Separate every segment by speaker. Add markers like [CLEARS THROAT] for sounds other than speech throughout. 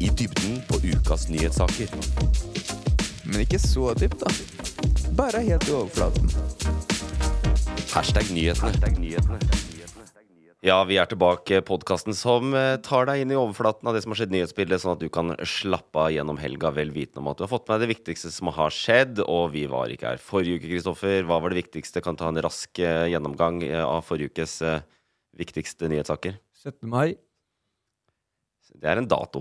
Speaker 1: I dybden på ukas nyhetssaker.
Speaker 2: Men ikke så dypt, da. Bare helt i overflaten.
Speaker 1: Hashtag nyhetene. Ja, vi er tilbake, podkasten som eh, tar deg inn i overflaten av det som har skjedd i nyhetsbildet, sånn at du kan slappe av gjennom helga vel vitende om at du har fått med deg det viktigste som har skjedd. Og vi var ikke her forrige uke, Kristoffer. Hva var det viktigste? Kan ta en rask eh, gjennomgang eh, av forrige ukes eh, viktigste nyhetssaker.
Speaker 2: 17. mai.
Speaker 1: Det er en dato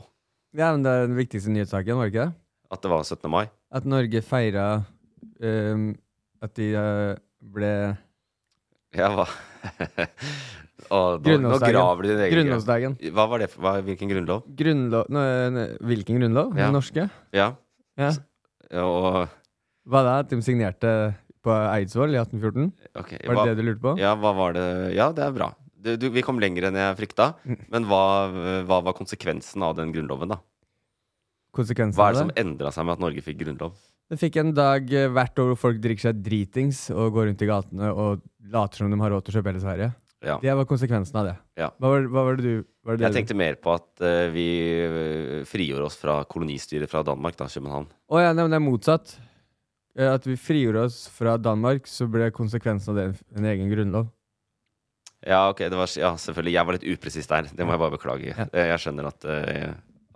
Speaker 2: Ja, men det er den viktigste nyhetssaken, var det ikke det?
Speaker 1: at det var 17. mai.
Speaker 2: At Norge feira at de eh, ble
Speaker 1: Ja, hva [LAUGHS] Å, nå, nå
Speaker 2: Grunnlovsdagen.
Speaker 1: graver du din egen grav.
Speaker 2: Grunnlovsdagen.
Speaker 1: Hva var det for hva, Hvilken grunnlov?
Speaker 2: Grunnlov nå, eh, Hvilken grunnlov?
Speaker 1: Ja.
Speaker 2: Den norske?
Speaker 1: Ja.
Speaker 2: Ja.
Speaker 1: ja, Og
Speaker 2: Var det at de signerte på Eidsvoll i 1814?
Speaker 1: Ok.
Speaker 2: Var
Speaker 1: hva-
Speaker 2: det det du lurte på?
Speaker 1: Ja, hva var det? Ja, det er bra. Du, du, vi kom lenger enn jeg frykta.
Speaker 2: Mm.
Speaker 1: Men hva, hva var konsekvensen av den grunnloven, da?
Speaker 2: Konsekvensen
Speaker 1: Hva er
Speaker 2: av
Speaker 1: det som endra seg med at Norge fikk grunnlov?
Speaker 2: Det fikk en dag eh, hvert år hvor folk drikker seg dritings og går rundt i gatene og later som de har råd til å kjøpe hele Sverige.
Speaker 1: Ja.
Speaker 2: Det var konsekvensen av det.
Speaker 1: Ja.
Speaker 2: Hva, var, hva var det du var det det
Speaker 1: Jeg
Speaker 2: du-
Speaker 1: tenkte mer på at eh, vi eh, frigjorde oss fra kolonistyret fra Danmark, da, København.
Speaker 2: Å ja, nei, men det er motsatt. Eh, At vi frigjorde oss fra Danmark, så ble konsekvensen av det en, en egen grunnlov.
Speaker 1: Ja, ok, det var, ja, selvfølgelig. Jeg var litt upresis der. Det må jeg bare beklage.
Speaker 2: Ja.
Speaker 1: Eh, Jeg skjønner at, eh,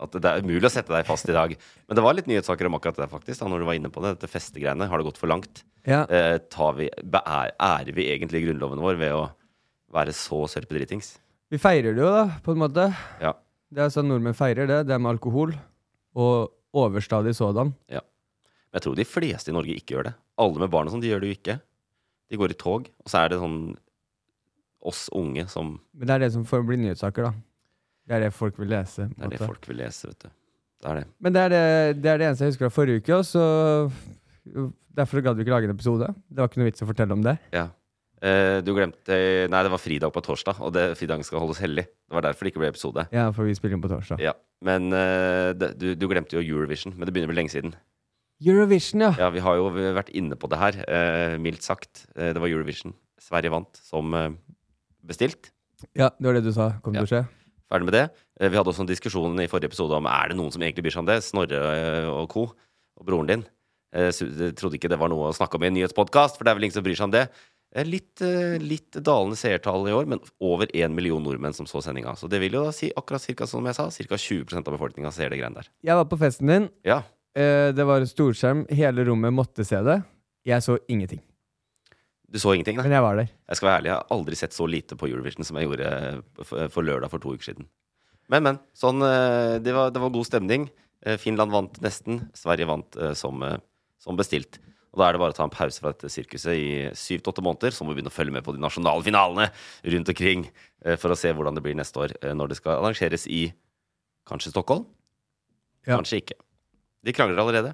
Speaker 1: at det er umulig å sette deg fast i dag. Men det var litt nyhetssaker om akkurat det, faktisk, da, når du var inne på det. Dette festegreiene. Har det gått for langt?
Speaker 2: Ja,
Speaker 1: Eh, tar vi, beær, ærer vi egentlig grunnloven vår ved å være så sørpedritings?
Speaker 2: Vi feirer det jo, da, på en måte.
Speaker 1: Ja.
Speaker 2: Det er sånn nordmenn feirer det. Det er med alkohol. Og overstadig sådan.
Speaker 1: Men jeg tror de fleste i Norge ikke gjør det. Alle med barn og sånn, de gjør det jo ikke. De går i tog, og så er det sånn oss unge som
Speaker 2: Men det er det som får bli nyhetssaker, da. Det er det folk vil lese.
Speaker 1: Det
Speaker 2: på en
Speaker 1: er det
Speaker 2: måte.
Speaker 1: folk vil lese, vet du. Det er det.
Speaker 2: Men det er det, det er det eneste jeg husker fra forrige uke, og så Derfor gadd vi ikke lage en episode. Det var ikke noe vits i å fortelle om det.
Speaker 1: Ja. Eh, du glemte Nei, det var fridag på torsdag, og det, fridagen skal holdes hellig. Det var derfor det ikke ble episode.
Speaker 2: Ja, for vi spiller inn på torsdag.
Speaker 1: Ja. Men eh, det, du, du glemte jo Eurovision, men det begynner vel lenge siden.
Speaker 2: Eurovision, ja!
Speaker 1: Ja, vi har jo vært inne på det her, eh, mildt sagt. Eh, det var Eurovision. Sverige vant som eh, bestilt.
Speaker 2: Ja, det var det du sa kom
Speaker 1: Ja.
Speaker 2: til å skje.
Speaker 1: Ferdig med det. Eh, Vi hadde også en diskusjon i forrige episode om er det noen som egentlig bryr seg om det. Snorre eh, og co. og broren din eh, su- de trodde ikke det var noe å snakke om i en nyhetspodkast, for det er vel ingen som bryr seg om det. Eh, Litt, eh, litt dalende seertall i år, men over én million nordmenn som så sendinga. Så det vil jo da si akkurat cirka som jeg sa, ca. 20 av befolkninga ser det greiene der.
Speaker 2: Jeg var på festen din.
Speaker 1: Ja.
Speaker 2: Eh, det var storskjerm. Hele rommet måtte se det. Jeg så ingenting.
Speaker 1: Du så ingenting, da?
Speaker 2: Men jeg var der.
Speaker 1: Jeg skal være ærlig, jeg har aldri sett så lite på Eurovision som jeg gjorde eh, for for lørdag for to uker siden. Men, men. Sånn, eh, det, var, det var god stemning. Eh, Finland vant nesten. Sverige vant eh, som, eh, som bestilt. Og Da er det bare å ta en pause fra dette sirkuset i syv til åtte måneder, så må vi begynne å følge med på de nasjonale finalene rundt omkring eh, for å se hvordan det blir neste år eh, når det skal arrangeres i kanskje Stockholm,
Speaker 2: Ja.
Speaker 1: kanskje ikke. De krangler allerede.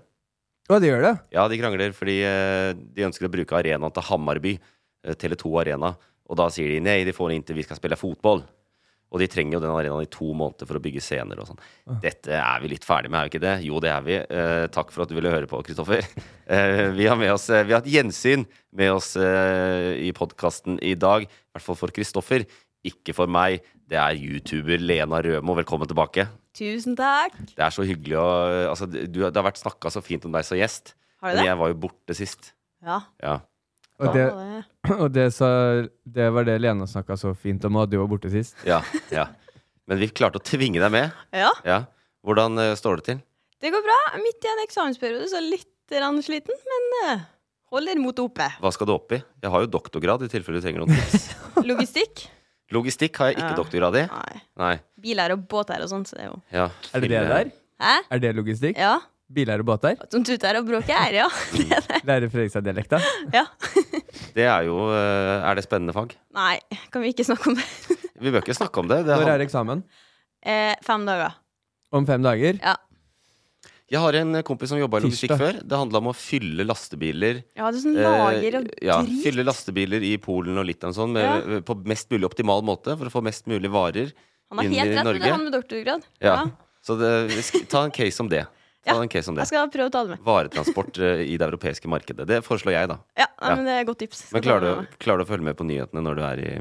Speaker 2: Å, det gjør det?
Speaker 1: Ja, de krangler fordi eh, de ønsker å bruke arenaen til Hammarby. eh, Tele2 Arena. Og da sier de nei, de får den inntil vi skal spille fotball. Og de trenger jo den arenaen i to måneder for å bygge scener og sånn. Dette er vi litt ferdig med, er vi ikke det? Jo, det er vi. Eh, takk for at du ville høre på, Kristoffer. [LAUGHS] Eh, vi har med oss, eh, vi har et gjensyn med oss eh, i podkasten i dag. I hvert fall for Kristoffer. Ikke for meg. Det er YouTuber Lena Rømo. Velkommen tilbake.
Speaker 3: Tusen takk.
Speaker 1: Det er så hyggelig å altså, du, Det har vært snakka så fint om deg som gjest.
Speaker 3: Har du
Speaker 1: Men
Speaker 3: det?
Speaker 1: jeg var jo borte sist.
Speaker 3: Ja.
Speaker 1: Ja.
Speaker 2: Og det,
Speaker 3: Å, det-
Speaker 2: og det, sa, det var det Lena snakka så fint om, og du var borte sist.
Speaker 1: Ja, ja. Men vi klarte å tvinge deg med.
Speaker 3: Ja,
Speaker 1: Ja. Hvordan eh, står det til?
Speaker 3: det går bra. Midt i en eksamensperiode, så litt grann sliten, men eh, holder motet oppe.
Speaker 1: Hva skal du opp i? Jeg har jo doktorgrad i tilfelle du trenger noen [LAUGHS] tips.
Speaker 3: Logistikk?
Speaker 1: Logistikk har jeg ikke
Speaker 3: Ja.
Speaker 1: doktorgrad i.
Speaker 3: Nei.
Speaker 1: Nei.
Speaker 3: Biler og båter og sånt, så det er jo
Speaker 1: Ja.
Speaker 2: Er det det
Speaker 1: Film-
Speaker 2: der?
Speaker 3: Hæ?
Speaker 2: Er det logistikk?
Speaker 3: Ja.
Speaker 2: Biler og båter?
Speaker 3: Som tuter og bråker her, ja. [LAUGHS] Det er det.
Speaker 2: Lære Fredrikstad-dialekta?
Speaker 3: Ja. [LAUGHS]
Speaker 1: Det er jo eh, Er det spennende fag?
Speaker 3: Nei, kan vi ikke snakke om det? [LAUGHS]
Speaker 1: Vi bør ikke snakke om det. det
Speaker 2: Når
Speaker 1: han-
Speaker 2: er eksamen?
Speaker 3: Eh, fem dager.
Speaker 2: Om fem dager?
Speaker 3: Ja.
Speaker 1: Jeg har en kompis som jobba i logistikk
Speaker 2: Tirsdag.
Speaker 1: før. Det handla om å fylle lastebiler
Speaker 3: Ja, det er sånn
Speaker 1: eh,
Speaker 3: lager og
Speaker 1: ja,
Speaker 3: drit.
Speaker 1: Fylle lastebiler i Polen og Litauen og sånn med, på mest mulig optimal måte for å få mest mulig varer
Speaker 3: Han har
Speaker 1: inn
Speaker 3: helt
Speaker 1: i
Speaker 3: rett, med det,
Speaker 1: Norge.
Speaker 3: han med doktorgrad.
Speaker 1: Ja. Så det, sk- ta en case om det. Ta
Speaker 3: Ja,
Speaker 1: en case om det.
Speaker 3: Jeg skal prøve å ta det med.
Speaker 1: Varetransport eh, i det europeiske markedet. Det foreslår jeg, da.
Speaker 3: Ja, nei,
Speaker 1: Ja.
Speaker 3: men det er et godt tips.
Speaker 1: Men
Speaker 3: Skal ta det
Speaker 1: klarer
Speaker 3: med
Speaker 1: du, klarer du å følge med på nyhetene når du er i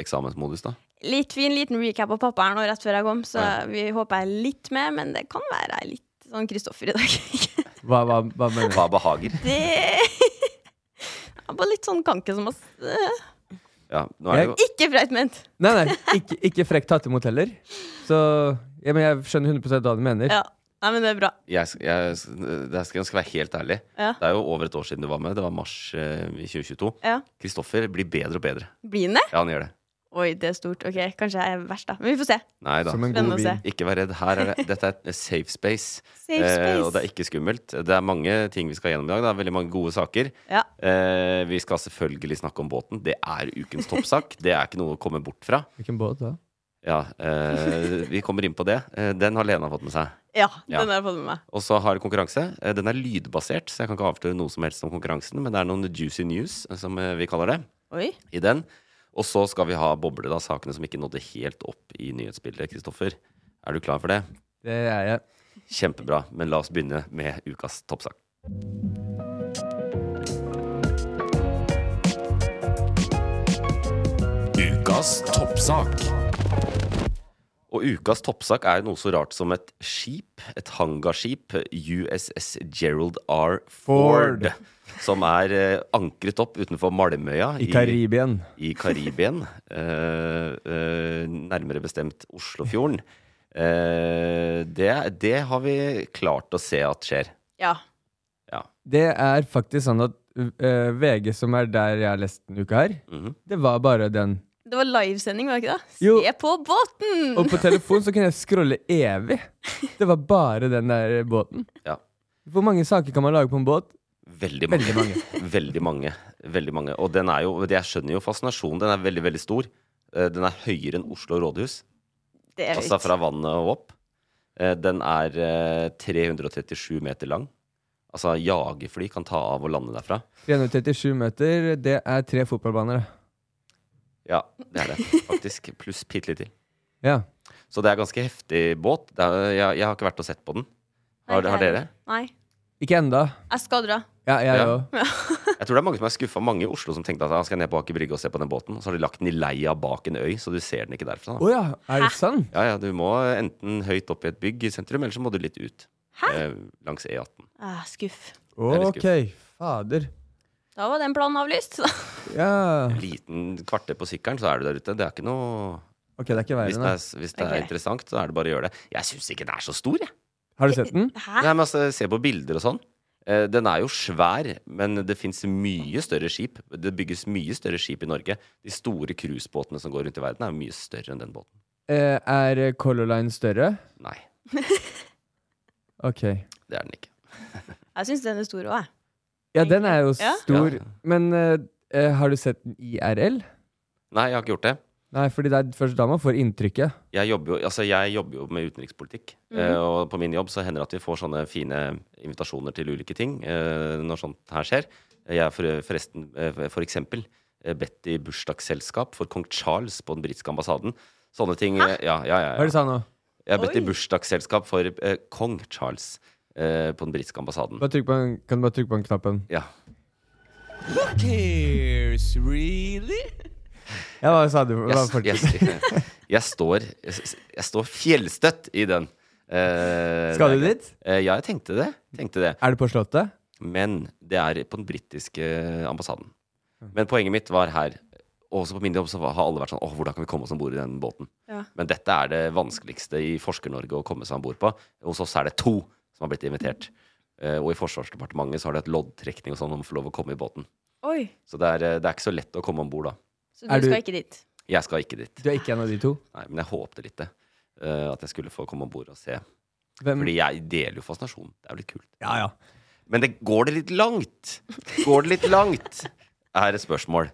Speaker 1: eksamensmodus, da?
Speaker 3: meg. Litt fin liten recap av pappa her nå rett før jeg kom, så
Speaker 1: Ja.
Speaker 3: vi håper jeg er litt med, men det kan være jeg er litt sånn Kristoffer i dag. [LAUGHS]
Speaker 2: Hva, hva, hva mener du?
Speaker 1: Hva behager?
Speaker 3: det Jeg er bare litt sånn kanke som oss.
Speaker 1: Ja, nå er det jo
Speaker 3: Ikke freit ment.
Speaker 2: Nei, nei, ikke, ikke frekt tatt imot heller. Så ja, men jeg skjønner 100 hva du mener.
Speaker 3: Ja. Nei, men det er bra.
Speaker 1: jeg, sk- jeg, sk- det skal jeg skal være helt ærlig.
Speaker 3: Ja.
Speaker 1: Det er jo over et år siden du var med. Det var mars eh, i 2022.
Speaker 3: Ja.
Speaker 1: Kristoffer blir bedre og bedre.
Speaker 3: Blir den det?
Speaker 1: Ja, han gjør det.
Speaker 3: Oi, det er stort. Ok, Kanskje jeg er verst, da. Men vi får se.
Speaker 1: Nei da.
Speaker 2: Som en god
Speaker 3: Spennende å
Speaker 2: vin.
Speaker 3: se.
Speaker 1: Ikke vær redd. Her er det, dette er et safe space.
Speaker 3: Safe
Speaker 1: Eh,
Speaker 3: space.
Speaker 1: og det er ikke skummelt. Det er mange ting vi skal gjennom i dag. Det er veldig mange gode saker.
Speaker 3: Ja.
Speaker 1: Eh, vi skal selvfølgelig snakke om båten. Det er ukens toppsak. Det er ikke noe å komme bort fra.
Speaker 2: Hvilken båt da?
Speaker 1: Ja, eh, Vi kommer inn på det. Eh, den har Lena fått med seg.
Speaker 3: Ja,
Speaker 1: Ja.
Speaker 3: den har jeg fått med meg.
Speaker 1: Og så har jeg konkurranse. Eh, Den er lydbasert, så jeg kan ikke avsløre noe som helst om konkurransen, men det er noen juicy news, eh, som eh, vi kaller det,
Speaker 3: Oi.
Speaker 1: i den. Og så skal vi ha boble, da, sakene som ikke nådde helt opp i nyhetsbildet. Kristoffer, er du klar for det?
Speaker 2: Det er jeg.
Speaker 1: Kjempebra, men la oss begynne med ukas toppsak.
Speaker 4: Ukas toppsak.
Speaker 1: Og ukas toppsak er noe så rart som et skip, et hangarskip, USS Gerald R. Ford,
Speaker 2: Ford.
Speaker 1: som er eh, ankret opp utenfor Malmøya
Speaker 2: I Karibien.
Speaker 1: i Karibien, [LAUGHS] eh, eh, nærmere bestemt Oslofjorden. Eh, det, det har vi klart å se at skjer.
Speaker 3: Ja.
Speaker 2: Det er faktisk sånn at øh, VG, som er der jeg har lest denne uka her,
Speaker 1: Mhm.
Speaker 2: det var bare den.
Speaker 3: Det var livesending, var det ikke det?
Speaker 2: Jo.
Speaker 3: Se på båten!
Speaker 2: Og på telefon så kunne jeg scrolle evig. Det var bare den der båten.
Speaker 1: Ja.
Speaker 2: Hvor mange saker kan man lage på en båt?
Speaker 1: Veldig mange.
Speaker 2: Veldig mange.
Speaker 1: [LAUGHS] Veldig mange. Veldig mange. Og den er jo, jeg skjønner jo fascinasjonen. Den er veldig, veldig stor. Eh, Den er høyere enn Oslo rådhus.
Speaker 3: det er
Speaker 1: Altså
Speaker 3: høyt.
Speaker 1: fra vannet og opp. Eh, Den er eh, 337 meter lang. Altså jagerfly kan ta av og lande derfra.
Speaker 2: 337 meter, det er tre fotballbaner. da.
Speaker 1: Ja, det er det faktisk. Pluss bitte litt til.
Speaker 2: Ja.
Speaker 1: Så det er ganske heftig båt. Det er, jeg, jeg har ikke vært og sett på den. Har,
Speaker 3: Nei,
Speaker 1: har
Speaker 3: det er-
Speaker 1: dere?
Speaker 3: Nei.
Speaker 2: Ikke enda.
Speaker 3: Jeg skal dra.
Speaker 2: Ja, jeg
Speaker 1: Ja.
Speaker 2: òg.
Speaker 1: Jeg tror det er mange som er skuffa. Mange i Oslo som tenkte at han skal ned på Aker Brygge og se på den båten. Og så har de lagt den i leia bak en øy, så du ser den ikke derfra. Da.
Speaker 2: Å ja, er det sann?
Speaker 1: Ja, ja, du må enten høyt opp i et bygg i sentrum, eller så må du litt ut. Eh, langs E18.
Speaker 3: Ah, skuff.
Speaker 1: er litt
Speaker 2: Ok, fader.
Speaker 3: Da var den planen avlyst.
Speaker 2: Ja.
Speaker 1: Liten kvarter på sykkelen, så er du der ute. Det er ikke noe
Speaker 2: Ok, det er ikke
Speaker 1: Hvis det
Speaker 2: verre, da.
Speaker 1: er, hvis det er
Speaker 3: Ok.
Speaker 1: interessant, så er det bare å gjøre det. Jeg syns ikke den er så stor, jeg.
Speaker 2: Har du sett den?
Speaker 3: [LAUGHS] Hæ?
Speaker 1: Nei, men altså, se på bilder og sånn. Eh, Den er jo svær, men det fins mye større skip. Det bygges mye større skip i Norge. De store cruisebåtene som går rundt i verden, er jo mye større enn den båten.
Speaker 2: Eh, er Color Line større?
Speaker 1: Nei,
Speaker 2: Ok.
Speaker 1: det er den ikke.
Speaker 3: Jeg syns den er stor òg, jeg.
Speaker 2: Ja, den er jo
Speaker 3: Ja.
Speaker 2: stor.
Speaker 1: Ja.
Speaker 2: Men eh, eh, har du sett den IRL?
Speaker 1: Nei, jeg har ikke gjort det.
Speaker 2: Nei, fordi det er først da man får inntrykket.
Speaker 1: Jeg jobber jo, altså, jeg jobber jo med utenrikspolitikk. eh, Og på min jobb så hender det at vi får sånne fine invitasjoner til ulike ting eh, når sånt her skjer. Jeg er for, forresten, eh, for eksempel, eh, bedt i bursdagsselskap for kong Charles på den britiske ambassaden. Sånne ting. eh, Ja, ja, ja,
Speaker 2: Hva
Speaker 1: ja.
Speaker 2: er det du sa nå?
Speaker 1: Jeg har bedt i
Speaker 3: Oi.
Speaker 1: bursdagsselskap for eh, kong Charles eh, på den britiske ambassaden.
Speaker 2: Bare trykk på den, kan du bare trykke på den knappen?
Speaker 1: Ja.
Speaker 2: Ja, hva sa du? Hva
Speaker 1: Jeg,
Speaker 2: fortsatt?
Speaker 1: jeg, [LAUGHS] jeg, står, jeg, jeg står fjellstøtt i den. Eh,
Speaker 2: Skal
Speaker 1: det
Speaker 2: du
Speaker 1: er-
Speaker 2: dit?
Speaker 1: Eh, ja, jeg tenkte det. Tenkte det.
Speaker 2: Er det på Slottet?
Speaker 1: Men det er på den britiske eh, ambassaden. Men poenget mitt var her Også på min jobb så har alle vært sånn Åh, hvordan kan vi komme oss om bord i den båten?
Speaker 3: Ja.
Speaker 1: Men dette er det vanskeligste i Forsker-Norge å komme seg om bord på. Hos oss er det to som har blitt invitert. Eh, og i Forsvarsdepartementet så har de hatt loddtrekning og sånn om å få lov å komme i båten.
Speaker 3: Oi,
Speaker 1: Så det er, eh, det er ikke så lett å komme om bord, da.
Speaker 3: så
Speaker 2: Er
Speaker 3: du
Speaker 2: du-
Speaker 3: skal ikke dit.
Speaker 1: Jeg skal ikke dit.
Speaker 2: Du er ikke en av de to?
Speaker 1: Nei, men jeg håpte litt det. eh, at jeg skulle få komme om bord og se.
Speaker 2: Hvem?
Speaker 1: Fordi jeg deler jo fascinasjonen. Det er jo litt kult.
Speaker 2: Ja, ja.
Speaker 1: Men det går det litt langt? Går det litt langt? Er et spørsmål.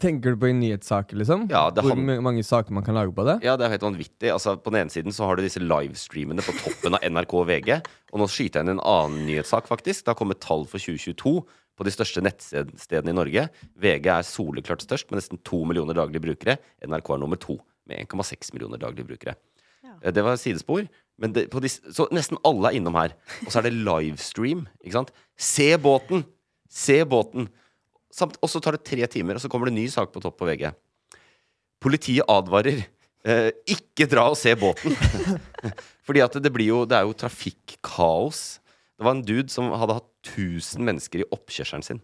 Speaker 2: Tenker du på i nyhetssaker, liksom?
Speaker 1: Ja, det
Speaker 2: Hvor
Speaker 1: han-
Speaker 2: ma- mange saker man kan lage på det?
Speaker 1: Ja, det er helt vanvittig. Altså, på den ene siden så har du disse livestreamene på toppen av NRK og VG. Og nå skyter jeg inn en annen nyhetssak, faktisk. Det har kommet tall for 2022 på de største nettstedene i Norge. VG er soleklart størst med nesten to millioner daglige brukere. NRK er nummer to med 1,6 millioner daglige brukere. Eh, Det var sidespor. Men det, på disse, så nesten alle er innom her. Og så er det livestream. Ikke sant? Se båten! Se båten! Samt, og så tar det tre timer, og så kommer det en ny sak på topp på VG. Politiet advarer. Eh, ikke dra og se båten. [LAUGHS] Fordi at det, blir jo, det er jo trafikkaos. Det var en dude som hadde hatt 1000 mennesker i oppkjørselen sin.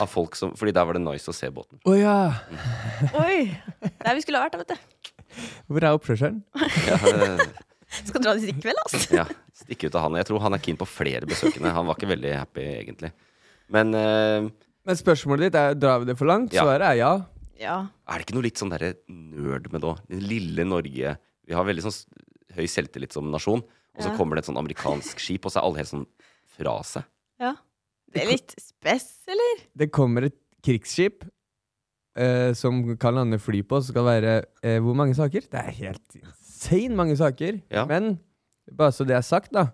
Speaker 1: Av folk som, fordi der var det nice å se båten.
Speaker 2: Å ja!
Speaker 3: [LAUGHS] Oi! Der vi skulle ha vært, da, vet du.
Speaker 2: Hvor er
Speaker 1: [LAUGHS]
Speaker 2: oppførselen?
Speaker 1: Ja, eh,
Speaker 3: Skal dra dit i kveld, altså.
Speaker 1: ja, stikke ut av han. Jeg tror han er keen på flere besøkende. Han var ikke veldig happy, egentlig. Men eh,
Speaker 2: Men spørsmålet ditt er drar vi det for langt.
Speaker 1: Ja.
Speaker 2: Svaret er ja.
Speaker 3: Ja.
Speaker 1: er det ikke noe litt sånn derre nerd med det òg? Det lille Norge. Vi har veldig sånn s- høy selvtillit som nasjon. Og så
Speaker 3: Ja.
Speaker 1: kommer det et sånn amerikansk skip, og så er alle helt sånn fra seg.
Speaker 3: ja. Det er litt spess, eller?
Speaker 2: Det kommer et krigsskip eh, som kan lande fly på, så skal det være eh, hvor mange saker? Det er helt insane mange saker.
Speaker 1: Ja.
Speaker 2: Men bare så det er sagt, da.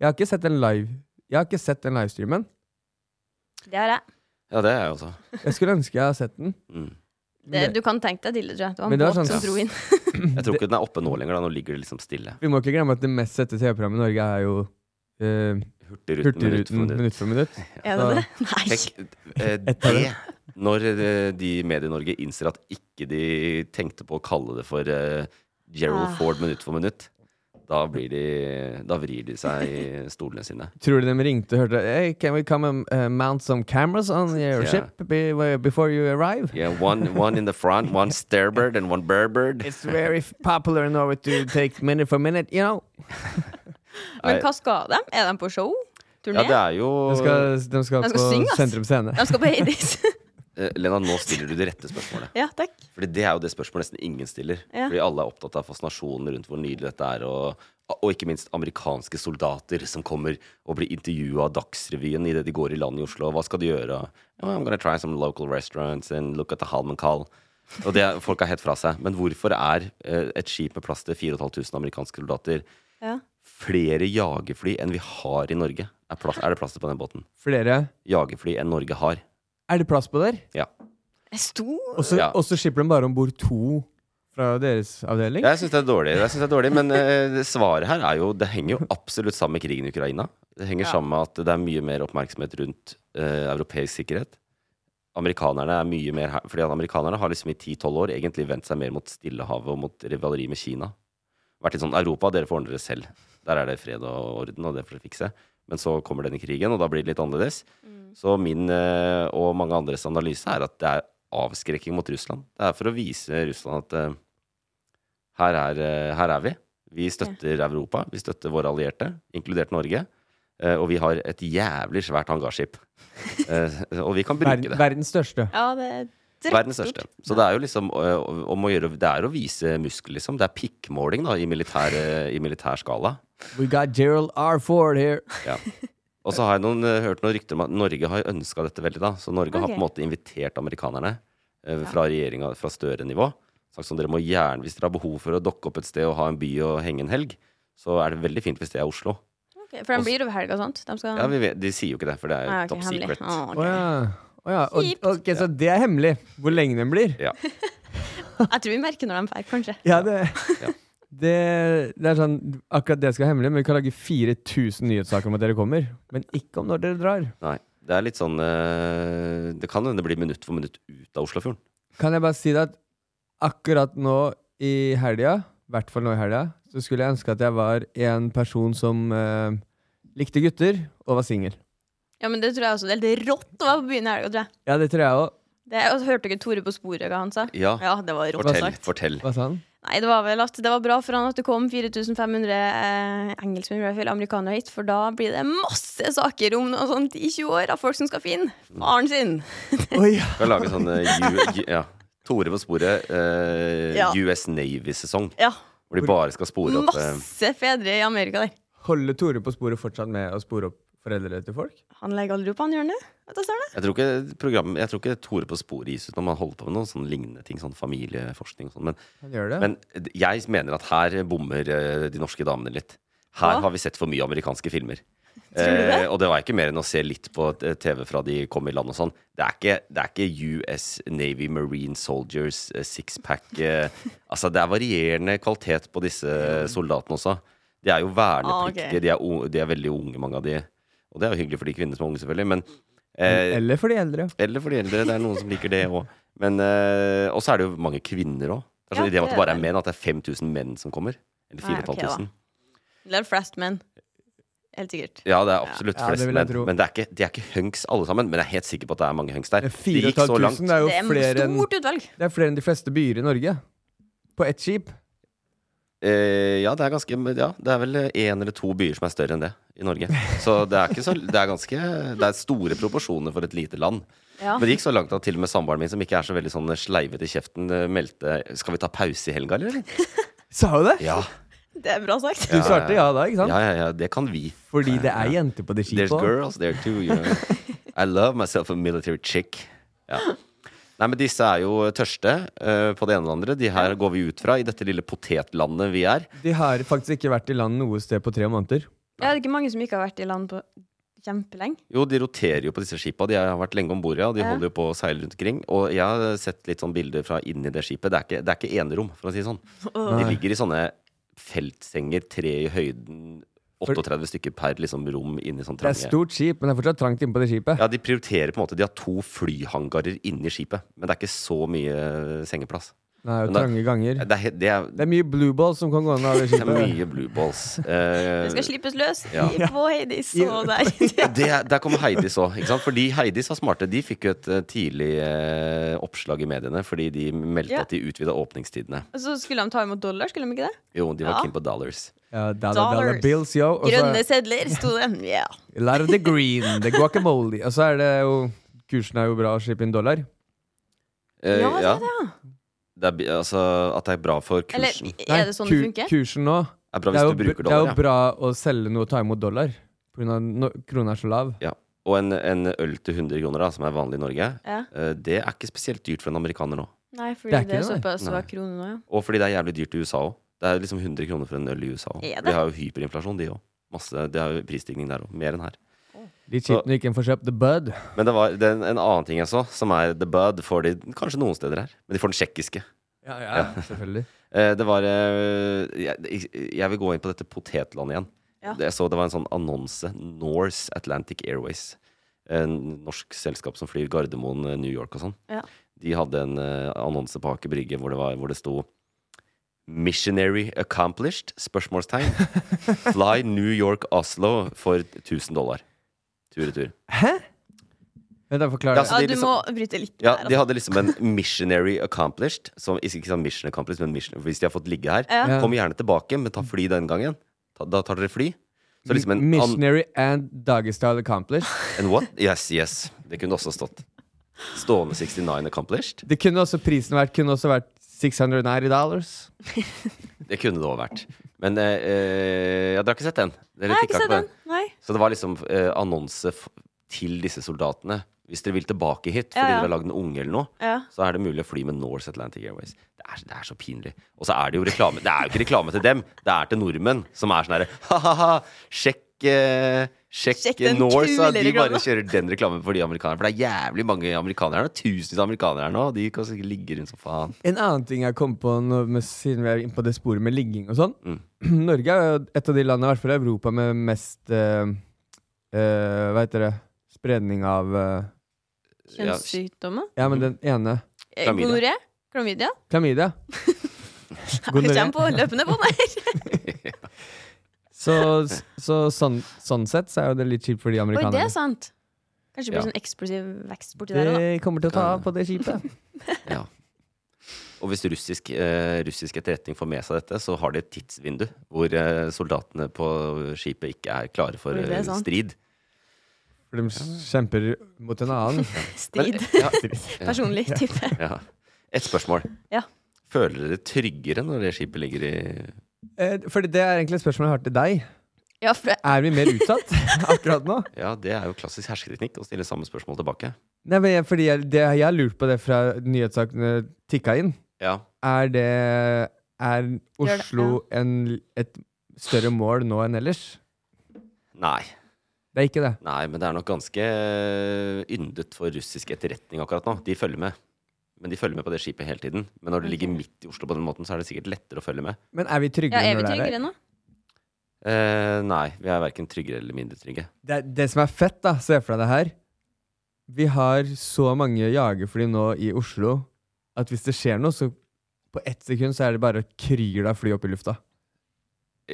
Speaker 2: Jeg har ikke sett den live. Jeg har ikke sett den livestreamen.
Speaker 3: Det har jeg.
Speaker 1: Ja, det er jeg også.
Speaker 2: Jeg skulle ønske jeg hadde sett den.
Speaker 1: Mm.
Speaker 3: Det, du kan tenke deg til det, tror jeg. Det var
Speaker 2: Men
Speaker 3: en
Speaker 2: det var
Speaker 3: båt
Speaker 2: sånn-
Speaker 3: som [LAUGHS] dro inn.
Speaker 1: Jeg tror ikke den er oppe nå lenger. da, Nå ligger det liksom stille.
Speaker 2: Vi må ikke glemme at det mest sette TV-programmet i Norge er jo eh,
Speaker 1: Hurtigruten, minutt for
Speaker 2: Hurtigruten
Speaker 1: minutt.
Speaker 2: minutt for minutt.
Speaker 3: Er det det?
Speaker 1: [LAUGHS]
Speaker 3: Nei.
Speaker 1: Tenk, eh, det,
Speaker 2: Etter
Speaker 1: når eh, de i Medie-Norge innser at ikke de tenkte på å kalle det for eh, Gerald
Speaker 3: Ah.
Speaker 1: Ford minutt for minutt, da, blir de, da vrir de seg i stolene sine.
Speaker 2: Tror du de ringte og hørte hey, Can we come and uh, mount some cameras on your
Speaker 1: Ja.
Speaker 2: ship be before you arrive?
Speaker 1: Yeah, one, one in the front, one stairbird and one bearbird.
Speaker 2: It's very f- popular in Norway to take minute for minute, you know.
Speaker 1: Nei.
Speaker 3: Men hva skal de? Er de på show?
Speaker 1: Ja,
Speaker 3: Turné?
Speaker 1: det er jo
Speaker 2: De skal, de skal
Speaker 3: De skal
Speaker 2: på
Speaker 3: synge, ass.
Speaker 2: Sentrum Scene.
Speaker 3: De skal på Hades. [LAUGHS]
Speaker 1: Eh, Lena, nå stiller du det rette spørsmålet.
Speaker 3: ja, takk.
Speaker 1: Fordi det er jo det spørsmålet nesten ingen stiller.
Speaker 3: Ja.
Speaker 1: Fordi alle er opptatt av fascinasjonen rundt hvor nydelig dette er, og, og ikke minst amerikanske soldater som kommer og blir intervjua av Dagsrevyen idet de går i land i Oslo. Hva skal de gjøre? Oh, I'm gonna try some local restaurants and look at the Halman Call. Og det er- folk er helt fra seg. Men hvorfor er eh, et skip med plass til 4500 amerikanske soldater
Speaker 3: Ja.
Speaker 1: flere jagerfly enn vi har i Norge? Er, plass, er det plass til på den båten?
Speaker 2: Flere.
Speaker 1: Jagerfly enn Norge har.
Speaker 2: Er det plass på der?
Speaker 1: Ja.
Speaker 3: Jeg sto
Speaker 2: Og så-
Speaker 1: Ja.
Speaker 2: Og så skipper de bare om bord to fra deres avdeling?
Speaker 1: Jeg syns det er dårlig, jeg synes det er dårlig men eh, svaret her er jo Det henger jo absolutt sammen med krigen i Ukraina. Det henger
Speaker 3: Ja.
Speaker 1: sammen med at det er mye mer oppmerksomhet rundt eh, europeisk sikkerhet. Amerikanerne er mye mer her, fordi at amerikanerne har liksom i 10-12 år egentlig vendt seg mer mot Stillehavet og mot rivaleri med Kina. Vært litt sånn Europa, dere får ordne dere selv. Der er det fred og orden, og det får dere fikse. Men så kommer denne krigen, og da blir det litt annerledes. Så min eh, og mange andres analyse er at det er avskrekking mot Russland. Det er for å vise Russland at eh, her er, eh, her er vi. Vi støtter Europa, vi støtter våre allierte, inkludert Norge. eh, Og vi har et jævlig svært hangarskip. Eh, Og vi kan bruke
Speaker 2: Verden,
Speaker 1: det.
Speaker 2: verdens største.
Speaker 3: Ja, det er
Speaker 1: Verdens største. Så det er jo liksom eh, om å gjøre Det er å vise muskel, liksom. Det er pikkmåling, da, i militær, eh, i militær skala.
Speaker 2: We got Gerald R. Ford here.
Speaker 1: Ja. Og så har jeg noen, eh, hørt noen rykter om at Norge har ønska dette veldig, da. Så Norge har på en
Speaker 3: Ok.
Speaker 1: måte invitert amerikanerne eh, fra regjeringa fra Støre-nivå. Sagt som dere må gjerne, hvis dere har behov for å dokke opp et sted og ha en by og henge en helg, så er det veldig fint hvis det er Oslo.
Speaker 3: Ok, For de blir over helga, sant? De skal
Speaker 1: Ja, vi vet, De sier jo ikke det, for det er jo
Speaker 3: Nei, Ah, ok,
Speaker 1: top
Speaker 3: hemmelig.
Speaker 1: secret.
Speaker 3: Å, ok.
Speaker 2: Å ja. Å ja. Og,
Speaker 3: Kjipt.
Speaker 2: ok, så det er hemmelig hvor lenge den blir.
Speaker 1: Ja.
Speaker 3: Jeg tror vi merker når de drar, kanskje.
Speaker 2: Ja, det,
Speaker 1: Ja.
Speaker 2: det, det er sånn Akkurat det skal være hemmelig, men vi kan lage 4000 nyhetssaker om at dere kommer. Men ikke om når dere drar.
Speaker 1: Nei. Det er litt sånn eh, Det kan hende det blir minutt for minutt ut av Oslofjorden.
Speaker 2: Kan jeg bare si det at akkurat nå i helga, i hvert fall nå i helga, så skulle jeg ønske at jeg var en person som eh, likte gutter og var singel.
Speaker 3: Ja, men det tror jeg også. Det er helt rått å være på byen i helga, tror jeg.
Speaker 2: Ja, det tror jeg òg.
Speaker 3: Det, og så hørte dere Tore på sporet, hva han sa?
Speaker 1: Ja.
Speaker 3: ja det var rått
Speaker 1: Fortell.
Speaker 3: sagt.
Speaker 1: fortell
Speaker 2: Hva sa han?
Speaker 3: Nei, det var vel at det var bra for han at det kom 4500 eh, engelskmenn tror jeg, eller amerikanere hit, for da blir det masse saker om noe sånt i 20 år av folk som skal finne faren sin.
Speaker 2: [LAUGHS] Oi,
Speaker 1: Skal lage sånne
Speaker 3: [LAUGHS]
Speaker 1: U, Ju- ja. Tore på sporet. Eh,
Speaker 3: Ja.
Speaker 1: US Navy-sesong.
Speaker 3: Ja,
Speaker 1: Hvor de bare skal spore opp eh,
Speaker 3: masse fedre i Amerika der.
Speaker 2: Holder Tore på sporet fortsatt med å spore opp foreldre til folk?
Speaker 3: Han legger aldri opp, han gjør det. Vet du, ser det?
Speaker 1: jeg, tror ikke program, jeg tror ikke Tore på sporet gis ut når man holder på med noen sånne lignende ting. Sånn familieforskning og sånn. Men,
Speaker 2: Han gjør det.
Speaker 1: men jeg mener at her bommer eh, de norske damene litt. Her
Speaker 3: Hva?
Speaker 1: har vi sett for mye amerikanske filmer.
Speaker 3: Tror du det?
Speaker 1: Eh, og det var ikke mer enn å se litt på eh, TV fra de kom i land og sånn. Det er ikke, det er ikke US Navy Marine Soldiers eh, sixpack eh, Altså, det er varierende kvalitet på disse soldatene også. De er jo vernepliktige,
Speaker 3: Ah, ok.
Speaker 1: de, er, u- de er veldig unge, mange av de. Og det er jo hyggelig for de kvinnene som er unge, selvfølgelig. Men, eh,
Speaker 2: Eller for de eldre.
Speaker 1: eller for de eldre. Det er noen som liker det òg. Men eh, Og så er det jo mange kvinner òg. Altså,
Speaker 3: Ja,
Speaker 1: ideen om at
Speaker 3: det
Speaker 1: det bare
Speaker 3: er
Speaker 1: er menn, at det er 5000 menn som kommer. Eller
Speaker 3: Nei, ok,
Speaker 1: 4500.
Speaker 3: Det er flest menn. Helt sikkert.
Speaker 1: Ja, det er absolutt
Speaker 2: Ja, det
Speaker 1: flest
Speaker 2: vil jeg
Speaker 1: menn.
Speaker 2: tro.
Speaker 1: Men det er, ikke, de er ikke hunks alle sammen. Men jeg er helt sikker på at det er mange hunks der. Det gikk så
Speaker 2: 4500
Speaker 1: langt.
Speaker 2: er jo
Speaker 3: Det er
Speaker 2: flere enn,
Speaker 3: stort utvalg.
Speaker 2: det er flere enn de fleste byer i Norge. På ett skip.
Speaker 1: Eh, ja, det er ganske men Ja, det er vel én eller to byer som er større enn det i Norge. Så det er ikke så Det er ganske Det er store proporsjoner for et lite land.
Speaker 3: Ja.
Speaker 1: Men det gikk så langt at til og med samboeren min, som ikke er så veldig sånn sleivete i kjeften, eh, meldte Skal vi ta pause i helga, eller?
Speaker 2: Sa hun det?
Speaker 1: Ja.
Speaker 3: Det er bra sagt.
Speaker 2: Du svarte ja da, ikke sant?
Speaker 1: ja, ja, ja. Det kan vi.
Speaker 2: Fordi det er jenter på det
Speaker 1: There's
Speaker 2: skipet òg.
Speaker 1: girls there too. You
Speaker 2: [LAUGHS]
Speaker 1: know. I love myself a military chick. Ja. Nei, men disse er jo tørste eh, på det ene og det andre. De her går vi ut fra i dette lille potetlandet vi er.
Speaker 2: De har faktisk ikke vært i land noe sted på tre måneder.
Speaker 3: Ja, det er ikke mange som ikke har vært i land på kjempelenge.
Speaker 1: Jo, de roterer jo på disse skipa. De har vært lenge om bord, ja. og De
Speaker 3: Ja.
Speaker 1: holder jo på å seile rundt omkring. Og jeg har sett litt sånn bilder fra inni det skipet. Det er ikke, det er ikke enerom, for å si det sånn. De ligger i sånne feltsenger, tre i høyden, 38 stykker per liksom, rom inni sånn
Speaker 2: Det er
Speaker 1: trange
Speaker 2: stort skip, men det er fortsatt trangt inne på det skipet.
Speaker 1: Ja, de prioriterer på en måte De har to flyhangarer inni skipet, men det er ikke så mye eh, sengeplass.
Speaker 2: Nei, og
Speaker 1: Men det-
Speaker 2: trange ganger.
Speaker 1: Det er, he- det er,
Speaker 2: Det er mye blue balls som kan gå ned av det
Speaker 1: det er
Speaker 2: skipet.
Speaker 1: mye blue
Speaker 2: [LAUGHS]
Speaker 1: balls.
Speaker 3: Det skal
Speaker 1: Eh,
Speaker 3: slippes løs
Speaker 1: Ja.
Speaker 3: i- på Hades og der.
Speaker 1: Eh,
Speaker 2: [LAUGHS]
Speaker 3: [LAUGHS]
Speaker 1: det, der kom Heidis òg. Fordi Heidis var smarte. De fikk jo et eh, tidlig eh, oppslag i mediene fordi de meldte
Speaker 3: Ja.
Speaker 1: at de utvida åpningstidene.
Speaker 3: Og så skulle de ta imot dollar, skulle de ikke det?
Speaker 1: Jo, de var
Speaker 3: Ja.
Speaker 1: keen på dollars.
Speaker 2: Ja, dollar, dollar
Speaker 3: Dollars.
Speaker 2: bills, yo. Og
Speaker 3: Grønne
Speaker 2: så
Speaker 3: sedler, sto det. Ja.
Speaker 2: a lot of the
Speaker 3: [LAUGHS]
Speaker 2: green, the guacamole. Og så er det jo Kursen er jo bra å slippe inn dollar.
Speaker 1: Eh,
Speaker 3: Ja, det er det,
Speaker 1: Det er, bi- altså, at det er bra for
Speaker 3: Eller
Speaker 1: kursen.
Speaker 2: Nei,
Speaker 3: er det sånn det
Speaker 2: ku-
Speaker 3: funker?
Speaker 2: Kursen nå
Speaker 1: Det er bra
Speaker 2: det er,
Speaker 1: hvis
Speaker 2: jo,
Speaker 1: du
Speaker 2: br-
Speaker 1: bruker
Speaker 2: det er
Speaker 1: dollar.
Speaker 2: jo
Speaker 1: ja.
Speaker 2: bra å selge noe og ta imot dollar. På grunn av no, krona er så lav.
Speaker 1: Ja. Og en, en øl til 100 kroner, da, som er vanlig i Norge,
Speaker 3: Ja.
Speaker 1: eh, det er ikke spesielt dyrt for en amerikaner nå.
Speaker 3: Nei, fordi
Speaker 2: Det
Speaker 3: det
Speaker 2: er
Speaker 3: er,
Speaker 2: ikke det,
Speaker 3: såpass
Speaker 1: nei.
Speaker 3: svak krone nå, ja.
Speaker 1: Og fordi det er jævlig dyrt i USA òg. Det er liksom 100 kroner for en øl i USA òg.
Speaker 3: Er det?
Speaker 1: De har jo hyperinflasjon, de òg. Masse, det er jo prisstigning der òg. Mer enn her.
Speaker 2: Litt kjipt når ikke en får kjøpt the bud.
Speaker 1: Men det var det er en, en annen ting jeg så, som er the bud, får de kanskje noen steder her. Men de får den tsjekkiske.
Speaker 2: Ja, ja, selvfølgelig.
Speaker 1: Eh, det var eh, jeg, jeg vil gå inn på dette potetlandet igjen.
Speaker 3: Ja.
Speaker 1: Det- Jeg så det var en sånn annonse. Norse Atlantic Airways. En norsk selskap som flyr Gardermoen, eh, New York og sånn.
Speaker 3: Ja.
Speaker 1: De hadde en eh, annonse på Aker Brygge hvor det, var, hvor det sto Missionary accomplished?
Speaker 3: [LAUGHS]
Speaker 1: Spørsmålstegn. Fly New York-Oslo for 1000 dollar. Tur-retur.
Speaker 2: Vent, da
Speaker 1: Ja,
Speaker 2: forklarer
Speaker 1: så
Speaker 3: ja.
Speaker 1: de
Speaker 3: Du må
Speaker 1: liksom-
Speaker 3: bryte litt
Speaker 1: Ja,
Speaker 3: der,
Speaker 1: de
Speaker 3: altså.
Speaker 1: hadde liksom en missionary accomplished. Som, ikke ikke sånn mission accomplished, men mission, hvis de har fått ligge her.
Speaker 3: Ja.
Speaker 2: Ja.
Speaker 1: Kom gjerne tilbake, men ta fly den gangen. Ta, da tar dere fly. Så liksom en, an,
Speaker 2: Missionary and Dagestyle accomplished.
Speaker 1: en what? Yes, yes. Det kunne også stått. Stående 69 accomplished.
Speaker 2: Det kunne også prisen vært kunne også vært 690 dollars.
Speaker 1: Det kunne det òg vært. Men eh, eh, ja, dere har ikke sett den? Dere
Speaker 3: Nei, jeg har
Speaker 1: kikket
Speaker 3: ikke
Speaker 1: på
Speaker 3: sett den. Nei.
Speaker 1: Så det var liksom eh, annonse f til disse soldatene. Hvis dere vil tilbake hit fordi
Speaker 3: Ja, ja.
Speaker 1: dere har lagd en unge eller noe,
Speaker 3: Ja.
Speaker 1: så er det mulig å fly med Norse Atlantic Airways. Det er, det er så pinlig. Og så er det jo reklame. Det er jo ikke reklame til dem, det er til nordmenn som er sånn herre ha-ha-ha, sjekk eh, Sjekk,
Speaker 3: Sjekk den
Speaker 1: Norse, ja, de
Speaker 3: kule
Speaker 1: bare
Speaker 3: reklamen.
Speaker 1: kjører den reklamen for de amerikanerne. For det er jævlig mange amerikanere her nå. Tusenvis av amerikanere her nå. De kan sikkert ligge rundt som faen.
Speaker 2: En annen ting jeg kom på nå, med, siden vi er inne på det sporet med ligging og sånn. [CLEARS THROAT]
Speaker 1: Mm.
Speaker 2: Norge er jo et av de landene, i hvert fall i Europa, med mest eh, eh, Hva heter det? Spredning av eh,
Speaker 3: Kjønnssykdommer?
Speaker 2: Ja, men den ene.
Speaker 3: Eh,
Speaker 1: Klamydia.
Speaker 3: Gonoré? Klamydia? [LAUGHS]
Speaker 2: Klamydia.
Speaker 3: Det
Speaker 2: Gonoré.
Speaker 3: kommer på løpende bånd her.
Speaker 2: Så, så sånn, sånn sett så er jo det litt kjipt for de
Speaker 3: Oi, det
Speaker 2: amerikanerne.
Speaker 3: er sant. Kanskje det blir
Speaker 1: Ja.
Speaker 3: sånn eksplosiv vekst borti der òg.
Speaker 2: Det kommer til å ta av på det skipet.
Speaker 1: Ja. Og hvis russisk, eh, russisk etterretning får med seg dette, så har de et tidsvindu hvor eh, soldatene på skipet ikke er klare for
Speaker 3: Oi, det er
Speaker 1: eh,
Speaker 3: sant.
Speaker 1: strid.
Speaker 2: [LAUGHS] For de kjemper mot en
Speaker 3: [LAUGHS]
Speaker 2: annen.
Speaker 3: Strid.
Speaker 1: ja,
Speaker 3: [LAUGHS] Personlig type.
Speaker 1: ja. Et spørsmål.
Speaker 3: Ja.
Speaker 1: Føler dere tryggere når det skipet ligger i
Speaker 2: Eh, For det er egentlig et spørsmål jeg har til deg.
Speaker 3: Ja, for det,
Speaker 2: Er vi mer
Speaker 3: [LAUGHS]
Speaker 2: utsatt akkurat nå?
Speaker 1: Ja, det er jo klassisk hersketeknikk å stille samme spørsmål tilbake.
Speaker 2: Nei, men jeg, fordi jeg, det, jeg har lurt på det fra nyhetssakene tikka inn.
Speaker 1: Ja,
Speaker 2: Er det Er
Speaker 3: det,
Speaker 2: Oslo en, et større mål nå enn ellers?
Speaker 1: Nei.
Speaker 2: Det er ikke det.
Speaker 1: Nei, men det er nok ganske eh, yndet for russisk etterretning akkurat nå. De følger med. Men de følger med på det skipet hele tiden. Men når det ligger midt i Oslo på den måten, så er det sikkert lettere å følge med.
Speaker 2: Men er vi
Speaker 3: ja,
Speaker 2: tryggere
Speaker 3: er vi
Speaker 2: når det er
Speaker 3: tryggere
Speaker 2: der?
Speaker 3: nå?
Speaker 1: Eh, nei, vi er verken tryggere eller mindre trygge.
Speaker 2: Det, er- det som er fett, da, se for deg det her Vi har så mange jagerfly nå i Oslo at hvis det skjer noe, så på ett sekund så er det bare å kryr av fly opp i lufta.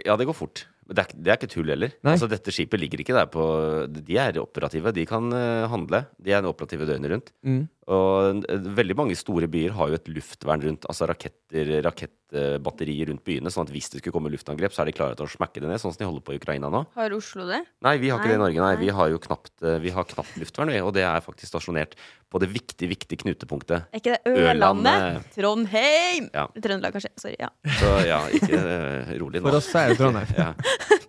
Speaker 1: Ja, det går fort. Men det er, ikke- det er ikke tull heller.
Speaker 2: Nei.
Speaker 1: Altså, dette skipet ligger ikke der på De er operative. De kan eh, handle. De er operative døgnet rundt.
Speaker 2: Mm.
Speaker 1: Og eh, veldig mange store byer har jo et luftvern rundt. Altså raketter, rakettbatterier rundt byene. Sånn at hvis det skulle komme luftangrep, så er de klare til å smekke det ned. Sånn som de holder på i Ukraina nå.
Speaker 3: Har Oslo det?
Speaker 1: Nei, vi har ikke
Speaker 3: Nei,
Speaker 1: det i Norge. Nei,
Speaker 3: nei.
Speaker 1: vi har jo knapt, eh, vi har knapt luftvern, vi. Og det er faktisk stasjonert på det viktige, viktige knutepunktet.
Speaker 3: Er ikke det
Speaker 1: Ørlandet.
Speaker 3: Ørlandet? Trondheim!
Speaker 1: Ja.
Speaker 3: Trøndelag, kanskje. Sorry. ja
Speaker 1: Så ja, ikke eh, rolig nå.
Speaker 2: For oss er det Trondheim.
Speaker 3: [LAUGHS]
Speaker 1: Ja.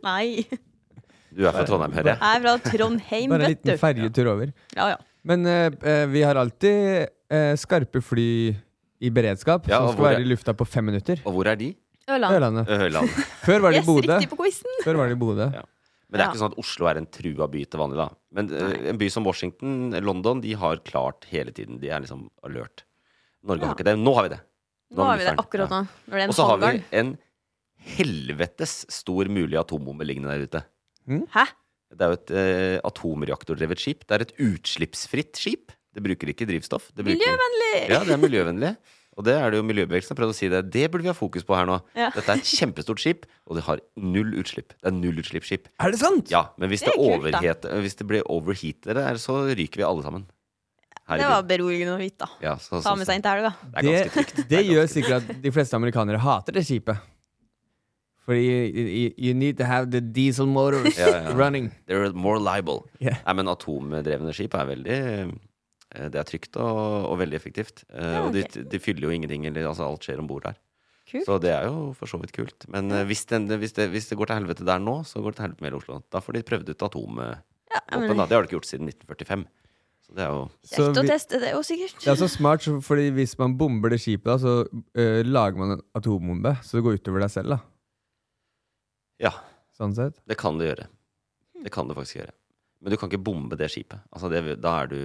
Speaker 3: Nei. Jeg
Speaker 1: Du er fra Trondheim, hører jeg.
Speaker 3: er fra Trondheim,
Speaker 2: Bare en
Speaker 3: vet du.
Speaker 2: liten ferjetur over.
Speaker 3: Ja, ja.
Speaker 2: Men eh, eh, vi har alltid eh, skarpe fly i beredskap
Speaker 1: Ja, og
Speaker 2: som skal
Speaker 1: hvor
Speaker 2: være
Speaker 1: er-
Speaker 2: i lufta på fem minutter.
Speaker 1: Og hvor er de?
Speaker 3: Ørland.
Speaker 2: Ørlandet.
Speaker 1: Ørland.
Speaker 2: Før var det i
Speaker 3: Yes,
Speaker 2: Bodø.
Speaker 3: riktig på quizen.
Speaker 2: Før var det i Bodø.
Speaker 1: Ja. Men det er
Speaker 3: Ja.
Speaker 1: ikke sånn at Oslo er en trua by til vanlig, da. Men eh, en by som Washington, London, de har klart hele tiden. De er liksom alert. Norge har ikke det. Nå har vi det.
Speaker 3: Nå har vi det akkurat nå. Når det er
Speaker 1: Og
Speaker 3: en
Speaker 1: så har vi
Speaker 3: halvgarn.
Speaker 1: en helvetes stor mulig atombombe liggende der ute.
Speaker 3: Hæ?
Speaker 1: Det er jo et eh, atomreaktordrevet skip. Det er et utslippsfritt skip. Det bruker ikke drivstoff. Det bruker...
Speaker 3: Miljøvennlig!
Speaker 1: Ja, det er miljøvennlig. Og det er det jo miljøbevegelsen som har prøvd å si det. Det burde vi ha fokus på her nå.
Speaker 3: Ja.
Speaker 1: Dette er et kjempestort skip, og det har null utslipp. Det [LAUGHS] er nullutslippsskip.
Speaker 2: Er det sant?!
Speaker 1: Ja, men hvis det,
Speaker 3: Det er kult, da.
Speaker 1: overhet, hvis det blir overheatet, der, så ryker vi alle sammen. Her i
Speaker 3: [LAUGHS] Det var
Speaker 1: byen.
Speaker 3: beroligende å vite, da.
Speaker 1: ja, så,
Speaker 3: Ta med seg inn til helga.
Speaker 1: Det er
Speaker 2: Det,
Speaker 1: ganske trygt.
Speaker 2: det, gjør sikkert at de fleste amerikanere hater det skipet. Fordi you, you- you need to have the diesel motors
Speaker 1: Ja, ja.
Speaker 2: running.
Speaker 1: They're more liable.
Speaker 2: Yeah.
Speaker 1: Nei, men atomdrevne skip er veldig eh, Det er trygt og, og veldig effektivt. Eh,
Speaker 3: Ja,
Speaker 1: Og de,
Speaker 3: ok.
Speaker 1: de fyller jo ingenting, eller altså alt skjer om bord der.
Speaker 3: Kult.
Speaker 1: Så det er jo for så vidt kult. Men eh, hvis, den, hvis, det, hvis det går til helvete der nå, så går det til helvete med hele Oslo. Da får de prøvd ut atomvåpen.
Speaker 3: Ja, men
Speaker 1: da. Det har de ikke gjort siden 1945. Så det er jo
Speaker 2: Så
Speaker 3: Kjekt å
Speaker 2: vi-
Speaker 3: teste det òg, sikkert.
Speaker 2: Det er så smart, så- fordi hvis man bomber det skipet, da, så eh, lager man en atombombe. Så det går utover deg selv, da.
Speaker 1: Ja,
Speaker 2: Sånn sett.
Speaker 1: det kan det gjøre.
Speaker 2: Hmm.
Speaker 1: Det kan det faktisk gjøre. Men du kan ikke bombe det skipet. Altså det, da er du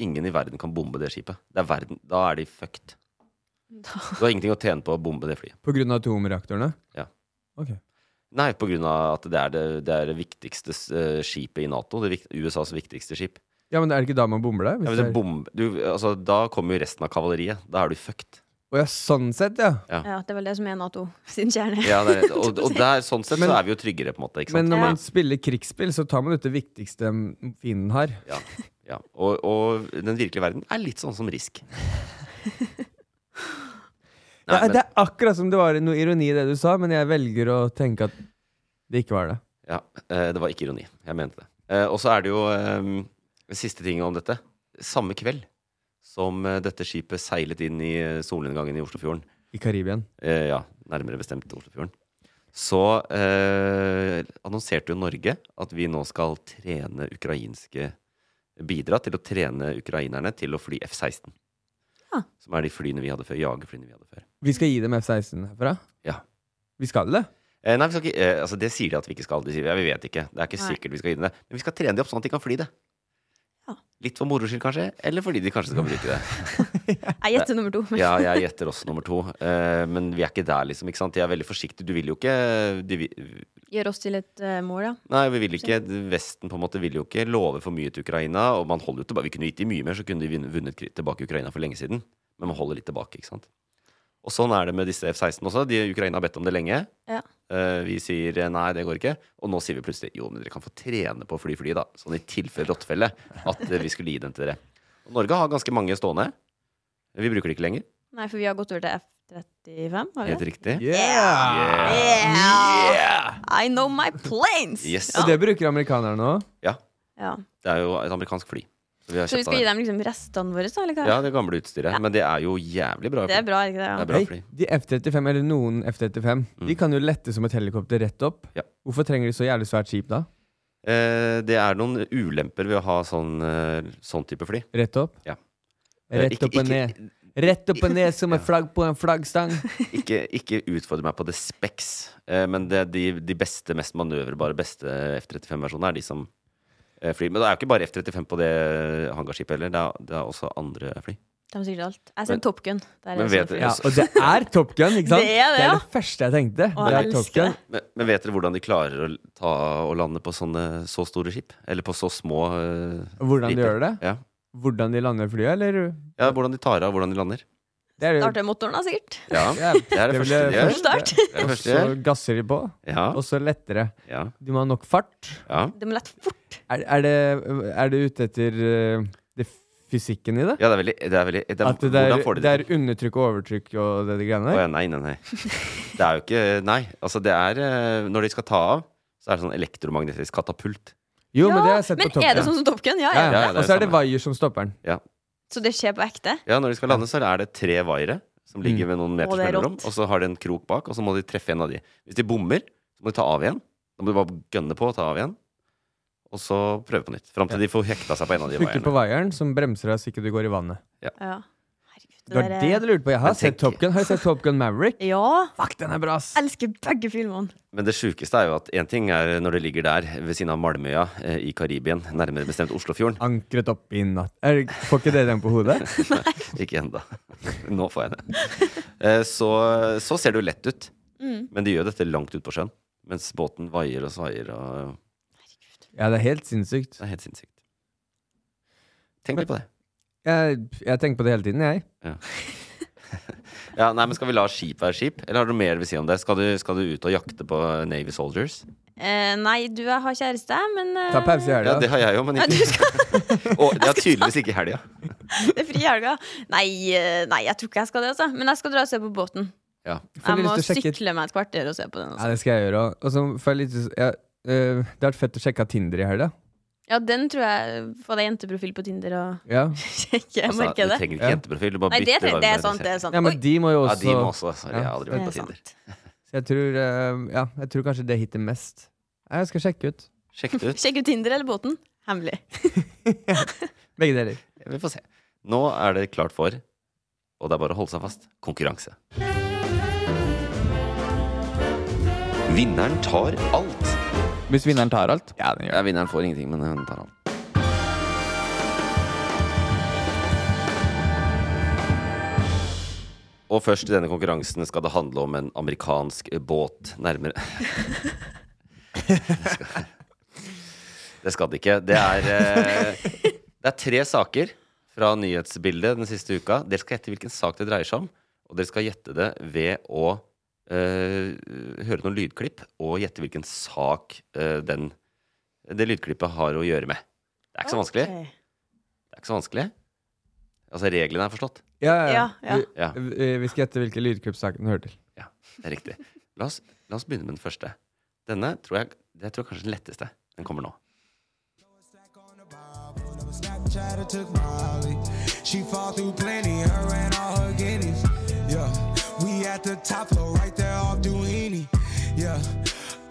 Speaker 1: Ingen i verden kan bombe det skipet. Det er verden, da er de fucked. Du har ingenting å tjene på å bombe det flyet.
Speaker 2: På grunn av atomreaktorene.
Speaker 1: Ja.
Speaker 2: Ok.
Speaker 1: Nei, på grunn av at det er det, det, er det viktigste eh, skipet i Nato. Det vikt, USAs viktigste skip.
Speaker 2: Ja, men er det ikke da man bomber det? Hvis
Speaker 1: Ja, men
Speaker 2: det
Speaker 1: det
Speaker 2: er-
Speaker 1: bom, du, altså, da kommer jo resten av kavaleriet. Da er du fucked.
Speaker 2: Å ja, sånn sett, ja.
Speaker 3: [LAUGHS] Ja, det er vel det som er Nato sin kjerne.
Speaker 1: Ja, det
Speaker 2: [LAUGHS]
Speaker 1: er,
Speaker 3: [LAUGHS]
Speaker 1: og, og der, sånn sett
Speaker 2: Men-
Speaker 1: så er vi jo tryggere, på en måte. Ikke
Speaker 2: Men
Speaker 1: sant?
Speaker 2: når
Speaker 3: Ja.
Speaker 2: man spiller krigsspill, så tar man ut det viktigste mm, fienden har.
Speaker 1: Ja, ja. Og, og den virkelige verden er litt sånn som risk.
Speaker 2: det,
Speaker 1: Nei,
Speaker 2: er, det
Speaker 1: men,
Speaker 2: er akkurat som det var noe ironi i det du sa, men jeg velger å tenke at det ikke var det.
Speaker 1: ja, eh, det var ikke ironi. Jeg mente det. Eh, Og så er det jo eh, siste ting om dette. Samme kveld som eh, dette skipet seilet inn i eh, solnedgangen i Oslofjorden,
Speaker 2: I Karibien.
Speaker 1: eh, ja, nærmere bestemt Oslofjorden, så eh, annonserte jo Norge at vi nå skal trene ukrainske Bidra til å trene ukrainerne til å fly F-16.
Speaker 3: Ja.
Speaker 1: Som er de flyene vi hadde før. Jagerflyene vi hadde før.
Speaker 2: Vi skal gi dem F-16 herfra.
Speaker 1: Ja.
Speaker 2: Vi skal det.
Speaker 1: Eh, nei, vi skal ikke, eh, altså Det sier de at vi ikke skal. De sier, ja, vi vet ikke. Det er ikke
Speaker 3: Nei.
Speaker 1: sikkert vi skal gi dem det. Men vi skal trene de opp sånn at de kan fly det.
Speaker 3: Ja.
Speaker 1: Litt for moro skyld, kanskje. Eller fordi de kanskje skal bruke det.
Speaker 3: [LAUGHS] Jeg gjetter nummer to.
Speaker 1: Ja, jeg gjetter også nummer to. Eh, men vi er ikke der, liksom. ikke sant? De er veldig forsiktige. Du vil jo ikke de, vil-
Speaker 3: Gjør oss til et eh, mål, ja.
Speaker 1: Nei, vi vil ikke Vesten på en måte vil jo ikke love for mye til Ukraina. Og man holder jo tilbake. Vi kunne gitt dem mye mer, så kunne de vin- vunnet kri- tilbake Ukraina for lenge siden. Men man holder litt tilbake, ikke sant. Og sånn er det med disse F-16 også. De, Ukraina har bedt om det lenge.
Speaker 3: Ja.
Speaker 1: Eh, Vi sier eh, nei, det går ikke. Og nå sier vi plutselig jo, men dere kan få trene på å fly fly, da. Sånn i tilfelle rottefelle. At eh, vi skulle gi dem til dere. Og Norge har ganske mange stående. Vi bruker det ikke lenger.
Speaker 3: Nei, for vi har gått over til F-35. har vi
Speaker 1: Helt
Speaker 3: det?
Speaker 1: riktig.
Speaker 2: Yeah!
Speaker 3: Yeah! I know my planes!
Speaker 1: Yes.
Speaker 2: Og det bruker amerikanerne òg.
Speaker 3: Ja.
Speaker 1: Det er jo et amerikansk fly. Så vi har
Speaker 3: Så vi
Speaker 1: kjøpt
Speaker 3: skal gi
Speaker 1: det.
Speaker 3: dem liksom restene våre, så? Eller hva?
Speaker 1: Ja, det gamle utstyret. Men det er jo jævlig bra.
Speaker 3: Det er bra, er ikke det?
Speaker 1: Det
Speaker 3: Ja.
Speaker 1: er bra fly. Mm.
Speaker 2: de F-35, eller noen F-35, de kan jo lette som et helikopter rett opp.
Speaker 1: Ja.
Speaker 2: Hvorfor trenger de så jævlig svært skip da?
Speaker 1: Eh, Det er noen ulemper ved å ha sånn, eh, sånn type fly.
Speaker 2: Rett opp?
Speaker 1: Ja. Eh,
Speaker 2: Rett
Speaker 1: ikke-
Speaker 2: opp og
Speaker 1: ikke-
Speaker 2: ned. Rett opp og ned som et flagg på en flaggstang.
Speaker 1: [LAUGHS] Ikke, ikke utfordre meg på det speks, eh, men det er de, de beste, mest manøverbare, beste F-35-versjonene er de som eh, flyr. Men det er jo ikke bare F-35 på det hangarskipet heller. Det er, det er også andre fly.
Speaker 3: De har sikkert alt. Jeg
Speaker 1: Men-
Speaker 3: sier Top Gun. Der er
Speaker 1: men
Speaker 3: det
Speaker 1: vet
Speaker 3: sånn
Speaker 1: dere-
Speaker 2: Ja, og det er Top Gun, ikke sant?
Speaker 3: Det er det,
Speaker 2: det,
Speaker 3: ja.
Speaker 2: første jeg tenkte.
Speaker 3: Å,
Speaker 2: det
Speaker 3: jeg
Speaker 2: er Top
Speaker 3: elsker
Speaker 2: Gun.
Speaker 3: det.
Speaker 1: Men, men vet dere hvordan de klarer å ta og lande på sånne, så store skip? Eller på så små eh,
Speaker 2: Hvordan de
Speaker 1: striper?
Speaker 2: gjør det?
Speaker 1: Ja.
Speaker 2: Hvordan de lander flyet, eller?
Speaker 1: ja, hvordan de tar av, hvordan de lander.
Speaker 2: Det er jo-
Speaker 3: Starter motoren, da, sikkert.
Speaker 1: Ja,
Speaker 2: Ja,
Speaker 1: Det er det
Speaker 2: vil
Speaker 1: første
Speaker 2: jeg
Speaker 1: de gjør.
Speaker 2: først-
Speaker 3: Start.
Speaker 1: Det er det
Speaker 2: Og
Speaker 1: første de gjør.
Speaker 2: så gasser de på,
Speaker 1: Ja,
Speaker 2: og så lettere.
Speaker 1: ja,
Speaker 2: De må ha nok fart.
Speaker 1: ja.
Speaker 3: Det må lette fort.
Speaker 2: Er, er, det, er det ute etter eh, det fysikken i det?
Speaker 1: Ja, det er veldig, det er veldig det er,
Speaker 2: At det er,
Speaker 1: Hvordan får de
Speaker 2: det
Speaker 1: det
Speaker 2: er undertrykk og overtrykk og det de
Speaker 1: Å
Speaker 2: greiene der?
Speaker 1: ja, nei, nei,
Speaker 2: [LAUGHS]
Speaker 1: nei. Det er jo ikke Nei. Altså, det er eh, Når de skal ta av, så er det sånn elektromagnetisk katapult.
Speaker 2: Jo, men det har jeg sett
Speaker 3: men
Speaker 2: på Top
Speaker 3: er det
Speaker 2: Gun.
Speaker 3: sånn som Top Gun? Ja,
Speaker 2: Ja, ja.
Speaker 3: ja.
Speaker 1: Ja, ja, det er
Speaker 2: Og så er det
Speaker 1: samme.
Speaker 2: vaier som stopper den.
Speaker 3: Så det skjer på ekte?
Speaker 1: Ja, når de skal lande, så er det tre vaiere som
Speaker 2: Mm.
Speaker 1: ligger ved noen meters
Speaker 3: det er
Speaker 1: mellomrom,
Speaker 3: rått.
Speaker 1: og så har de en krok bak, og så må de treffe en av de. Hvis de bommer, så må de ta av igjen. Da må de bare gønne på og ta av igjen. Og så prøve på nytt. Fram til de får hekta seg på en av de
Speaker 2: Trykker på
Speaker 1: vaierne.
Speaker 2: vaieren som bremser deg så ikke du går i vannet.
Speaker 3: Ja. Herregud,
Speaker 2: Det var
Speaker 3: der er-
Speaker 2: det du lurte på. Jeg har
Speaker 1: Men
Speaker 2: sett
Speaker 1: tenk-
Speaker 2: Top Gun. Har jeg sett Top Gun Maverick?
Speaker 3: Ja.
Speaker 2: Fuck, den er bra, ass!
Speaker 3: Elsker begge filmene.
Speaker 1: Men det sjukeste er jo at én ting er når det ligger der ved siden av Malmøya eh, i Karibien, nærmere bestemt Oslofjorden.
Speaker 2: Ankret opp i natt er, Får ikke det den på hodet?
Speaker 1: [LAUGHS] Ikke ennå. Nå får jeg det. Eh, Så, så ser det jo lett ut.
Speaker 3: Mm.
Speaker 1: Men de gjør dette langt ut på sjøen. Mens båten vaier og svaier. Og
Speaker 2: Ja, det er helt sinnssykt.
Speaker 1: det er helt sinnssykt. Tenk litt på det.
Speaker 2: Jeg, jeg tenker på det hele tiden, jeg.
Speaker 1: Ja, nei, men Skal vi la skip være skip, eller har du noe mer du vil si om det? Skal du, skal du ut og jakte på Navy Soldiers?
Speaker 3: Eh, nei, du jeg har kjæreste, men eh,
Speaker 2: Ta pause i
Speaker 1: Ja, det
Speaker 2: helga.
Speaker 1: har jeg jo, men
Speaker 3: Nei, du
Speaker 1: ikke
Speaker 3: skal
Speaker 1: [LAUGHS] Og det er tydeligvis ikke i helga.
Speaker 3: [LAUGHS] det er fri i helga. Nei, eh, nei, jeg tror ikke jeg skal det, altså. Men jeg skal dra og se på båten.
Speaker 1: Ja.
Speaker 2: Får
Speaker 3: Jeg
Speaker 2: litt
Speaker 3: må
Speaker 2: lyst til å sjekke-
Speaker 3: sykle meg et kvarter og se på den.
Speaker 2: Ja,
Speaker 3: Altså.
Speaker 2: det skal jeg gjøre òg. Og så får jeg litt jeg, øh, Det har vært fett å sjekke av Tinder i helga.
Speaker 3: Ja, den tror jeg Få deg jenteprofil på Tinder og [LAUGHS]
Speaker 2: Ja.
Speaker 3: sjekke
Speaker 1: Altså, du
Speaker 3: markedet.
Speaker 1: trenger
Speaker 2: Ja.
Speaker 1: ikke jenteprofil. Du bare
Speaker 3: Nei, det,
Speaker 1: bytter
Speaker 3: tre- det er
Speaker 1: varme-
Speaker 3: sant. Det er sant.
Speaker 2: ja, men
Speaker 3: Oi,
Speaker 2: de må jo
Speaker 1: Ja,
Speaker 2: også
Speaker 1: de må også. Sorry, jeg har aldri
Speaker 3: det
Speaker 1: vært
Speaker 3: er
Speaker 1: på Tinder.
Speaker 3: sant.
Speaker 2: Så jeg tror, øh, ja, jeg tror kanskje det hitter mest. Nei, Jeg skal sjekke ut.
Speaker 1: Sjekk det ut.
Speaker 3: Sjekk ut Tinder eller båten. Hemmelig.
Speaker 2: Begge deler.
Speaker 1: Vi får se. Nå er det klart for, og det er bare å holde seg fast, konkurranse. Vinneren tar alt.
Speaker 5: Hvis vinneren tar alt?
Speaker 1: Ja, vinneren får ingenting, men hun tar alt. Og først i denne konkurransen skal det handle om en amerikansk båt nærmere [LAUGHS] Det skal det ikke. Det er, eh, det er tre saker fra nyhetsbildet den siste uka. Dere skal gjette hvilken sak det dreier seg om, og dere skal gjette det ved å eh, høre noen lydklipp og gjette hvilken sak eh, den, det lydklippet har å gjøre med. Det er ikke så vanskelig.
Speaker 3: Ok.
Speaker 1: Det er ikke så vanskelig. Altså, reglene er forstått.
Speaker 2: Ja, ja.
Speaker 3: Ja, ja.
Speaker 2: Vi,
Speaker 1: Ja.
Speaker 2: vi- vi skal gjette hvilke lydklippsaker den hører til.
Speaker 1: Det er riktig. La oss, la oss begynne med den første. Denne tror jeg, det tror jeg kanskje er den letteste. Den kommer nå.
Speaker 6: She fall through plenty, her and all her guineas. Yeah, we at the top floor, right there off Duini. Yeah,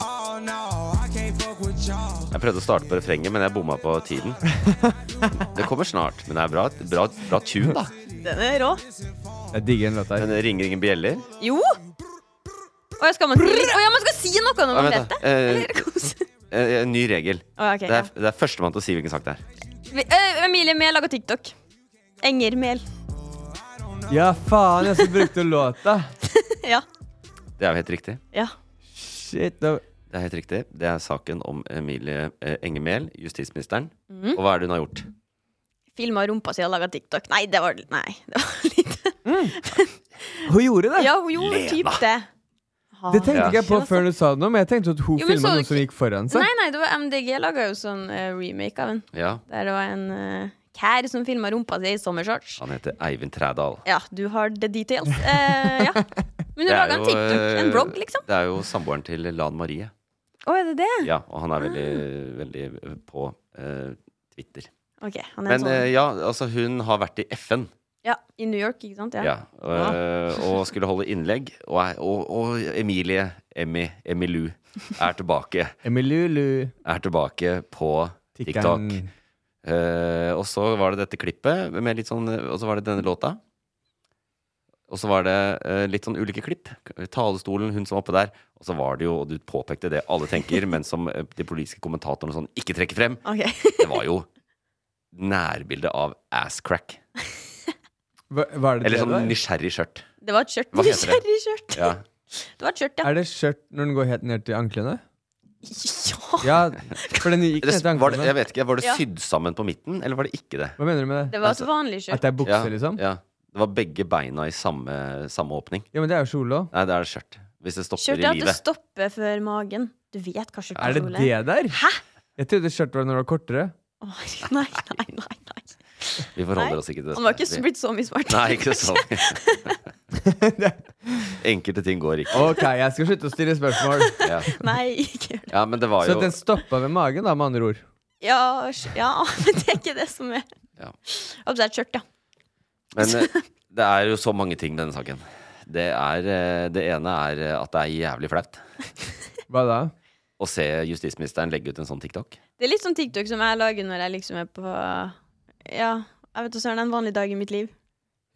Speaker 6: oh no, I can't fuck with y'all.
Speaker 1: Jeg prøvde å starte på refrenget, men jeg bomma på tiden. Det kommer snart, men det er bra, bra, bra tune, da.
Speaker 3: Den er rå.
Speaker 2: Jeg digger den låta her.
Speaker 1: Den ringer ingen bjeller.
Speaker 3: Jo! Å, ja, skal man si, å, ja, man skal si noe
Speaker 1: Ja,
Speaker 3: når man
Speaker 1: vent da.
Speaker 3: leter?
Speaker 1: Eh,
Speaker 3: Eller kose.
Speaker 1: [LAUGHS] Eh, En ny regel.
Speaker 3: Å, ja, ok,
Speaker 1: Det
Speaker 3: ja.
Speaker 1: er, det er førstemann til å si hvilken sak det er.
Speaker 3: Vi- eh, Emilie Mehl lager TikTok. Engermel. [LAUGHS]
Speaker 2: Ja, faen, jeg som brukte låta!
Speaker 3: Ja.
Speaker 1: Det er jo helt riktig.
Speaker 3: ja.
Speaker 2: Shit. Da,
Speaker 1: Det er helt riktig. Det er saken om Emilie eh, Engemel, justisministeren.
Speaker 3: Mhm.
Speaker 1: Og hva er det hun har gjort?
Speaker 3: Filma rumpa si og laga TikTok. Nei, det var,
Speaker 1: [LAUGHS]
Speaker 3: nei, det var litt
Speaker 2: hun gjorde det!
Speaker 3: Ja, hun gjorde
Speaker 1: Lena.
Speaker 3: typ det. ha
Speaker 2: Det
Speaker 1: Ja.
Speaker 2: tenkte ikke jeg på før du sa det nå, men jeg tenkte at hun
Speaker 3: Jo, men så
Speaker 2: filma
Speaker 3: du
Speaker 2: noe som
Speaker 3: ikke-
Speaker 2: gikk foran seg.
Speaker 3: Nei, nei, det var MDG laga jo sånn eh, remake av den.
Speaker 1: Ja.
Speaker 3: Der det var en eh, kær som filma rumpa si i sommershorts.
Speaker 1: Han heter Eivind Trædal.
Speaker 3: Ja, du har the details. Eh, ja. Men du
Speaker 1: Det er
Speaker 3: laga en
Speaker 1: jo,
Speaker 3: TikTok, en
Speaker 1: eh,
Speaker 3: blogg, liksom.
Speaker 1: Det er jo samboeren til Lan Marie.
Speaker 3: Å, er det det?
Speaker 1: Ja, og han er veldig, veldig på eh, Twitter.
Speaker 3: Ok, han er en
Speaker 1: Men
Speaker 3: sånn
Speaker 1: eh, ja, altså hun har vært i FN
Speaker 3: Ja, i New York, ikke sant?
Speaker 1: ja.
Speaker 3: Ja.
Speaker 1: eh, og skulle holde innlegg. Og, er- og, og Emilie, Emmy, Emilu, er tilbake.
Speaker 2: Emilulu.
Speaker 1: Er tilbake på TikTok.
Speaker 2: Tikkeren.
Speaker 1: Eh, og så var det dette klippet, med litt sånn, og så var det denne låta. Og så var det eh, litt sånn ulike klipp. Talestolen, hun som var oppe der. Og så var det jo, og du påpekte det alle tenker, men som eh, de politiske kommentatorene sånn ikke trekker frem.
Speaker 3: Ok. [LAUGHS]
Speaker 1: Det var jo nærbilde av asscrack.
Speaker 2: Hva, hva er det
Speaker 1: Eller
Speaker 2: det
Speaker 1: sånn
Speaker 2: der?
Speaker 1: nysgjerrig skjørt.
Speaker 3: Det var et skjørt.
Speaker 1: Hva heter det?
Speaker 3: Nysgjerrig skjørt.
Speaker 1: Ja.
Speaker 3: Det var et skjørt, ja.
Speaker 2: Er det skjørt når den går helt ned til anklene?
Speaker 3: ja.
Speaker 2: Ja, for den
Speaker 1: [LAUGHS]
Speaker 2: gikk
Speaker 1: Det,
Speaker 2: ned til
Speaker 1: var det,
Speaker 2: anklene.
Speaker 1: jeg vet ikke, var det
Speaker 3: Ja.
Speaker 1: sydd sammen på midten, eller var det ikke det?
Speaker 2: Hva mener du med det?
Speaker 3: Det
Speaker 1: altså,
Speaker 3: var et vanlig
Speaker 2: At
Speaker 3: skjørt.
Speaker 2: det er bukse,
Speaker 1: Ja,
Speaker 2: liksom?
Speaker 1: ja. Det var begge beina i samme, samme åpning.
Speaker 2: Ja, men det er jo kjole òg.
Speaker 1: Nei, det er skjørt. Hvis det stopper
Speaker 3: Skjørt
Speaker 1: i
Speaker 3: er at det
Speaker 1: livet.
Speaker 3: stopper før magen. Du vet hva skjørt
Speaker 2: Er det
Speaker 3: kjole
Speaker 2: det der?
Speaker 3: Hæ?
Speaker 2: Jeg trodde skjørt var når det var kortere.
Speaker 3: Å, herregud, [LAUGHS] nei, nei, nei, nei.
Speaker 1: Vi
Speaker 3: Nei,
Speaker 1: forholder oss ikke til det.
Speaker 3: Han var ikke så- blitt så mye smart.
Speaker 1: [LAUGHS] Nei, ikke sånn.
Speaker 2: [LAUGHS]
Speaker 1: Enkelte ting går ikke.
Speaker 2: Ok, jeg skal slutte å stille spørsmål.
Speaker 1: [LAUGHS] Ja.
Speaker 3: [LAUGHS] Nei, ikke gjør det.
Speaker 1: ja, men det var
Speaker 2: Så
Speaker 1: jo
Speaker 2: den stoppa ved magen, da, med andre ord.
Speaker 3: Ja, sk- ja, [LAUGHS] men det er ikke det som er
Speaker 1: Ja.
Speaker 3: Og så er det et skjørt, ja.
Speaker 1: Men eh, det er jo så mange ting med denne saken. Det, er, eh, det ene er eh, at det er jævlig flaut
Speaker 2: Hva da?
Speaker 1: å se justisministeren legge ut en sånn TikTok.
Speaker 3: Det er litt sånn TikTok som jeg lager når jeg liksom er på Ja, jeg vet da søren, en vanlig dag i mitt liv,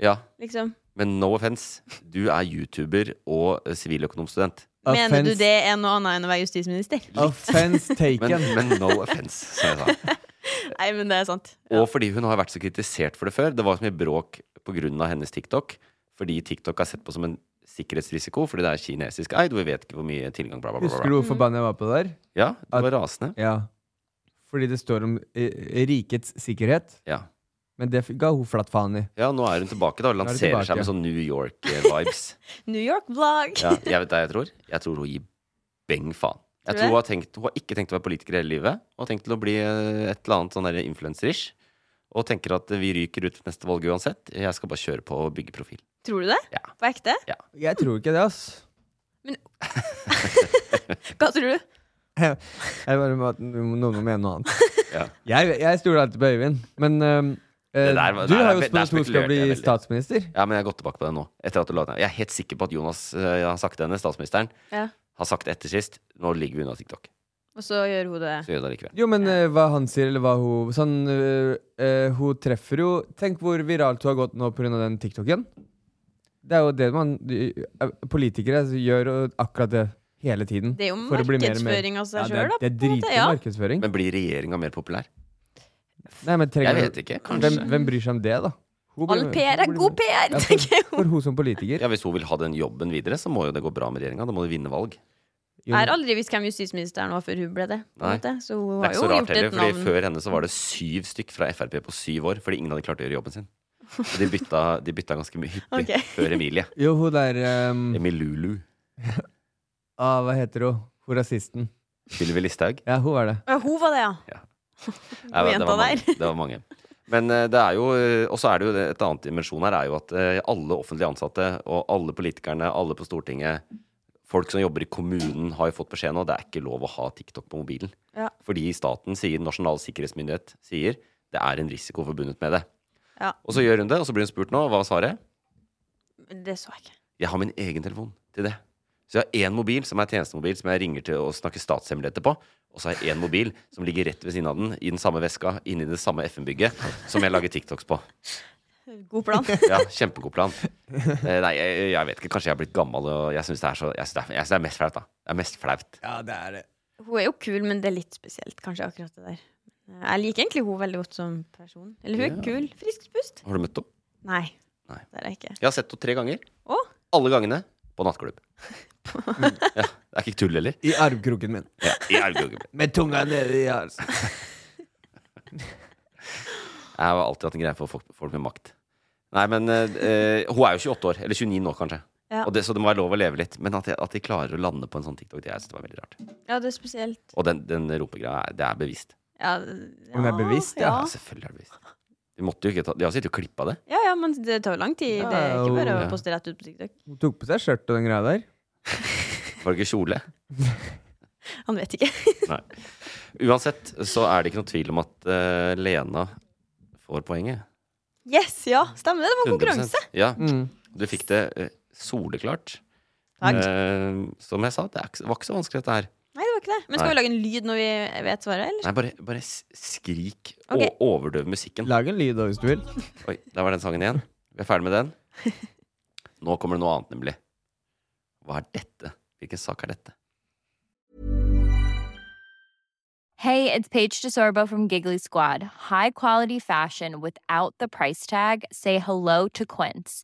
Speaker 1: Ja,
Speaker 3: liksom.
Speaker 1: men no offense. Du er YouTuber og eh, siviløkonomstudent.
Speaker 3: Mener du
Speaker 2: Offense-
Speaker 3: det er noe annet enn å være justisminister?
Speaker 2: Offense
Speaker 1: [LAUGHS] Men,
Speaker 2: taken.
Speaker 1: men no offense, som
Speaker 2: [LAUGHS]
Speaker 1: jeg sa.
Speaker 3: Nei, men det er sant.
Speaker 1: Og fordi hun har vært så kritisert for det før. Det var så mye bråk pga. hennes TikTok. Fordi TikTok er sett på som en sikkerhetsrisiko fordi det er kinesisk eid. og Vi vet ikke hvor mye tilgang bla, bla, bla. bla.
Speaker 2: Husker du
Speaker 3: Mm.
Speaker 2: hvor forbanna jeg var på det der?
Speaker 1: Ja, det var rasende.
Speaker 2: Ja. Fordi det står om eh, rikets sikkerhet.
Speaker 1: Ja.
Speaker 2: Men det f- ga hun flatt faen i.
Speaker 1: ja, nå er hun tilbake, da. og
Speaker 2: Nå er hun
Speaker 1: Lanserer
Speaker 2: tilbake.
Speaker 1: seg med sånn New York-vibes.
Speaker 3: New York-vlogg!
Speaker 1: [LAUGHS] Ja, jeg vet hva jeg tror. Jeg tror hun gir beng faen. Jeg
Speaker 3: Tror du
Speaker 1: tror hun har, tenkt, hun har ikke tenkt å være politiker hele livet. Hun har tenkt til å bli eh, et eller annet sånn der influencer-ish. Og tenker at eh, vi ryker ut neste valg uansett. Jeg skal bare kjøre på og bygge profil.
Speaker 3: Tror du det?
Speaker 1: Ja.
Speaker 3: På ekte?
Speaker 2: Jeg tror ikke det, ass. [LAUGHS]
Speaker 3: Hva tror du?
Speaker 2: Jeg bare må, noen må mene noe annet.
Speaker 1: Ja.
Speaker 2: Jeg, jeg stoler alltid på Øyvind, men øhm, eh,
Speaker 1: Det der var-
Speaker 2: du
Speaker 1: det er-
Speaker 2: har jo
Speaker 1: det er
Speaker 2: spurt at hun skal
Speaker 1: spekulert,
Speaker 2: bli
Speaker 1: det er veldig.
Speaker 2: statsminister.
Speaker 1: Ja, men jeg har gått tilbake på det nå. Etter at du la den. Jeg er helt sikker på at Jonas eh, har sagt det henne, statsministeren,
Speaker 3: Ja.
Speaker 1: har sagt det etter sist. Nå ligger vi unna TikTok.
Speaker 3: Og så gjør hun det.
Speaker 1: Så gjør vi det likevel.
Speaker 2: Jo, men eh, hva han sier, eller hva hun Sånn, eh, eh, hun treffer jo Tenk hvor viralt hun har gått nå pga. den TikToken. Det er jo det man de- eh, Politikere gjør jo akkurat det hele tiden.
Speaker 3: Det er jo
Speaker 2: for å bli mer og mer-
Speaker 3: markedsføring av seg
Speaker 2: det er-
Speaker 3: sjøl, da.
Speaker 2: Det er
Speaker 3: på en måte,
Speaker 2: dritgod
Speaker 3: ja.
Speaker 2: markedsføring.
Speaker 1: Men blir regjeringa mer populær?
Speaker 2: Nei, men trenger,
Speaker 1: Jeg vet ikke. Kanskje.
Speaker 2: hvem, hvem bryr seg om det, da? Hun blir-
Speaker 3: All PR
Speaker 2: hun
Speaker 3: er
Speaker 2: blir-
Speaker 3: god PR,
Speaker 2: Ja,
Speaker 3: tenker jeg.
Speaker 2: for, for hun som politiker.
Speaker 1: Ja, Hvis hun vil ha den jobben videre, så må jo det gå bra med regjeringa. Da må de vinne valg.
Speaker 2: Jo,
Speaker 3: Jeg har aldri visst hvem justisministeren var før hun ble det. På
Speaker 1: Nei.
Speaker 3: en måte. Så hun
Speaker 1: Det er
Speaker 3: har
Speaker 1: ikke
Speaker 3: jo
Speaker 1: så rart
Speaker 3: gjort
Speaker 1: heller,
Speaker 3: et
Speaker 1: fordi
Speaker 3: navn.
Speaker 1: før henne så var det syv stykk fra Frp på syv år fordi ingen hadde klart å gjøre jobben sin. Og de bytta, de bytta ganske mye hyppig
Speaker 3: Ok.
Speaker 1: [LAUGHS] før Emilie.
Speaker 2: jo hun der ehm,
Speaker 1: Emilulu.
Speaker 2: ah, Hva heter hun? Hun rasisten.
Speaker 1: Sylvi Listhaug.
Speaker 2: Ja, hun var det.
Speaker 3: Ja, hun var det, ja.
Speaker 1: Nei, det,
Speaker 3: jenta
Speaker 1: var mange,
Speaker 3: der.
Speaker 1: det var mange. Men eh, det er jo eh, Og så er det jo det- et annet dimensjon her, er jo at eh, alle offentlig ansatte og alle politikerne, alle på Stortinget, folk som jobber i kommunen, har jo fått beskjed nå det er ikke lov å ha TikTok på mobilen.
Speaker 3: Ja.
Speaker 1: Fordi staten sier, Nasjonal sikkerhetsmyndighet sier, det er en risiko forbundet med det.
Speaker 3: Ja.
Speaker 1: Og så gjør hun det, og så blir hun spurt nå, hva var svaret?
Speaker 3: Det så jeg ikke.
Speaker 1: Jeg har min egen telefon til det. Så jeg har én mobil som er tjenestemobil, som jeg ringer til og snakker statshemmeligheter på. Og så har jeg én mobil som ligger rett ved siden av den, i den samme veska, inni det samme FN-bygget, som jeg lager TikToks på.
Speaker 3: God plan.
Speaker 1: Ja, Kjempegod plan. Eh, Nei, jeg, jeg vet ikke. Kanskje jeg er blitt gammel, og jeg syns det, er så- jeg synes det, er- jeg synes det er mest flaut, da. Det er mest flaut.
Speaker 2: Ja, det er det.
Speaker 3: Hun er jo kul, men det er litt spesielt, kanskje, akkurat det der. eh, Jeg liker egentlig hun veldig godt som person. Eller hun er kul. Frisk pust.
Speaker 1: Har du møtt henne?
Speaker 3: Nei.
Speaker 1: Nei.
Speaker 3: Det er jeg ikke.
Speaker 1: Jeg har sett henne tre ganger.
Speaker 3: Å?
Speaker 1: Alle gangene på nattklubb. Ja, det er ikke tull heller.
Speaker 2: I armkroken min.
Speaker 1: Ja, i Elgården.
Speaker 2: Med tunga nede i hals.
Speaker 1: Jeg har alltid hatt en greie for folk, folk med makt. Nei, men eh, eh, hun er jo 28 år. Eller 29 nå, kanskje.
Speaker 3: Ja.
Speaker 1: Og det, så det må være lov å leve litt. Men at de, at de klarer å lande på en sånn TikTok, det jeg synes det var veldig rart.
Speaker 3: Ja, det er spesielt.
Speaker 1: Og den, den rumpegreia, er- det er bevisst.
Speaker 3: Ja, ja,
Speaker 2: Om det er bevisst, ja.
Speaker 3: Ah.
Speaker 1: Ja, selvfølgelig er det bevisst. De, måtte jo ikke ta, de har sittet og klippa det.
Speaker 3: Ja, ja, men det tar jo lang tid.
Speaker 2: Ja,
Speaker 3: Det er ikke bare
Speaker 1: ja.
Speaker 3: å poste rett ut på TikTok.
Speaker 2: Hun tok på seg skjørt og den greia der.
Speaker 1: Var det ikke kjole?
Speaker 3: Han vet ikke. [LAUGHS]
Speaker 1: Uansett så er det ikke noe tvil om at eh, Lena får poenget.
Speaker 3: Yes, ja, stemmer det. Det var
Speaker 1: 100%.
Speaker 3: konkurranse.
Speaker 1: Ja,
Speaker 2: Mm.
Speaker 1: du fikk det eh, soleklart.
Speaker 3: Takk.
Speaker 1: Eh, som jeg sa, det er ikke- var ikke så vanskelig dette her.
Speaker 3: Nei, det var ikke det. Men skal
Speaker 1: Nei.
Speaker 3: vi lage en lyd når vi vet svaret, eller?
Speaker 1: Nei, bare, bare s- skrik
Speaker 3: Ok.
Speaker 1: og overdøv musikken.
Speaker 2: Lag en lyd da, hvis du vil.
Speaker 1: Oi, der var den sangen igjen. Vi er ferdig med
Speaker 2: [LAUGHS]
Speaker 1: den. Nå kommer det noe annet, nemlig. Hva er dette? Hvilken sak er dette?
Speaker 5: Hey, it's Paige DeSorbo from Giggly Squad. High quality fashion without the price tag. Say hello to Quince.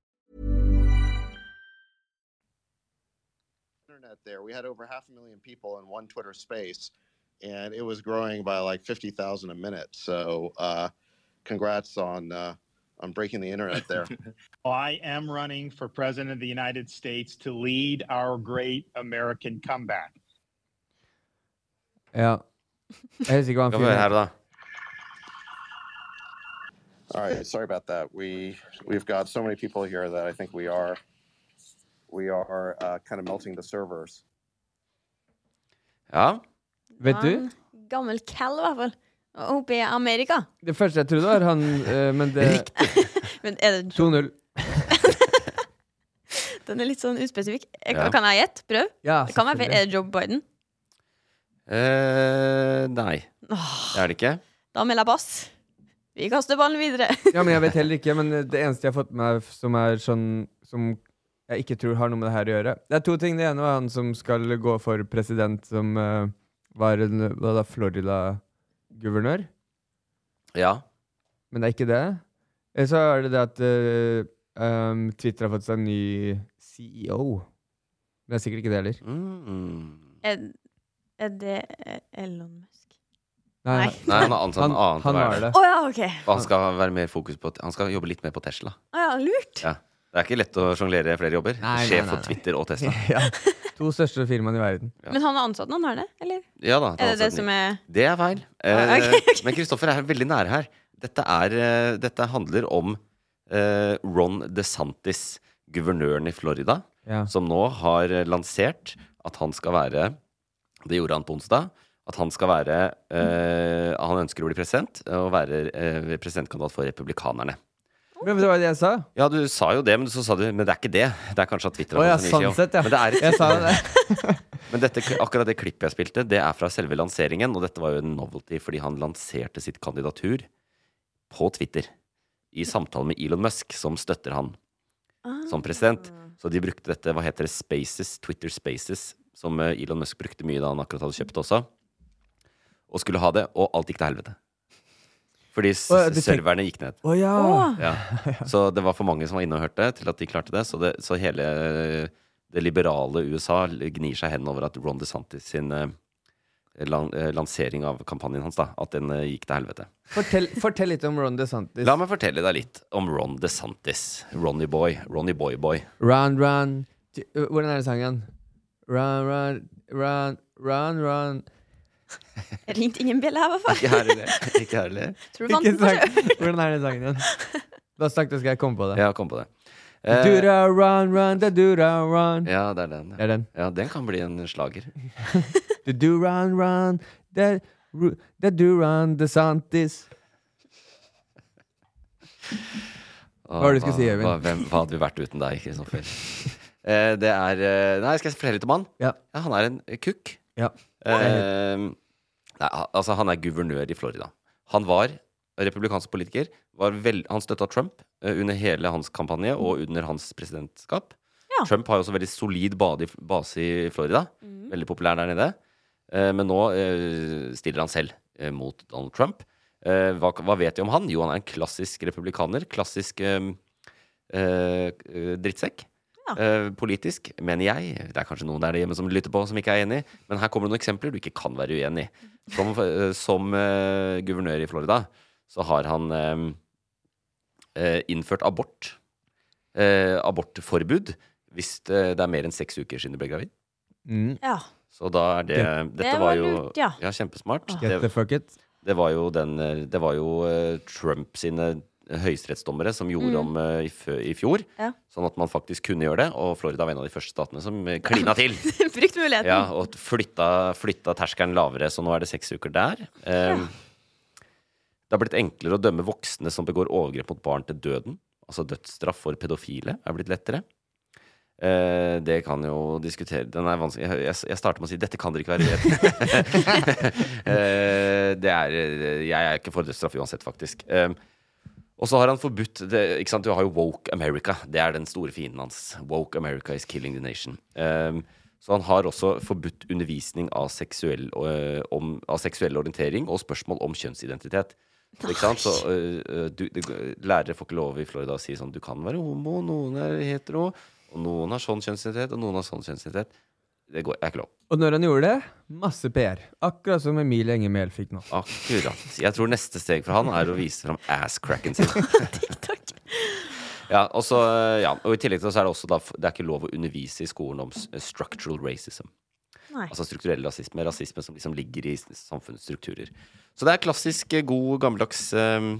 Speaker 7: internet there. We had over half a million people in one Twitter space, and it was growing by like 50,000 a minute. So, uh, congrats on uh, on breaking the internet there.
Speaker 8: Well, I am running for president of the United States to lead our great American comeback.
Speaker 2: Ja. Jeg husker ikke hva han
Speaker 1: Hva er
Speaker 2: fyren
Speaker 1: det her, da?
Speaker 7: All right, sorry about that. We we've got so many people here that I think we are we are uh, kind of melting the servers.
Speaker 1: Ja.
Speaker 2: Vet du?
Speaker 3: En gammel Cal, i hvert fall. Oppe i Amerika.
Speaker 2: Det første jeg trodde, var han eh, Men det
Speaker 3: Men er det
Speaker 2: 2-0.
Speaker 3: Den er litt sånn uspesifikk. Jeg-
Speaker 1: Ja.
Speaker 3: Kan jeg gjette? Prøv.
Speaker 2: Ja,
Speaker 3: Det kan være feil.
Speaker 2: selvfølgelig.
Speaker 3: Er det Joe Biden?
Speaker 1: Eh, nei. Det er det ikke.
Speaker 3: Da melder jeg pass. Vi kaster ballen videre. [LAUGHS]
Speaker 2: Ja, men jeg vet heller ikke. Men det eneste jeg har fått med meg som er sånn Som jeg ikke tror har noe med det her å gjøre Det er to ting. Det ene var han som skal gå for president, som eh, var en hva da, Florida-guvernør.
Speaker 1: Ja.
Speaker 2: Men det er ikke det. Eh, Så er det det at eh, um, Twitter har fått seg en ny CEO. Men det er sikkert ikke det heller.
Speaker 1: Mm.
Speaker 3: Er, er det eh, Elon Musk?
Speaker 2: Nei.
Speaker 1: Nei, han har ansatt en annen til å
Speaker 2: han
Speaker 1: være
Speaker 2: var
Speaker 1: det.
Speaker 3: Å ja, OK. Å
Speaker 1: Og han skal være mer fokus på Han skal jobbe litt mer på Tesla.
Speaker 3: ja, lurt.
Speaker 1: Ja. Det er ikke lett å sjonglere flere jobber.
Speaker 2: Nei, nei,
Speaker 1: Sjef
Speaker 2: nei,
Speaker 1: for
Speaker 2: nei.
Speaker 1: Twitter og
Speaker 2: [LAUGHS]
Speaker 1: Tesla.
Speaker 2: ja. To største firmaene i verden.
Speaker 1: Ja.
Speaker 3: Men han er ansatt noen, har det? Eller?
Speaker 1: Ja da.
Speaker 3: Er det det som er
Speaker 1: Det er feil.
Speaker 3: Ah,
Speaker 1: Eh,
Speaker 3: ok, ok.
Speaker 1: Men Kristoffer er veldig nære her. Dette, er, eh, dette handler om eh, Ron DeSantis, guvernøren i Florida,
Speaker 2: Ja.
Speaker 1: som nå har eh, lansert at han skal være Det gjorde han på onsdag. At han skal være eh, Han ønsker å bli president og være eh, presidentkandidat for Republikanerne.
Speaker 2: Men det var det jeg sa.
Speaker 1: Ja, du sa jo det, men så sa du Men det er ikke det. Det er kanskje at Twitter
Speaker 2: Å ja,
Speaker 1: fått en ny
Speaker 2: sånn
Speaker 1: CEO.
Speaker 2: sett, ja.
Speaker 1: Men, det er et-
Speaker 2: Jeg sa det.
Speaker 1: men dette, akkurat det klippet jeg spilte, det er fra selve lanseringen, og dette var jo en novelty fordi han lanserte sitt kandidatur på Twitter i samtale med Elon Musk, som støtter han
Speaker 2: Ah.
Speaker 1: som president. Så de brukte dette, hva heter det, Spaces, Twitter Spaces, som eh, Elon Musk brukte mye da han akkurat hadde kjøpt også, og skulle ha det, og alt gikk til helvete. Fordi s-
Speaker 2: Å, ja, du tenk-
Speaker 1: serverne gikk ned.
Speaker 2: Å, ja. Å.
Speaker 1: Ja. [LAUGHS] Så det var for mange som var inne og hørte til at de klarte det. Så, det, så hele det liberale USA gnir seg hen over at Ron DeSantis sin eh, lan, eh, lansering av kampanjen hans, da, at den eh, gikk til helvete.
Speaker 2: Fortell, fortell litt om Ron DeSantis.
Speaker 1: La meg fortelle deg litt om Ron DeSantis. Ronny Boy. Ronny Boy
Speaker 2: [LAUGHS]
Speaker 1: Boy.
Speaker 2: Run, run T- øh, Hvordan er det sangen? Run, run, run, run, run
Speaker 3: Jeg ringte ingen bjelle her, i hvert fall.
Speaker 1: [LAUGHS] Ikke heller.
Speaker 3: Tror du vant den på
Speaker 2: sang- Hvordan er det [LAUGHS] sangen igjen? Bare snakk, så skal jeg komme på det.
Speaker 1: Ja, kom på det. Eh,
Speaker 2: Dura, run, run, da dura, run.
Speaker 1: Ja, det er den.
Speaker 2: Det er den.
Speaker 1: Ja, den kan bli en slager.
Speaker 2: Da duran, run, da ru- da duran DeSantis. Hva var det du skulle si, Øyvind?
Speaker 1: Hva, hvem, hva hadde vi vært uten deg,
Speaker 2: [LAUGHS]
Speaker 1: Kristoffer? Eh, det er eh, Nei, skal jeg fortelle litt om han?
Speaker 2: Ja.
Speaker 1: han er en eh, kukk.
Speaker 2: Ja.
Speaker 1: Eh, nei, ha- altså, han er guvernør i Florida. Han var republikansk politiker. Var vel, han støtta Trump eh, under hele hans kampanje og under hans presidentskap. Trump har jo også veldig solid bade, i- base i Florida. Veldig populær der nede. Eh, men nå eh, stiller han selv eh, mot Donald Trump. Eh, hva, hva vet vi om han? Jo, han er en klassisk republikaner. Klassisk eh, eh, eh, drittsekk. Eh, politisk, mener jeg. Det er kanskje noen der hjemme som lytter på som ikke er enig, men her kommer det noen eksempler du ikke kan være uenig i. Som, eh, som eh, guvernør i Florida så har han eh, eh, innført abort. Eh, abortforbud hvis eh, det, det er mer enn seks uker siden du ble gravid.
Speaker 3: [LAUGHS] Ja. [LAUGHS]
Speaker 1: Så da er det
Speaker 3: Det-
Speaker 1: Dette
Speaker 3: det
Speaker 1: var
Speaker 3: var
Speaker 1: jo
Speaker 3: lurt, ja.
Speaker 1: kjempesmart.
Speaker 2: Get the fuck it.
Speaker 1: Det var jo, den, eh, det var jo eh, Trump sine høyesterettsdommere som gjorde
Speaker 3: Mm.
Speaker 1: om eh, i, fø- i fjor.
Speaker 3: Ja.
Speaker 1: Sånn at man faktisk kunne gjøre det. Og Florida var en av de første statene som eh, klina til.
Speaker 3: Brukt muligheten.
Speaker 1: Ja, og flytta, flytta terskelen lavere, så nå er det seks uker der. Eh, Det har blitt enklere å dømme voksne som begår overgrep mot barn til døden. Altså dødsstraff for pedofile er blitt lettere. Eh, det kan jo diskutere Den er vanskelig Jeg, jeg, jeg starter med å si 'dette kan dere ikke være uenige i'. [LAUGHS] Eh, det er eh, Jeg er ikke for dødsstraff uansett, faktisk. Eh, og så har han forbudt det, ikke sant? Du har jo Woke America. Det er den store fienden hans. Woke America is killing the nation. Um, så han har også forbudt undervisning av seksuell, øh, om, av seksuell orientering og spørsmål om kjønnsidentitet. Så, ikke sant? Så, øh, øh, du, det, lærere får ikke lov i Florida å si sånn Du kan være homo, noen er hetero, og noen har sånn kjønnsidentitet, og noen har sånn kjønnsidentitet. Det går, er ikke lov.
Speaker 2: Og når han gjorde det, masse PR. Akkurat som Emilie Enger Mehl fikk nå.
Speaker 1: Akkurat. Jeg tror neste steg for han er å vise fram asscracken
Speaker 3: [LAUGHS]
Speaker 1: sin. ja, og, så, ja, og i tillegg til det så er det også da, det er ikke lov å undervise i skolen om s- eh, structural racism.
Speaker 3: Nei.
Speaker 1: Altså strukturell rasisme, rasisme som liksom ligger i s- samfunnets strukturer. Så det er klassisk eh, god, gammeldags ehm,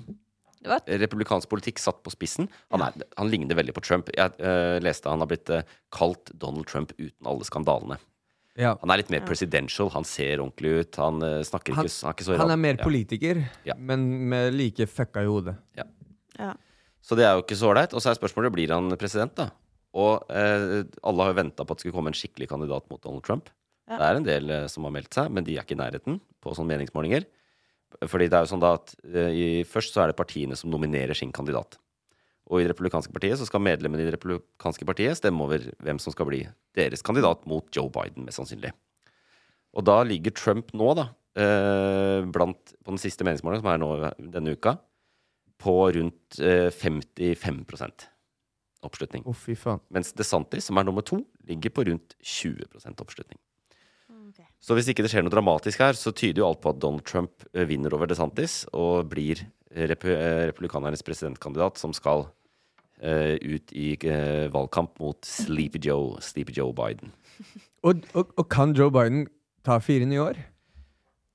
Speaker 3: Det var-
Speaker 1: republikansk politikk satt på spissen. Han, er, han ligner veldig på Trump. Jeg eh, leste han har blitt eh, kalt Donald Trump uten alle skandalene.
Speaker 2: Ja.
Speaker 1: Han er litt mer presidential, han ser ordentlig ut, han eh, snakker
Speaker 2: Han,
Speaker 1: ikke, s- han er ikke så
Speaker 2: han
Speaker 1: rad-
Speaker 2: er mer
Speaker 1: ja.
Speaker 2: politiker, men med like fucka i hodet.
Speaker 1: Så det er jo ikke så ålreit. Og så er spørsmålet blir han president, da. Og eh, alle har jo venta på at det skulle komme en skikkelig kandidat mot Donald Trump.
Speaker 3: Ja.
Speaker 1: Det er en del eh, som har meldt seg, men de er ikke i nærheten på sånne meningsmålinger. Fordi det er jo sånn da at eh, i, først så er det partiene som nominerer sin kandidat. Og i Det republikanske partiet så skal medlemmene i Det republikanske partiet stemme over hvem som skal bli deres kandidat mot Joe Biden, mest sannsynlig. Og da ligger Trump nå, da, eh, blant, på den siste meningsmålingen, som er nå denne uka, på rundt eh, 55 oppslutning.
Speaker 2: Å, fy faen.
Speaker 1: Mens DeSantis, som er nummer to, ligger på rundt 20 oppslutning. Så hvis ikke det skjer noe dramatisk her, så tyder jo alt på at Donald Trump eh, vinner over DeSantis og blir rep eh, republikanernes presidentkandidat som skal eh, ut i eh, valgkamp mot Sleepy Joe, Sleepy Joe Biden.
Speaker 2: Og, og, og kan Joe Biden ta fire nye år?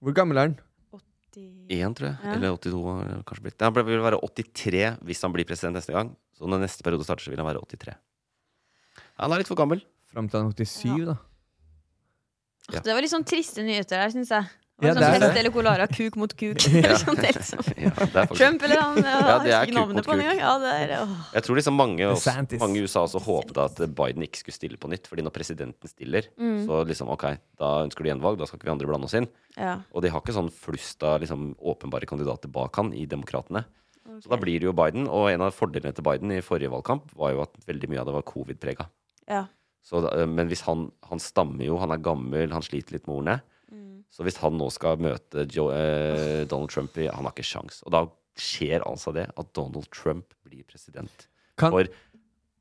Speaker 2: Hvor gammel er han?
Speaker 1: Én, tror jeg.
Speaker 2: Ja.
Speaker 1: Eller 82 har kanskje blitt. Han ble- vil være 83 hvis han blir president neste gang. Så når neste periode starter, så vil han være 83. Han er litt for gammel.
Speaker 2: Fram til han er 87, da.
Speaker 3: Det var litt sånn triste nyheter her, syns jeg.
Speaker 2: det
Speaker 3: Ja,
Speaker 2: er
Speaker 3: sånn
Speaker 2: det.
Speaker 3: Hest eller kolara, kuk mot kuk. eller sånt, liksom. Trump eller han
Speaker 1: [LAUGHS]
Speaker 3: jeg
Speaker 1: Ja, det er
Speaker 3: husker
Speaker 1: kuk
Speaker 3: ikke navnet
Speaker 1: mot
Speaker 3: på han
Speaker 1: kuk.
Speaker 3: engang. Ja, det er, åh.
Speaker 1: Jeg tror liksom mange, oss,
Speaker 2: DeSantis.
Speaker 1: mange i USA også håpet at Biden ikke skulle stille på nytt. Fordi når presidenten stiller,
Speaker 3: Mm.
Speaker 1: så liksom OK, da ønsker du gjenvalg. Da skal ikke vi andre blande oss inn.
Speaker 3: Ja.
Speaker 1: Og de har ikke sånn flust av liksom, åpenbare kandidater bak han i Demokratene.
Speaker 3: Ok.
Speaker 1: Så da blir det jo Biden. Og en av fordelene til Biden i forrige valgkamp var jo at veldig mye av det var covid-prega.
Speaker 3: Ja.
Speaker 1: Så da- eh, Men hvis han, han stammer jo, han er gammel, han sliter litt med ordene.
Speaker 3: Mm.
Speaker 1: Så hvis han nå skal møte Joe, eh, Donald Trump i Han har ikke sjans. Og da skjer altså det at Donald Trump blir president for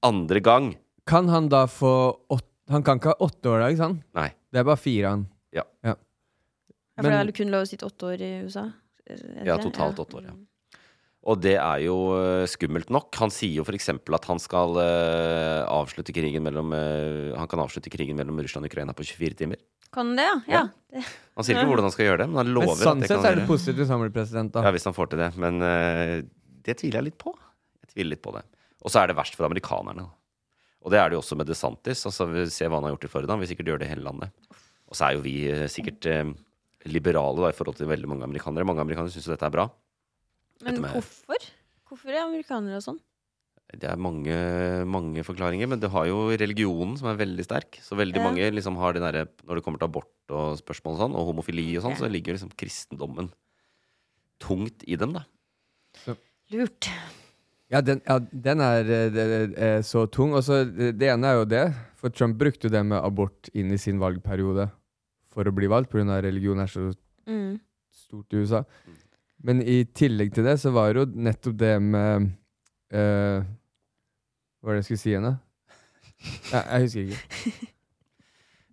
Speaker 1: andre gang.
Speaker 2: Kan han da få åtte Han kan ikke ha åtte år da, ikke sant?
Speaker 1: Nei.
Speaker 2: Det er bare fire han.
Speaker 1: Ja.
Speaker 3: Ja, for det er
Speaker 2: Men
Speaker 3: vel kun lov å sitte åtte år i USA? Eh, Er det
Speaker 1: Ja,
Speaker 3: det? Mm.
Speaker 1: totalt åtte år, ja. Og det er jo eh, skummelt nok. Han sier jo f.eks. at han skal eh, avslutte krigen mellom eh, Han kan avslutte krigen mellom Russland og Ukraina på 24 timer.
Speaker 3: Kan det, ja? ja.
Speaker 1: Han sier ikke hvordan han skal gjøre det, men han
Speaker 2: Men
Speaker 1: lover
Speaker 2: sånn
Speaker 1: at det
Speaker 2: sett
Speaker 1: kan
Speaker 2: er det positivt hvis han blir president, da.
Speaker 1: Ja, hvis han får til det. Men eh, det tviler jeg litt på. Jeg tviler litt på det. Og så er det verst for amerikanerne. da. Og det er det jo også med DeSantis. Altså, vi ser hva han har gjort i Florida. Han vil sikkert gjøre det i hele landet. Og så er jo vi eh, sikkert eh, liberale da, i forhold til veldig mange amerikanere. Mange amerikanere syns jo dette er bra.
Speaker 3: Men
Speaker 1: Dette med-
Speaker 3: hvorfor? Hvorfor er amerikanere og sånn?
Speaker 1: Det er mange, mange forklaringer, men det har jo religionen som er veldig sterk. Så veldig
Speaker 3: Ja.
Speaker 1: mange liksom har den derre Når det kommer til abort og spørsmål og sånn, og homofili og sånn,
Speaker 3: Ja.
Speaker 1: så ligger jo liksom kristendommen tungt i dem, da.
Speaker 3: Lurt.
Speaker 2: Ja, den, ja, den er, eh, det- eh, så tung. Og så eh, det det ene er jo det, for Trump brukte jo det med abort inn i sin valgperiode for å bli valgt, pga. religion er så
Speaker 3: Mm.
Speaker 2: stort i USA. Men i tillegg til det så var det jo nettopp det med eh, Hva var det jeg skulle si igjen, da? Nei, jeg husker ikke.
Speaker 1: Jeg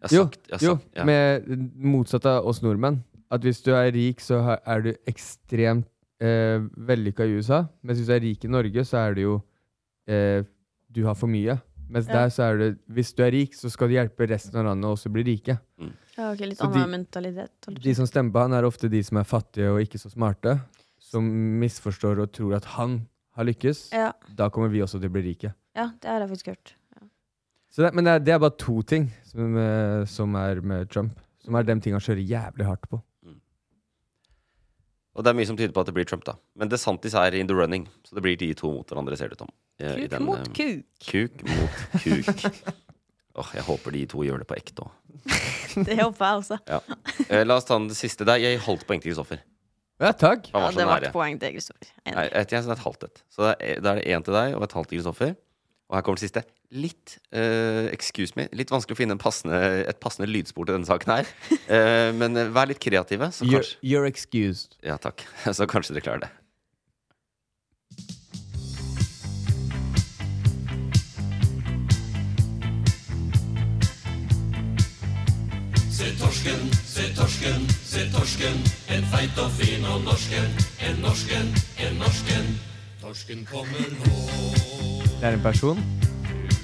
Speaker 1: har
Speaker 2: jo,
Speaker 1: sagt- jeg har
Speaker 2: jo
Speaker 1: sagt- ja.
Speaker 2: med motsatt av oss nordmenn. At hvis du er rik, så ha- er du ekstremt eh, vellykka i USA. Mens hvis du er rik i Norge, så er du jo eh, Du har for mye. Mens
Speaker 3: Ja.
Speaker 2: der så er det Hvis du er rik, så skal du hjelpe resten av landet også å bli rike.
Speaker 3: Ja, ok, litt
Speaker 2: Så de-
Speaker 3: annen mentalitet. holdt jeg
Speaker 2: De som stemmer på han, er ofte de som er fattige og ikke så smarte. Som misforstår og tror at han har lykkes.
Speaker 3: Ja.
Speaker 2: Da kommer vi også til å bli rike.
Speaker 3: på. Ja, det har jeg faktisk
Speaker 2: [LAUGHS]
Speaker 3: hørt.
Speaker 2: Så det, men det er, det er bare to ting som, eh, som er med Trump. Som er de ting han kjører jævlig hardt på.
Speaker 1: Og det er mye som tyder på at det blir Trump, da. Men DeSantis er in the running, så det blir de to mot hverandre, ser det ut som. eh, i
Speaker 3: Kuk mot
Speaker 1: eh,
Speaker 3: kuk.
Speaker 1: Kuk mot kuk.
Speaker 3: [LAUGHS]
Speaker 1: Åh, jeg håper de to gjør det på ekte òg.
Speaker 3: Det håper jeg også.
Speaker 1: Ja. Eh, la oss ta den siste der. Jeg holdt poeng til Kristoffer.
Speaker 2: Ja, takk.
Speaker 1: Han
Speaker 3: Ja,
Speaker 1: var så
Speaker 3: det ble
Speaker 1: nære.
Speaker 3: et poeng til Kristoffer.
Speaker 1: Nei, jeg, jeg, det er et halvt et. Så det er, da er det én til deg og et halvt til Kristoffer. Og her kommer det siste. Litt eh, excuse me, litt vanskelig å finne en passende, et passende lydspor til denne saken her. Eh, men eh, vær litt kreative, så
Speaker 2: You're,
Speaker 1: kanskje
Speaker 2: you're excused.
Speaker 1: Ja, takk. [LAUGHS] Så kanskje dere klarer det.
Speaker 6: Se torsken, se torsken, se torsken. En feit og fin og norsken, en norsken, en norsken. Torsken kommer nå,
Speaker 2: Det er en person?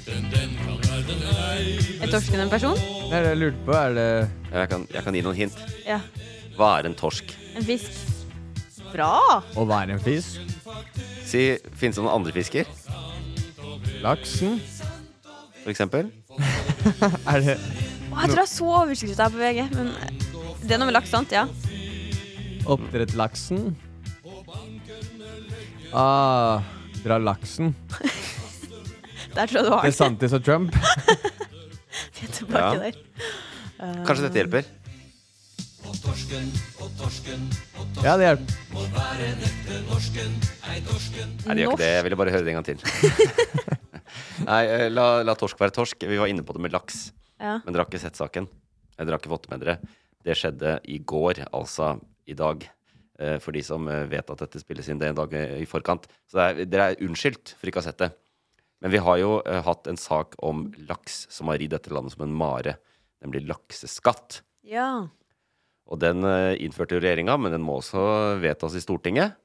Speaker 6: den, den kan verden ei.
Speaker 3: Er torsken en person?
Speaker 2: Det er det jeg lurte på. Er det
Speaker 1: Jeg kan, jeg kan gi noen hint.
Speaker 3: Ja.
Speaker 1: Hva er en torsk?
Speaker 3: En fisk. Bra!
Speaker 2: Å være en fisk?
Speaker 1: Si, Finnes det noen andre fisker?
Speaker 2: Laksen?
Speaker 1: For eksempel?
Speaker 2: er det
Speaker 3: Å, jeg tror jeg så overskrifta her på VG, men eh, det er noe med laks, sant? Ja.
Speaker 2: oppdrettslaksen? Ah, dra laksen.
Speaker 3: Der tror jeg du har
Speaker 2: Det er
Speaker 3: den.
Speaker 2: Santis og Trump. [LAUGHS]
Speaker 3: Vi er [LAUGHS] tilbake
Speaker 2: Ja.
Speaker 3: der. Eh,
Speaker 1: Kanskje dette hjelper?
Speaker 6: Og torsken, og torsken, og torsken.
Speaker 2: Ja, det hjelper.
Speaker 6: Må være en ekte norsken, ei torsken.
Speaker 1: Nei, det gjør ikke det. Jeg ville bare høre det en gang til. Nei, eh, la, la torsk være torsk. Vi var inne på det med laks.
Speaker 6: Ja.
Speaker 1: Men dere har ikke sett saken. Eh, Dere har ikke fått med dere. Det skjedde i går, altså i dag. eh, For de som eh, vet at dette spilles inn det er en dag eh, i forkant. Så det er, dere er unnskyldt for ikke å ha sett det. Men vi har jo eh, hatt en sak om laks som har ridd dette landet som en mare. Nemlig lakseskatt.
Speaker 3: Ja.
Speaker 1: Og den eh, innførte jo regjeringa, men den må også vedtas i Stortinget.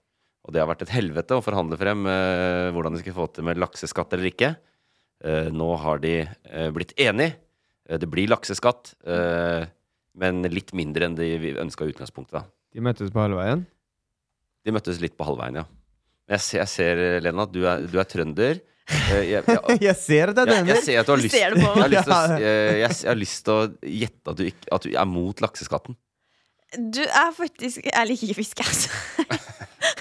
Speaker 1: Og det har vært et helvete å forhandle frem eh, hvordan de skal få til med lakseskatt eller ikke. Eh, nå har de eh, blitt enige. Eh, det blir lakseskatt, eh, men litt mindre enn de ønska i utgangspunktet. Da.
Speaker 2: De møttes på halve veien.
Speaker 1: De møttes litt på halvveien, ja. Men jeg ser, jeg ser eh, Lena, at du er, du er trønder. Eh, [LAUGHS] jeg, jeg,
Speaker 2: Jeg ser at det er
Speaker 1: jeg,
Speaker 2: denne.
Speaker 1: jeg ser at du har lyst, [LAUGHS] jeg har lyst til å,
Speaker 2: Ja.
Speaker 1: eh, jeg, jeg har lyst til å gjette at du, ikke, at du er mot lakseskatten.
Speaker 3: Du er faktisk Jeg liker ikke fisk, altså. [LAUGHS]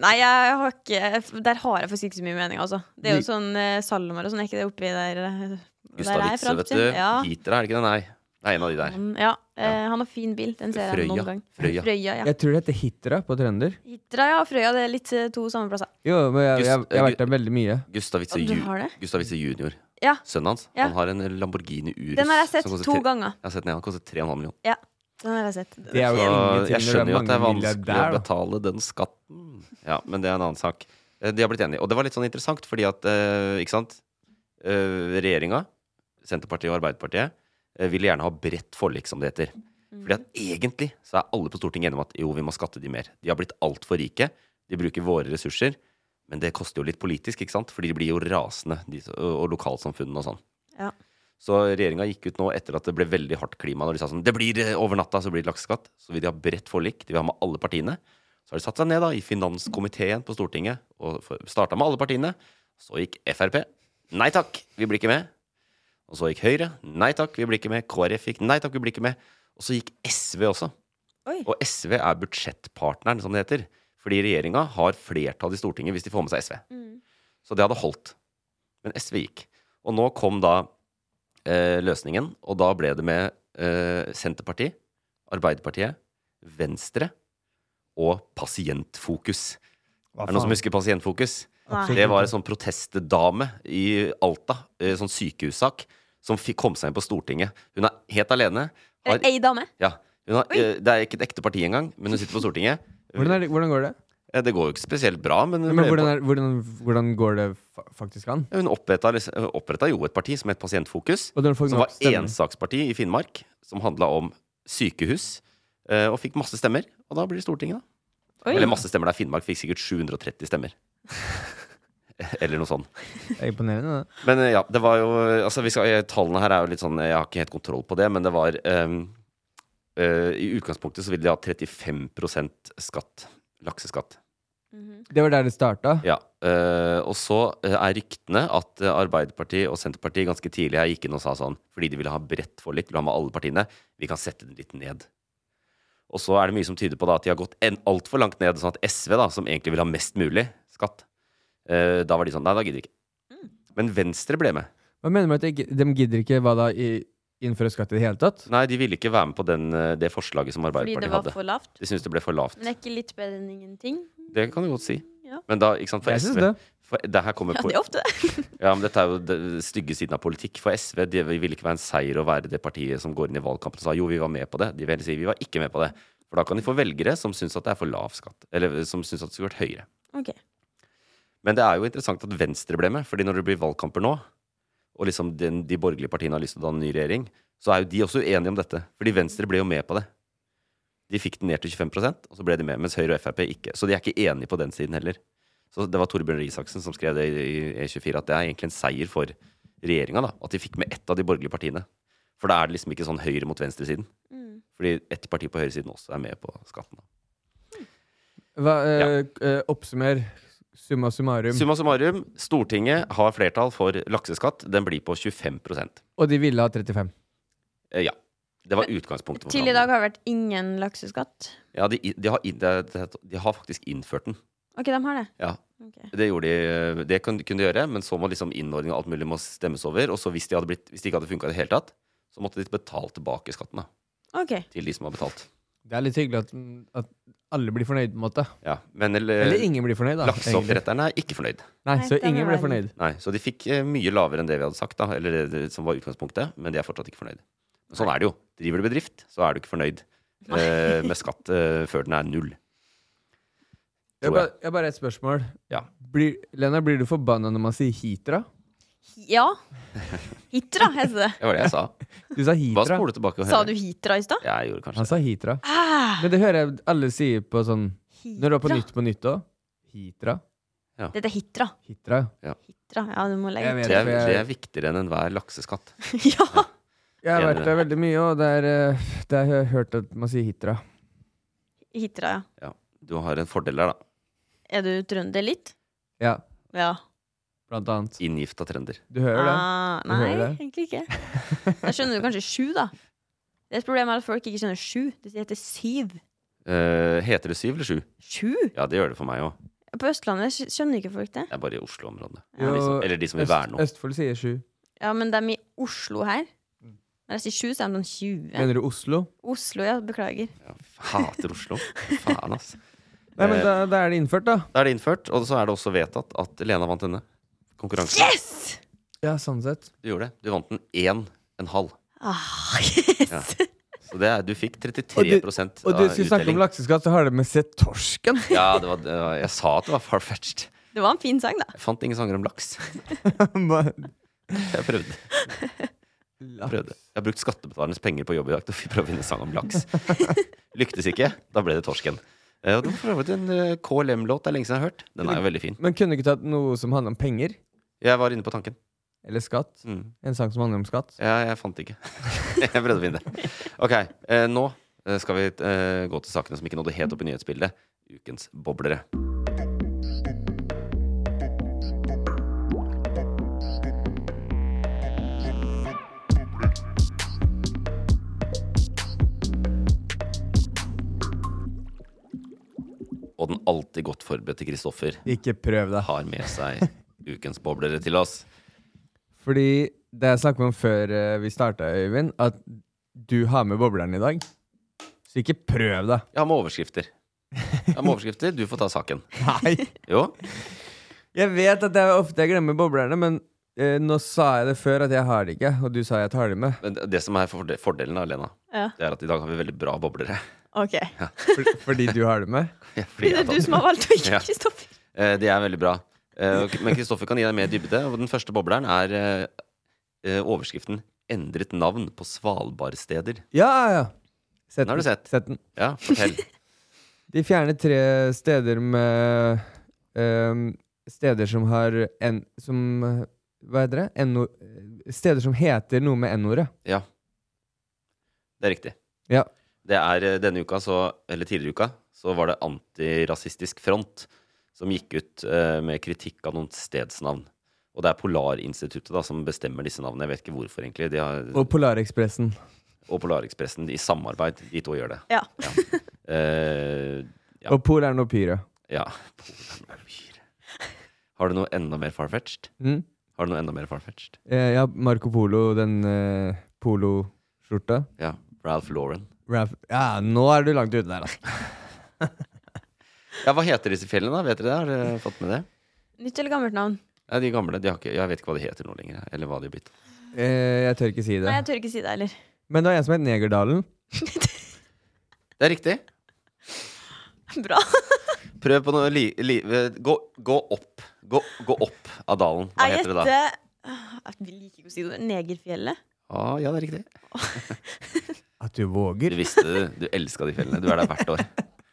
Speaker 3: Nei, jeg har ikke Der har jeg faktisk ikke så mye mening, altså. Det er jo
Speaker 1: Vi-
Speaker 3: sånn eh, salmer og sånn, er ikke det oppi der? eh,
Speaker 1: Gustav
Speaker 3: jeg er
Speaker 1: Witzøe,
Speaker 3: fra,
Speaker 1: vet du.
Speaker 3: ikke? Ja.
Speaker 1: Giter, er det ikke det? Nei. Det er en av de der.
Speaker 3: Han, ja. eh, han har fin bil. Den ser jeg
Speaker 1: Frøya.
Speaker 3: noen gang.
Speaker 1: Frøya.
Speaker 3: ja.
Speaker 2: Jeg tror det heter Hitra på trønder.
Speaker 3: Hitra, ja. Frøya, det er litt eh, to samme plasser.
Speaker 2: Jo, men jeg, jeg,
Speaker 1: Gust-
Speaker 2: jeg har vært der veldig mye.
Speaker 1: Gustav Witzøe
Speaker 3: Å, du
Speaker 1: ju-
Speaker 3: har det?
Speaker 1: Gustav Witzøe junior.
Speaker 3: Ja.
Speaker 1: Sønnen hans.
Speaker 3: Ja.
Speaker 1: Han har en Lamborghini Urus.
Speaker 3: Den har jeg sett
Speaker 1: som koster
Speaker 3: to
Speaker 1: tre-
Speaker 3: ganger.
Speaker 1: Jeg har sett den, ja. Han koster 3,5 millioner.
Speaker 3: Ja, den har jeg sett.
Speaker 2: Det er jo ingenting
Speaker 1: Altså, jeg
Speaker 2: når det er
Speaker 1: skjønner jo at det er
Speaker 2: mange
Speaker 1: vanskelig å
Speaker 2: milliardær, da.
Speaker 1: betale den skatten. Ja, men det er en annen sak. Eh, De har blitt enige. Og det var litt sånn interessant, fordi at eh, ikke sant? Eh, regjeringa, Senterpartiet og Arbeiderpartiet, eh, ville gjerne ha bredt forlik, som det heter. Fordi at egentlig så er alle på Stortinget enige om at jo, vi må skatte de mer. De har blitt altfor rike. De bruker våre ressurser. Men det koster jo litt politisk, ikke sant? Fordi de blir jo rasende, de, som- og lokalsamfunnene og sånn.
Speaker 3: Ja.
Speaker 1: Så regjeringa gikk ut nå etter at det ble veldig hardt klima. Når de sa sånn, det blir eh, over natta, så blir det lakseskatt. Så vil de ha bredt forlik. De vil ha med alle partiene. Så har de satt seg ned da, i finanskomiteen på Stortinget og starta med alle partiene. Så gikk Frp. Nei takk, vi blir ikke med. Og så gikk Høyre. Nei takk, vi blir ikke med. KrF gikk. Nei takk, vi blir ikke med. Og så gikk SV også.
Speaker 3: Oi.
Speaker 1: Og SV er budsjettpartneren, som det heter. Fordi regjeringa har flertall i Stortinget hvis de får med seg SV.
Speaker 3: Mm.
Speaker 1: Så det hadde holdt. Men SV gikk. Og nå kom da eh, løsningen, og da ble det med eh, Senterpartiet, Arbeiderpartiet, Venstre og Pasientfokus.
Speaker 9: Hva
Speaker 1: er det noen som
Speaker 9: faen?
Speaker 1: husker Pasientfokus?
Speaker 9: Nei.
Speaker 1: Det var en sånn protestdame i Alta, eh, sånn sykehussak, som fikk, kom seg inn på Stortinget. Hun er helt alene.
Speaker 3: Er det ei dame?
Speaker 1: Ja. Hun har, eh, det er ikke et ekte parti engang, men hun sitter på Stortinget.
Speaker 2: Hvordan, er, det- hvordan går det?
Speaker 1: Eh, Det går jo ikke spesielt bra, men hun,
Speaker 2: Men
Speaker 1: ble-
Speaker 2: hvordan, er, hvordan, hvordan går det fa- faktisk an?
Speaker 1: hun oppretta, liksom- hun oppretta jo et parti som het Pasientfokus,
Speaker 2: Og den får
Speaker 1: som var
Speaker 2: nok stemmer.
Speaker 1: ensaksparti i Finnmark, som handla om sykehus, eh, og fikk masse stemmer. Og da blir det Stortinget, da.
Speaker 3: Oi.
Speaker 1: Eller masse stemmer der. Finnmark fikk sikkert 730 stemmer. [LAUGHS] Eller noe sånt.
Speaker 2: Det er imponerende, det.
Speaker 1: Men eh, ja, det var jo altså, vi skal, eh, Tallene her er jo litt sånn eh, Jeg har ikke helt kontroll på det, men det var ehm, eh, I utgangspunktet så ville de ha 35 skatt. Lakseskatt.
Speaker 2: Det var der det starta.
Speaker 1: Ja. eh, og så eh, er ryktene at eh, Arbeiderpartiet og Senterpartiet ganske tidlig her gikk inn og sa sånn fordi de ville ha bredt forlik, ville ha med alle partiene, vi kan sette den litt ned. Og så er det mye som tyder på da at de har gått en- altfor langt ned, sånn at SV, da, som egentlig vil ha mest mulig skatt, eh, da var de sånn Nei, da gidder vi ikke.
Speaker 3: Mm.
Speaker 1: Men Venstre ble med.
Speaker 2: Hva mener du med at de, de gidder ikke hva da i, innføre skatt i det hele tatt?
Speaker 1: Nei, de ville ikke være med på den, eh, det forslaget som
Speaker 3: Fordi
Speaker 1: Arbeiderpartiet
Speaker 3: det var
Speaker 1: hadde.
Speaker 3: for lavt?
Speaker 1: De syntes det ble for lavt.
Speaker 3: Men er ikke litt bedre enn ingenting?
Speaker 1: Det kan du godt si.
Speaker 3: Ja.
Speaker 1: Men da, ikke sant, for
Speaker 2: Jeg synes
Speaker 1: SV
Speaker 2: det.
Speaker 1: For, det her kommer
Speaker 3: Ja,
Speaker 1: på-
Speaker 3: det er ofte det. [LAUGHS]
Speaker 1: Ja, men dette er jo den stygge siden av politikk. For SV de vil ikke være en seier å være det partiet som går inn i valgkampen og sa jo, vi var med på det. De vil heller si vi var ikke med på det. For da kan de få velgere som syns at det er for lav skatt. Eller som syns at det skulle vært høyere.
Speaker 3: Ok.
Speaker 1: Men det er jo interessant at Venstre ble med, fordi når det blir valgkamper nå, og liksom den, de borgerlige partiene har lyst til å danne ny regjering, så er jo de også uenige om dette. Fordi Venstre ble jo med på det. De fikk den ned til 25 og så ble de med, mens Høyre og Frp ikke. Så de er ikke enige på den siden heller. Så det var Torbjørn Røe Isaksen som skrev det i i E24, at det er egentlig en seier for regjeringa, da. At de fikk med ett av de borgerlige partiene. For da er det liksom ikke sånn høyre mot venstresiden.
Speaker 3: Mm.
Speaker 1: Fordi ett parti på høyresiden også er med på skatten.
Speaker 2: Hva, eh, eh, oppsummer. Summa summarum.
Speaker 1: Summa summarum, Stortinget har flertall for lakseskatt. Den blir på 25
Speaker 2: Og de ville ha 35.
Speaker 1: Eh, Ja. Det var utgangspunktet. for
Speaker 3: Til i
Speaker 1: forhandlingene.
Speaker 3: dag har det vært ingen lakseskatt.
Speaker 1: Ja, de, de, har, inn- det- det- de har faktisk innført den.
Speaker 3: Ok, de har det.
Speaker 1: Ja.
Speaker 3: Ok.
Speaker 1: Det, gjorde de, det kunne, kunne de gjøre, men så må liksom innordning og alt mulig må stemmes over. Og så hvis, de hadde blitt, hvis det ikke hadde funka i det hele tatt, så måtte de betale tilbake skatten da,
Speaker 3: Ok.
Speaker 1: til de som har betalt.
Speaker 2: Det er litt hyggelig at, at alle blir fornøyd, på en måte.
Speaker 1: Ja. Men, eller,
Speaker 2: Eller ingen blir fornøyd, da.
Speaker 1: Lakseoppdretterne er ikke fornøyd.
Speaker 2: Nei, så ingen ble fornøyd.
Speaker 1: Nei, så de fikk eh, mye lavere enn det vi hadde sagt, da, eller det, det som var utgangspunktet, men de er fortsatt ikke fornøyd. Men Sånn er det jo. Driver du bedrift, så er du ikke fornøyd eh, med skatt eh, før den er null.
Speaker 2: Jeg har bare, jeg har bare et spørsmål. Blir, Lena, blir du forbanna når man sier Hitra?
Speaker 3: Ja. Hitra heter det.
Speaker 1: Det var det jeg sa.
Speaker 2: [LAUGHS] Du sa Hitra.
Speaker 1: Hva spoler du tilbake og
Speaker 3: Sa du hitra i stad?
Speaker 1: Jeg gjorde kanskje
Speaker 2: Han sa Hitra.
Speaker 3: Ah,
Speaker 2: Men det hører jeg alle sier på sånn Når du er på
Speaker 3: Hitra?
Speaker 2: Nytt på Nytt òg. Hitra.
Speaker 3: dette er hitra.
Speaker 2: Hitra.
Speaker 1: Ja.
Speaker 3: Hitra, Ja, du må legge
Speaker 2: Jeg vet
Speaker 1: Det er,
Speaker 2: for
Speaker 1: det
Speaker 2: jeg-
Speaker 1: er viktigere enn enhver lakseskatt.
Speaker 3: [LAUGHS]
Speaker 2: Jeg har
Speaker 1: Enig.
Speaker 2: vært der veldig mye, og der, eh, der har jeg hørt at man sier Hitra.
Speaker 3: Hitra, ja.
Speaker 1: Ja, du har en fordel der, da.
Speaker 3: Er du trønder litt?
Speaker 2: Ja,
Speaker 3: Ja.
Speaker 2: blant annet.
Speaker 1: Inngifta trønder.
Speaker 2: Du hører det?
Speaker 3: Ah,
Speaker 2: Du
Speaker 3: nei,
Speaker 2: [LAUGHS] hører det?
Speaker 3: egentlig ikke. Da skjønner du kanskje sju, da. Det er et problem at folk ikke skjønner sju. De sier at det er syv.
Speaker 1: Eh, heter det syv eller sju?
Speaker 3: Sju?
Speaker 1: Ja, det gjør det for meg òg.
Speaker 3: På Østlandet skj- skjønner ikke folk det.
Speaker 1: Det er bare i Oslo-området.
Speaker 2: Jo,
Speaker 1: Eller de som- Eller de som vil
Speaker 2: Øst-
Speaker 1: være nå.
Speaker 2: Østfold sier sju.
Speaker 3: Ja, men de i Oslo her
Speaker 2: Mm.
Speaker 3: Når jeg sier sju, så er de sånn 20.
Speaker 2: Mener du Oslo?
Speaker 3: Oslo, ja. Beklager. [LAUGHS]
Speaker 1: Hater Oslo. Faen, ass.
Speaker 2: Nei, men
Speaker 1: Eh,
Speaker 2: da, da er det innført, da.
Speaker 1: Da er det innført, og så er det også vedtatt at Lena vant denne konkurransen.
Speaker 3: Yes!
Speaker 2: Ja, sånn sett.
Speaker 1: Du gjorde det. Du vant den én en halv.
Speaker 3: Ah, yes.
Speaker 1: Ja. Så det er, du fikk 33 av
Speaker 2: Og du skulle snakke om
Speaker 1: uttelling.
Speaker 2: lakseskatt, så har det med seg torsken.
Speaker 1: Ja, det var, det var, jeg sa at det var far-fetched.
Speaker 3: Det var en fin sang, da.
Speaker 1: Jeg fant ingen sanger om laks. [LAUGHS] Jeg prøvde. prøvde. Jeg har brukt skattebetalernes penger på jobb i dag til å prøve å finne en sang om laks. Lyktes ikke. Da ble det torsken. Eh, Og det var for så vidt en eh, KLM-låt det er lenge siden jeg har hørt. Den er jo veldig fin.
Speaker 2: Men kunne du ikke tatt noe som handler om penger?
Speaker 1: Jeg var inne på tanken. Mm.
Speaker 2: Eller skatt? En sang som handler om skatt?
Speaker 1: Ja, jeg fant det ikke. [LAUGHS] jeg prøvde å finne det. Ok, eh, nå eh, skal vi eh, gå til sakene som ikke nådde helt opp i nyhetsbildet. Ukens boblere. Og den alltid godt forberedte Kristoffer
Speaker 2: Ikke prøv deg.
Speaker 1: har med seg [LAUGHS] ukens boblere til oss.
Speaker 2: Fordi det jeg snakket om før eh, vi starta, Øyvind, at du har med bobleren i dag. Så ikke prøv [LAUGHS] deg.
Speaker 1: Jeg har med overskrifter. Jeg har med overskrifter, Du får ta saken.
Speaker 2: Nei.
Speaker 1: Jo.
Speaker 2: Jeg vet at jeg ofte jeg glemmer boblerne, men eh, nå sa jeg det før at jeg har det ikke, og du sa jeg tar det med.
Speaker 1: Men det- det som er forde- fordelen, da, Lena,
Speaker 3: Ja.
Speaker 1: det er at i dag har vi veldig bra boblere.
Speaker 3: OK.
Speaker 1: [LAUGHS]
Speaker 2: fordi du har det med?
Speaker 1: Ja,
Speaker 3: Det
Speaker 1: [LAUGHS] fordi jeg
Speaker 3: er
Speaker 1: har
Speaker 3: du
Speaker 1: tatt-
Speaker 3: som har valgt å ikke,
Speaker 1: Ja.
Speaker 3: Kristoffer.
Speaker 1: Eh, De er veldig bra. Eh, ok, Men Kristoffer kan gi deg mer dybde. Og den første bobleren er eh, eh, overskriften 'Endret navn på svalbardsteder'.
Speaker 2: Ja, ja, ja. Sett
Speaker 1: Den har du sett.
Speaker 2: Sett den.
Speaker 1: Ja,
Speaker 3: [LAUGHS]
Speaker 1: fortell.
Speaker 2: De fjerner tre steder med ehm, Steder som har en, som, eh, Hva heter det? NO, steder som heter noe med n-ordet.
Speaker 1: Ja. Det er riktig.
Speaker 2: Ja.
Speaker 1: Det er eh, denne uka, så, eller tidligere uka, så var det Antirasistisk Front som gikk ut eh, med kritikk av noen stedsnavn. Og det er Polarinstituttet da, som bestemmer disse navnene. Jeg vet ikke hvorfor, egentlig. De har,
Speaker 2: Og Polarekspressen.
Speaker 1: og Polarekspressen i samarbeid. De to gjør det.
Speaker 3: Ja.
Speaker 1: Eh, ja.
Speaker 2: Og Pol er noe pyre.
Speaker 1: ja. Polarmyr. Har du noe enda mer farfetched?
Speaker 2: Mm.
Speaker 1: Har du noe enda mer farfetched?
Speaker 2: Eh, ja, Marco Polo, den eh, poloskjorta.
Speaker 1: Ja. Ralph Lauren.
Speaker 2: Ralph- Ja, nå er du langt ute der,
Speaker 3: [LAUGHS]
Speaker 2: altså.
Speaker 1: Ja, hva heter disse fjellene, da? Vet dere det? Har dere fått med det?
Speaker 3: Nytt eller gammelt navn?
Speaker 1: Nei, de gamle, de har ikke, jeg vet ikke hva de heter nå lenger. Eller hva de har blitt.
Speaker 2: Eh, jeg tør ikke si det.
Speaker 3: Nei, jeg tør ikke si det heller.
Speaker 2: Men det var en som het Negerdalen.
Speaker 1: Det er riktig.
Speaker 3: [LAUGHS] Bra.
Speaker 1: Prøv på noe li, li, eh, gå, gå opp. Gå, gå opp av dalen. Hva
Speaker 3: Jeg
Speaker 1: heter det da?
Speaker 3: gjetter Ah, Jeg vil like ikke å si det. Negerfjellet? [LAUGHS]
Speaker 1: Ah, ja, det er riktig.
Speaker 2: At du våger.
Speaker 1: Du visste det. Du elska de fjellene. Du er der hvert år.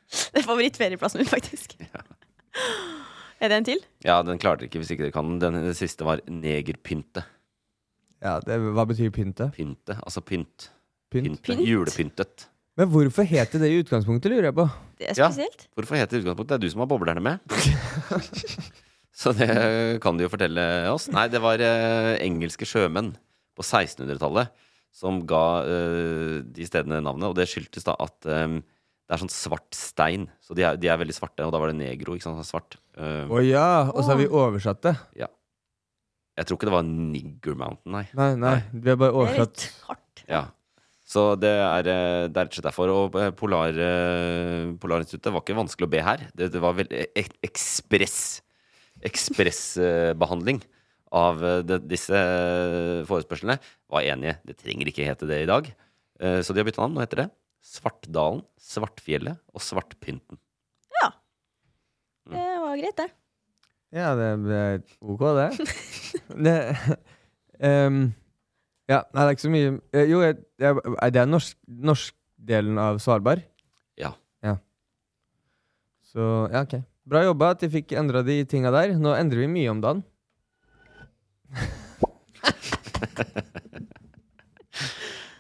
Speaker 3: Det er favorittferieplassen min, faktisk. Er det en til?
Speaker 1: Ja, den klarte dere ikke hvis ikke dere kan den. Den, den siste var negerpynte.
Speaker 2: Ja, det, hva betyr pynte?
Speaker 1: Pynte. Altså pynt.
Speaker 2: Pynt.
Speaker 1: Pynte.
Speaker 3: Pynt?
Speaker 1: Julepyntet.
Speaker 2: Men hvorfor het det det i utgangspunktet, lurer jeg på?
Speaker 3: Det er
Speaker 1: Ja.
Speaker 3: spesielt.
Speaker 1: Hvorfor heter det utgangspunktet? Det er du som har boblerne med. Så det kan du jo fortelle oss. Nei, det var eh, engelske sjømenn på 1600-tallet som ga eh, de stedene navnet. Og det skyldtes da at eh, det er sånn svart stein. Så de er, de er veldig svarte. Og da var det negro, ikke sant. sånn Svart. Eh,
Speaker 2: Å ja, og så har vi oversatt det.
Speaker 1: ja. Jeg tror ikke det var Nigger Mountain, nei.
Speaker 2: Nei, nei, vi har bare oversatt.
Speaker 1: Ja. Så det er, eh, det er rett og slett derfor. Og eh, Polar, eh, Polarinstituttet var ikke vanskelig å be her. Det, det var veldig ek- ekspress Ekspressbehandling av eh, de, disse eh, forespørslene. Var enige. Det trenger ikke hete det i dag. Eh, Så de har bytta navn. Nå heter det Svartdalen, Svartfjellet og Svartpynten.
Speaker 3: Det var greit, det.
Speaker 2: Ja, det, det er ok, det. det ehm, ja, nei, det er ikke så mye eh, Jo, jeg, jeg, eh, det er norsk, norskdelen av Svalbard.
Speaker 1: Ja.
Speaker 2: ja. Så ja, ok. Bra jobba at de fikk endra de tinga der. Nå endrer vi mye om dagen.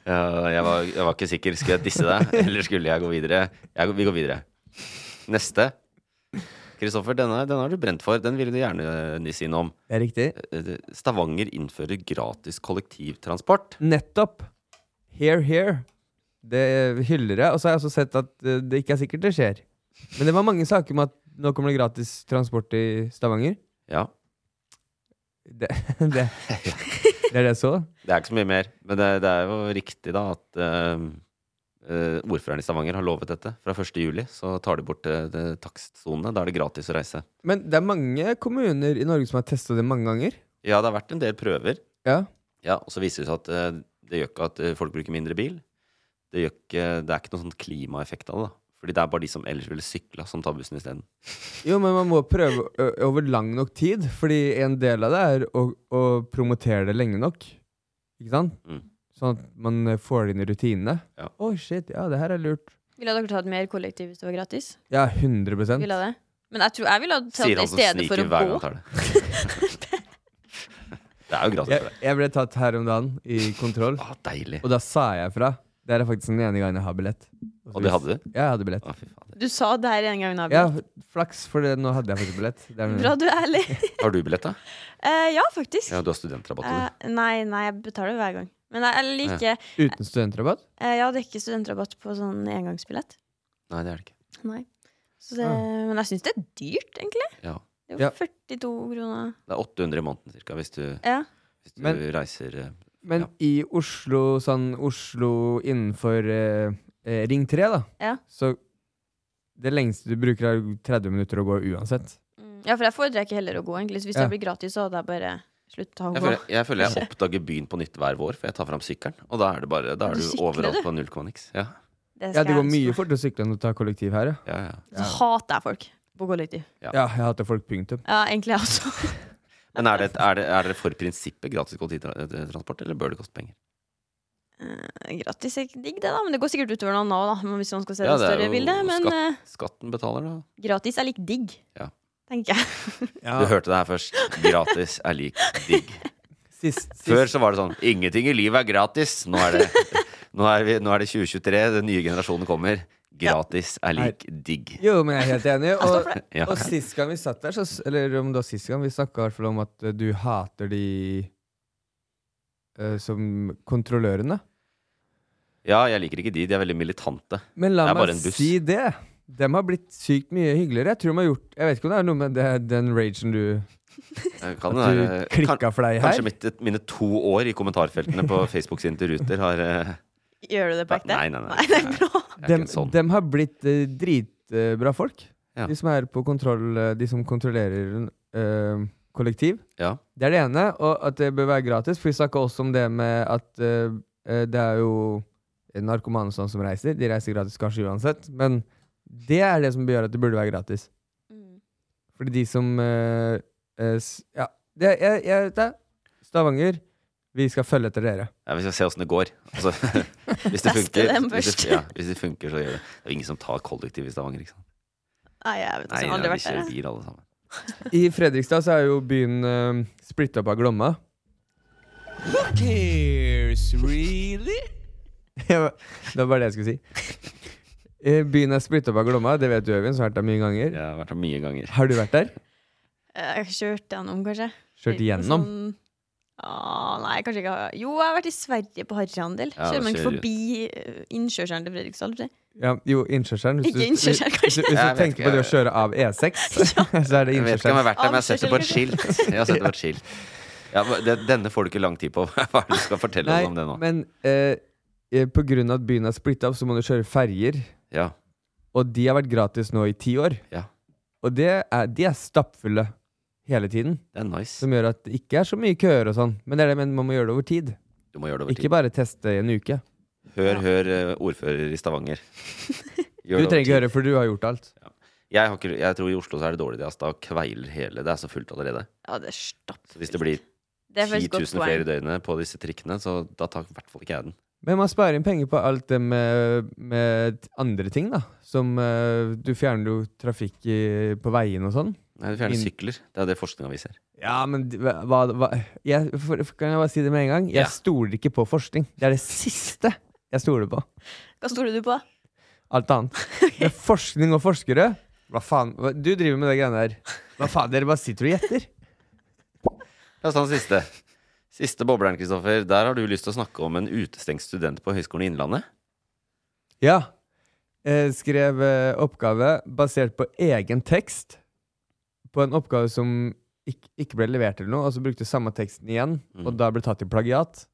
Speaker 1: Ja, jeg, var, jeg var ikke sikker. Skulle jeg disse deg, eller skulle jeg gå videre? Jeg, går- vi går videre. Neste. Kristoffer, denne, denne har du brent for. Den ville du gjerne eh, si noe om.
Speaker 2: Det er riktig.
Speaker 1: Eh, Stavanger innfører gratis kollektivtransport.
Speaker 2: Nettopp. Here, here. Det hyller jeg. Og så har jeg også sett at eh, det ikke er sikkert det skjer. Men det var mange saker med at nå kommer det gratis transport i Stavanger.
Speaker 1: Ja.
Speaker 2: Det, [LAUGHS] det, det er det jeg så.
Speaker 1: Det er ikke så mye mer. Men det, det er jo riktig da at eh, eh, ordføreren i Stavanger har lovet dette. Fra 1. juli så tar de bort eh, det takstsonene. Da er det gratis å reise.
Speaker 2: Men det er mange kommuner i Norge som har testa det mange ganger.
Speaker 1: Ja, det har vært en del prøver.
Speaker 2: Ja.
Speaker 1: Ja, og så viser det seg at eh, det gjør ikke at eh, folk bruker mindre bil. Det, gjør ikke, det er ikke noen sånn klimaeffekt av det. da. Fordi det er bare de som ellers ville sykla, som tar bussen isteden.
Speaker 2: Jo, men man må prøve ø- over lang nok tid, fordi en del av det er å, å promotere det lenge nok. Ikke sant? Sånn at man ø, får det inn i rutinene.
Speaker 1: Ja.
Speaker 2: shit, ja, det her er lurt.
Speaker 3: Ville dere tatt mer kollektiv hvis det var gratis?
Speaker 2: Ja, 100
Speaker 3: Ville det? Men jeg tror jeg ville ha
Speaker 1: Sier
Speaker 3: tatt det
Speaker 1: han som
Speaker 3: i stedet for
Speaker 1: sniker
Speaker 3: å
Speaker 1: hver gang
Speaker 3: gå.
Speaker 1: han tar det. [LAUGHS] Det er jo gratis for
Speaker 2: Jeg,
Speaker 1: deg.
Speaker 2: jeg ble tatt her om dagen i kontroll, og da sa jeg fra. Det er faktisk den ene gangen jeg har billett.
Speaker 1: Og det hadde du?
Speaker 2: Ja, jeg hadde billett.
Speaker 3: Du sa det her en gang,
Speaker 2: ja,
Speaker 3: Nabil.
Speaker 2: flaks, for det, nå hadde jeg faktisk billett. Det er-
Speaker 3: Bra du er ærlig.
Speaker 1: Har du billett, da?
Speaker 3: Eh, ja, faktisk.
Speaker 1: Ja, du har studentrabatt. du.
Speaker 3: Eh, nei, nei, jeg betaler hver gang. Men jeg, jeg liker
Speaker 1: Ja.
Speaker 2: Uten studentrabatt?
Speaker 3: Eh, Ja, det er ikke studentrabatt på sånn engangsbillett.
Speaker 1: Nei, det er det ikke.
Speaker 3: Nei. Så det,
Speaker 1: Ah.
Speaker 3: Men jeg syns det er dyrt, egentlig.
Speaker 1: Ja.
Speaker 3: Det er
Speaker 1: Ja.
Speaker 3: jo 42 kroner.
Speaker 1: Det er 800 i måneden cirka, hvis du,
Speaker 3: Ja.
Speaker 1: hvis du
Speaker 2: Men-
Speaker 1: reiser eh,
Speaker 2: Men i Oslo, sånn Oslo innenfor eh, eh, Ring 3, da,
Speaker 3: Ja.
Speaker 2: så det lengste du bruker, er 30 minutter å gå uansett.
Speaker 3: Mm. ja, for jeg foretrekker heller å gå, egentlig. Så hvis
Speaker 2: Ja.
Speaker 3: det blir gratis, så hadde jeg bare slutta å
Speaker 1: Jeg
Speaker 3: gå.
Speaker 1: føler, jeg føler jeg oppdager byen på nytt hver vår, for jeg tar fram sykkelen. Og da er, det bare, da
Speaker 3: Du
Speaker 1: er du
Speaker 3: sykler,
Speaker 1: overalt
Speaker 3: du.
Speaker 1: på null komma niks. Ja.
Speaker 3: Det
Speaker 2: Ja,
Speaker 3: skal
Speaker 2: det går
Speaker 3: jeg-
Speaker 2: mye fortere å sykle enn å ta kollektiv her,
Speaker 1: ja.
Speaker 3: Så hater jeg folk på kollektiv.
Speaker 1: Ja.
Speaker 2: Ja, jeg hater folk, punktum.
Speaker 3: Ja, egentlig jeg også. [LAUGHS]
Speaker 1: Men er det, er, det, er det for prinsippet gratis kollektivtransport, eller bør det koste penger?
Speaker 3: Eh, Gratis er ikke digg, det, da. Men det går sikkert utover noen nå, da. men Hvis man skal se
Speaker 1: Ja,
Speaker 3: det
Speaker 1: det er
Speaker 3: større
Speaker 1: jo
Speaker 3: bildet. Men
Speaker 1: skatt.
Speaker 3: eh,
Speaker 1: Skatten betaler, da.
Speaker 3: gratis er lik digg,
Speaker 1: Ja.
Speaker 3: tenker jeg.
Speaker 1: Du hørte det her først. Gratis er [LAUGHS] lik
Speaker 3: [LAUGHS]
Speaker 1: digg.
Speaker 2: Sist,
Speaker 1: Før så var det sånn ingenting i livet er gratis. Nå er [LAUGHS] det, nå er vi, nå er det 2023, den nye generasjonen kommer. Gratis er lik digg.
Speaker 2: Jo, men jeg er
Speaker 1: [LAUGHS]
Speaker 2: helt enig. Og,
Speaker 1: Ja.
Speaker 2: og sist gang vi satt der, så, s- eller om det var sist gang, vi snakka i hvert fall om at eh, du hater de eh, som kontrollørene.
Speaker 1: Ja, jeg liker ikke de. De er veldig militante.
Speaker 2: Men la
Speaker 1: det er bare
Speaker 2: meg
Speaker 1: en buss.
Speaker 2: si det. Dem har blitt sykt mye hyggeligere. Jeg tror de har gjort Jeg vet ikke om det er noe med det, den ragen du
Speaker 1: Jeg Eh, Kan jo
Speaker 2: At du
Speaker 1: være-
Speaker 2: klikka
Speaker 1: kan-
Speaker 2: for deg her?
Speaker 1: Kanskje mitt, mine to år i kommentarfeltene på Facebook sine til Ruter har eh,
Speaker 3: Gjør du det på ekte?
Speaker 1: Nei, nei, nei.
Speaker 2: dem,
Speaker 1: sånn
Speaker 2: dem har blitt eh, dritbra folk.
Speaker 1: Ja.
Speaker 2: De som er på kontroll eh, De som kontrollerer eh, kollektiv.
Speaker 1: Ja.
Speaker 2: Det er det ene, og at det bør være gratis. For vi snakka også om det med at eh, eh, det er jo narkomane og sånn som reiser. De reiser gratis kanskje uansett, men det er det som gjør at det burde være gratis.
Speaker 3: Mm.
Speaker 2: Fordi de som eh, eh, s- Ja, det, jeg, jeg vet det. Stavanger, vi skal følge etter dere.
Speaker 1: Ja, vi skal se åssen det går. Altså, [LAUGHS] hvis, det
Speaker 2: Teste
Speaker 1: funker,
Speaker 2: dem
Speaker 1: hvis,
Speaker 2: først.
Speaker 1: det, ja, hvis det funker, så gjør det. Det er jo ingen som tar kollektiv i Stavanger, ikke sant?
Speaker 3: Nei, jeg vet ikke.
Speaker 1: Nei,
Speaker 3: jeg
Speaker 1: nei,
Speaker 3: har aldri
Speaker 1: vi
Speaker 3: vært der.
Speaker 1: kjører
Speaker 3: jeg.
Speaker 1: bil alle sammen.
Speaker 2: I Fredrikstad så er jo byen uh, splitta opp av Glomma.
Speaker 9: Who cares,
Speaker 2: [LAUGHS]
Speaker 9: really?
Speaker 2: det var bare det jeg skulle si. Eh, Byen er splitta opp av Glomma, det vet du, Øyvind, som har vært der mye ganger.
Speaker 1: Jeg har vært der mye ganger.
Speaker 2: Har du vært der?
Speaker 3: Eh, Jeg har kjørt gjennom, kanskje.
Speaker 2: Kjørt
Speaker 3: Litt
Speaker 2: igjennom?
Speaker 3: sånn- Ah, nei, kanskje ikke. har- Jo, jeg har vært i Sverige, på Harjandel.
Speaker 2: Ja,
Speaker 3: Kjører man ikke
Speaker 2: kjører-
Speaker 3: forbi eh, innkjørselen til Fredrikstad? eller?
Speaker 2: Ja, jo, innkjørselen. Hvis du-
Speaker 3: Ikke innkjørselen,
Speaker 2: hvis-
Speaker 1: Jeg
Speaker 2: Hvis, hvis
Speaker 3: kanskje.
Speaker 2: du
Speaker 1: vet
Speaker 2: tenker
Speaker 1: ikke,
Speaker 2: på det å
Speaker 1: jeg-
Speaker 2: kjøre av
Speaker 3: [LAUGHS]
Speaker 2: E6, [LAUGHS] så er det
Speaker 1: Jeg vet ikke om jeg har
Speaker 2: innkjørselen.
Speaker 1: vært der, men jeg har sett det på et skilt. Jeg har sett det på et skilt. Ja, men det, denne får du ikke lang tid på. [LAUGHS] Hva er det du skal fortelle oss om det
Speaker 2: Nei,
Speaker 1: nå?
Speaker 2: men eh, eh, på grunn av at byen er splitta opp, så må du kjøre ferjer.
Speaker 1: Ja.
Speaker 2: Og de har vært gratis nå i ti år.
Speaker 1: Ja.
Speaker 2: Og det er, de er stappfulle hele tiden.
Speaker 1: Det er nice.
Speaker 2: Som gjør at det ikke er så mye køer og sånn. Men det er det, men man må gjøre det over tid.
Speaker 1: Du må gjøre det over
Speaker 2: Ikke
Speaker 1: tid.
Speaker 2: bare teste i en uke.
Speaker 1: Hør, hør, eh, ordfører i
Speaker 2: [LAUGHS]
Speaker 1: Stavanger. Gjør
Speaker 2: Du
Speaker 1: det over
Speaker 2: trenger
Speaker 1: tid.
Speaker 2: ikke høre, for du har gjort alt.
Speaker 1: Jeg, har ikke, jeg tror i Oslo så er det dårlig. Det er, da kveiler hele. Det er så fullt allerede.
Speaker 3: Ja, det er stappfullt.
Speaker 1: Så hvis det blir
Speaker 3: Det er
Speaker 1: 10
Speaker 3: faktisk godt
Speaker 1: 000
Speaker 3: poeng.
Speaker 1: flere i døgnet på disse trikkene, så da tar i hvert fall ikke jeg den.
Speaker 2: Men man sparer inn penger på alt det med, med andre ting, da. Som eh, Du fjerner jo trafikk i, på veien og sånn.
Speaker 1: Nei, du fjerner
Speaker 2: Inn-
Speaker 1: sykler. Det er det forskninga viser.
Speaker 2: Ja, men d- hva, hva hva- jeg, for, for- Kan jeg bare si det med en gang?
Speaker 1: Ja.
Speaker 2: Jeg stoler ikke på forskning. Det er det siste jeg stoler på.
Speaker 3: Hva stoler du på?
Speaker 2: Alt annet. Men forskning og forskere Hva faen? Hva, du driver med det greiene der. Hva faen? Dere bare sitter og gjetter.
Speaker 1: La oss ta den siste. Siste bobleren, Kristoffer. Der har du lyst til å snakke om en utestengt student på Høgskolen i Innlandet.
Speaker 2: Ja. Eh, skrev eh, oppgave basert på egen tekst. På en oppgave som ikke, ikke ble levert eller noe, og så brukte samme teksten igjen, og da ble tatt i plagiat.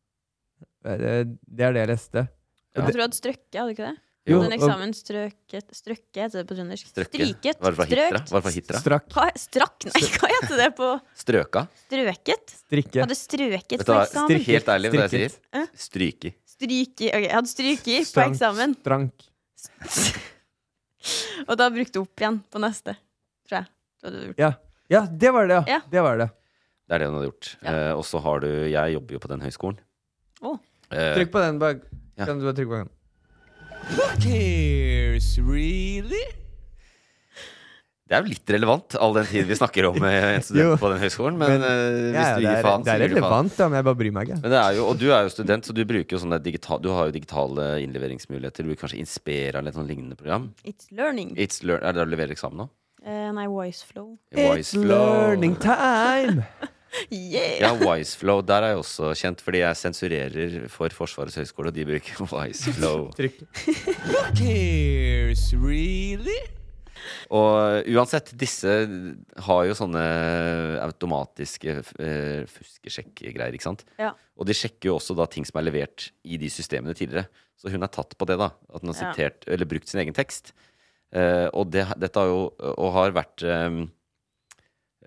Speaker 2: Eh, det- det er det jeg leste. Og
Speaker 3: Jeg
Speaker 2: det-
Speaker 3: tror du hadde strøkket, hadde du ikke det?
Speaker 2: Jo,
Speaker 3: Jo, den
Speaker 2: og-
Speaker 3: eksamen strøket Strøkke heter det på trøndersk.
Speaker 1: Strøkke.
Speaker 3: Stryket.
Speaker 1: Var det fra Hitra?
Speaker 3: Strøkt.
Speaker 1: Var det fra Hitra?
Speaker 2: Strakk.
Speaker 3: Hva, strakk? Nei, hva heter det på
Speaker 1: Strøka.
Speaker 3: Strøket?
Speaker 2: Strikke.
Speaker 3: Hadde strøket
Speaker 1: Vet du
Speaker 3: på
Speaker 1: hva,
Speaker 3: eksamen.
Speaker 1: helt ærlig, vet du hva jeg sier?
Speaker 3: Hæ?
Speaker 1: Stryki.
Speaker 3: Stryki. Ok, jeg hadde stryki på eksamen, [LAUGHS]
Speaker 2: Strank.
Speaker 3: og da brukte opp igjen på neste, tror jeg. Det hadde du gjort.
Speaker 2: Ja. ja, det var det,
Speaker 3: Ja.
Speaker 2: ja. Det var det.
Speaker 1: Det er det hun har gjort. Eh, og så har du Jeg jobber jo på den høyskolen.
Speaker 3: Å.
Speaker 1: Eh,
Speaker 2: Trykk på den. Bare.
Speaker 1: Ja.
Speaker 2: Kan du bare trykke på den?
Speaker 9: Who cares, really?
Speaker 1: Det er jo litt relevant, all den tid vi snakker om eh, en student
Speaker 2: [LAUGHS] Jo.
Speaker 1: på den høyskolen. Men, eh,
Speaker 2: Ja,
Speaker 1: hvis du
Speaker 2: det er,
Speaker 1: gir faen,
Speaker 2: det
Speaker 1: så
Speaker 2: er
Speaker 1: gir du faen.
Speaker 2: relevant, ja, men jeg bare bryr meg ikke.
Speaker 1: Men det er jo, og du er jo student, så du bruker jo sånne digital, du har jo digitale innleveringsmuligheter. Du bruker kanskje Inspera eller et sånt lignende program.
Speaker 3: It's learning.
Speaker 1: It's learn, er det der du leverer eksamen nå?
Speaker 3: Eh, nei, voice flow.
Speaker 1: It's Voiceflow. learning
Speaker 2: time!
Speaker 1: Ja,
Speaker 3: yeah!
Speaker 1: Wiseflow. Der er jeg også kjent, fordi jeg sensurerer for Forsvarets høgskole, og de bruker [LAUGHS] Wiseflow.
Speaker 2: Trykk.
Speaker 9: Who cares, really?
Speaker 1: Og uansett, disse har jo sånne automatiske eh, fuskesjekk-greier, ikke sant?
Speaker 3: Ja.
Speaker 1: Og de sjekker jo også da ting som er levert i de systemene tidligere. Så hun er tatt på det, da. At hun har
Speaker 3: Ja.
Speaker 1: sitert, eller brukt sin egen tekst. Eh, og det, dette har jo Og har vært eh,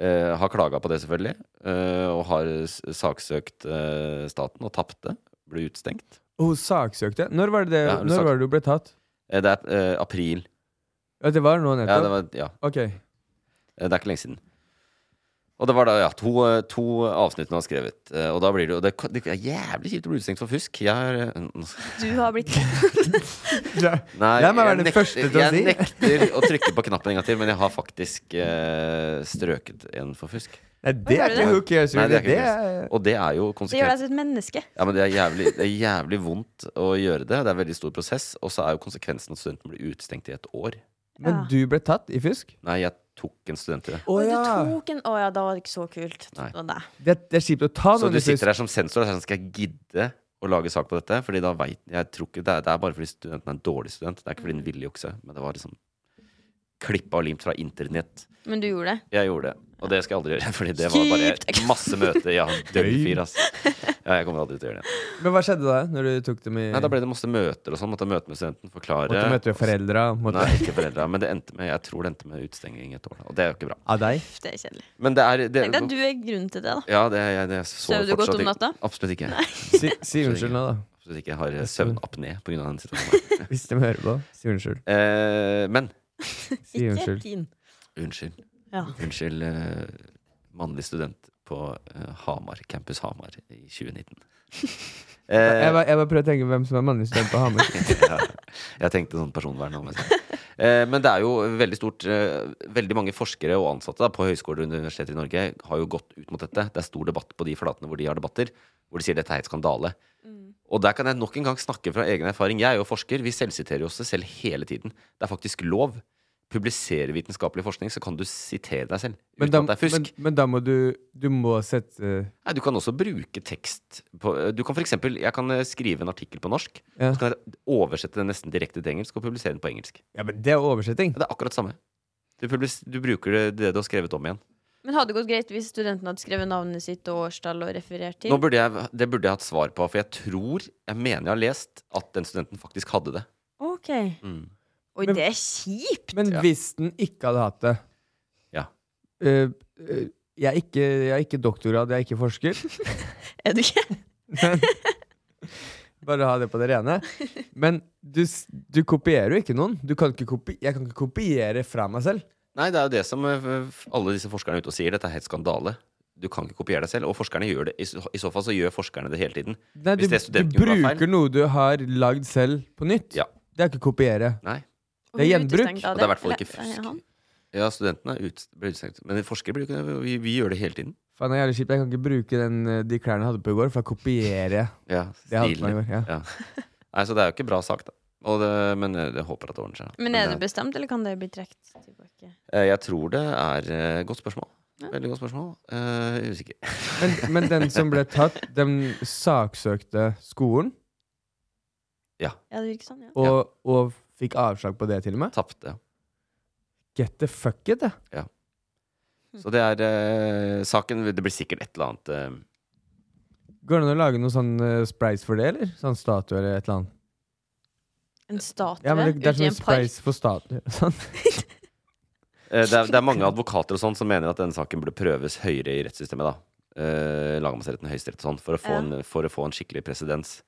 Speaker 1: eh, Har klaga på det, selvfølgelig. eh, og har s- saksøkt eh, staten og tapte. Ble utstengt.
Speaker 2: Og hun saksøkte. Når var det, det-
Speaker 1: Ja, hun
Speaker 2: når
Speaker 1: sak-
Speaker 2: var det du ble tatt?
Speaker 1: Eh, det er eh, april.
Speaker 2: Ja, det var nå
Speaker 1: Ja,
Speaker 2: nettopp?
Speaker 1: det var, ja.
Speaker 2: Ok.
Speaker 1: Eh, Det er ikke lenge siden. Og det var da ja, to, eh, to avsnitt hun har skrevet. Eh, Og da blir det jo det, det er jævlig kjipt å bli utestengt for fusk. Jeg er eh, n-
Speaker 3: Du har [LAUGHS] blitt
Speaker 1: Nei,
Speaker 2: Jeg må være den første til å
Speaker 1: jeg
Speaker 2: si. [LAUGHS]
Speaker 1: nekter å trykke på knappen en gang til, men jeg har faktisk eh, strøket en for fusk.
Speaker 2: Nei, det
Speaker 3: Hva
Speaker 2: er
Speaker 3: gjorde
Speaker 2: ikke
Speaker 3: du?
Speaker 2: who cares,
Speaker 1: Nei,
Speaker 2: really.
Speaker 1: det er
Speaker 2: Det
Speaker 1: ikke
Speaker 2: er
Speaker 1: Og det er jo
Speaker 3: Det gjør deg
Speaker 1: konsekvens.
Speaker 3: til et menneske.
Speaker 1: Ja, men det er, jævlig, det er jævlig vondt å gjøre det. Det er en veldig stor prosess. Og så er jo konsekvensen at studenten blir utestengt i et år.
Speaker 2: Men du ble tatt i fusk?
Speaker 1: Nei, jeg tok en student i det.
Speaker 2: Å
Speaker 3: Oi,
Speaker 2: ja.
Speaker 3: Du tok en Å ja, da var det ikke så kult.
Speaker 1: Nei.
Speaker 3: Det var deg.
Speaker 2: Det, det er kjipt å ta
Speaker 1: Så
Speaker 2: noen
Speaker 1: du
Speaker 2: i fusk.
Speaker 1: sitter her som sensor og sier sånn, skal jeg gidde å lage sak på dette? Fordi da vet, jeg tror ikke, det, er, det er bare fordi studenten er en dårlig student. Det er ikke fordi den ville jukse. Men det var liksom klippa og limt fra internett.
Speaker 3: Men du gjorde det.
Speaker 1: Jeg gjorde det. Og det skal jeg aldri gjøre, [LAUGHS] fordi det var bare masse møter.
Speaker 3: [LAUGHS]
Speaker 1: Ja, døgnfyr, ass. Ja, jeg kommer aldri til å gjøre det.
Speaker 2: Men hva skjedde da? Når du tok dem i
Speaker 1: Nei, da ble det masse møter og sånn. Måtte møte med studenten, forklare.
Speaker 2: Måtte møte foreldra? Måtte...
Speaker 1: Nei, ikke foreldra. Men det endte med, jeg tror det endte med utestenging et år. da. Og det er jo ikke bra.
Speaker 2: Av deg?
Speaker 3: Uff, det er kjedelig.
Speaker 1: Men det er det,
Speaker 3: Tenk deg at du er grunnen til det, da.
Speaker 1: Ja, det, jeg, det jeg sover
Speaker 3: Sover du godt
Speaker 1: fortsatt
Speaker 3: om
Speaker 1: ikke.
Speaker 3: natta?
Speaker 1: Absolutt ikke.
Speaker 2: Si, si unnskyld nå, da.
Speaker 1: Absolutt ikke. Jeg har eh, søvnapné på grunn av den situasjonen. her.
Speaker 2: Hvis de hører på. Si unnskyld.
Speaker 1: Eh, men
Speaker 2: Si unnskyld.
Speaker 3: Din.
Speaker 1: unnskyld.
Speaker 3: Ja.
Speaker 1: Unnskyld, eh, mannlig student på eh, Hamar, Campus Hamar i 2019. Eh,
Speaker 2: Jeg bare, jeg bare prøver å tenke hvem som er mannlig student på Hamar.
Speaker 1: [LAUGHS] ja, jeg tenkte sånn personvern. om jeg sa. Eh, men det er jo veldig stort eh, Veldig mange forskere og ansatte da, på høyskoler og universiteter i Norge har jo gått ut mot dette. Det er stor debatt på de flatene hvor de har debatter, hvor de sier dette er helt skandale. Og der kan jeg nok en gang snakke fra egen erfaring. Jeg er jo forsker. Vi selvsiterer jo oss selv hele tiden. Det er faktisk lov. Publiserer vitenskapelig forskning, så kan du sitere deg selv. Uten
Speaker 2: Men da,
Speaker 1: at det er fusk.
Speaker 2: men, men da må du Du må sette
Speaker 1: Nei, du kan også bruke tekst på, Du kan for eksempel, Jeg kan eh, skrive en artikkel på norsk.
Speaker 2: Ja.
Speaker 1: Så kan jeg oversette den nesten direkte til engelsk og publisere den på engelsk.
Speaker 2: Ja, men det er oversetting.
Speaker 1: Ja, Det er akkurat det samme. Du, publis- du bruker det, det du har skrevet om igjen.
Speaker 3: Men hadde det gått greit hvis studenten hadde skrevet navnet sitt og årstall og referert til?
Speaker 1: Nå burde jeg, det burde jeg hatt svar på, for jeg tror, jeg mener jeg har lest, at den studenten faktisk hadde det.
Speaker 3: Ok.
Speaker 1: Mm.
Speaker 3: Oi,
Speaker 2: Men-
Speaker 3: det er kjipt!
Speaker 2: Men hvis den ikke hadde hatt det
Speaker 1: Ja.
Speaker 2: Eh, eh, jeg, er ikke, jeg er ikke doktorgrad, jeg er ikke forsker. [LAUGHS]
Speaker 3: Er du ikke?
Speaker 2: Bare ha det på det rene. Men du, s- du kopierer jo ikke noen. Du kan ikke kopi jeg kan ikke kopiere fra meg selv.
Speaker 1: Nei, det er jo det som eh, f- alle disse forskerne er ute og sier. Dette er helt skandale. Du kan ikke kopiere deg selv. Og forskerne gjør det. I så, i så fall så gjør forskerne det hele tiden.
Speaker 2: Nei, du,
Speaker 1: Hvis det
Speaker 2: du
Speaker 1: studenten gjorde, var
Speaker 2: bruker
Speaker 1: feil.
Speaker 2: noe du har lagd selv, på nytt.
Speaker 1: Ja.
Speaker 2: Det er ikke kopiere.
Speaker 1: Nei.
Speaker 2: Det er
Speaker 3: Og hun
Speaker 2: gjenbruk.
Speaker 3: utestengt av
Speaker 1: Og det er i hvert fall ikke
Speaker 3: Eller-
Speaker 1: fusk.
Speaker 3: han?
Speaker 1: Ja, studentene er ut, ble utestengt. Men forskere blir jo ikke vi, vi gjør det hele tiden.
Speaker 2: Faen, det er jævlig kjipt. Jeg kan ikke bruke den, eh, de klærne jeg hadde på i går, for å kopiere.
Speaker 1: Ja,
Speaker 2: Det hadde på meg
Speaker 1: stilen.
Speaker 2: i går, ja.
Speaker 1: Ja. Nei, så det er jo ikke bra sak, da. Og det, men jeg, jeg håper at det ordner seg.
Speaker 3: Men er
Speaker 1: det
Speaker 3: det bestemt, eller kan det bli trukket tilbake?
Speaker 1: Eh, Jeg tror det er eh, godt spørsmål. Veldig godt spørsmål. Eh, usikker.
Speaker 2: Men, men den som ble tatt, den saksøkte skolen.
Speaker 1: Ja.
Speaker 3: Ja, det virker sånn, ja.
Speaker 2: Og, og fikk avslag på det, til og med?
Speaker 1: [LAUGHS] Tapte.
Speaker 2: Get the fuck it, det.
Speaker 1: Ja. Så det er eh, saken Det blir sikkert et eller annet eh,
Speaker 2: Går det an å lage noen sånn eh, sprays for det, eller? Sånn statue eller et eller annet?
Speaker 3: En statue
Speaker 2: Ja, men det, det er
Speaker 3: ute i
Speaker 2: sånn
Speaker 3: en park.
Speaker 2: sprays for statuer. [LAUGHS] Sånn.
Speaker 1: Eh, det, er, det er mange advokater og sånn som mener at denne saken burde prøves høyere i rettssystemet. da Eh, Lagmannsretten, Høyesterett og sånn, for, å få
Speaker 10: Ja.
Speaker 1: en- for å få en skikkelig presedens.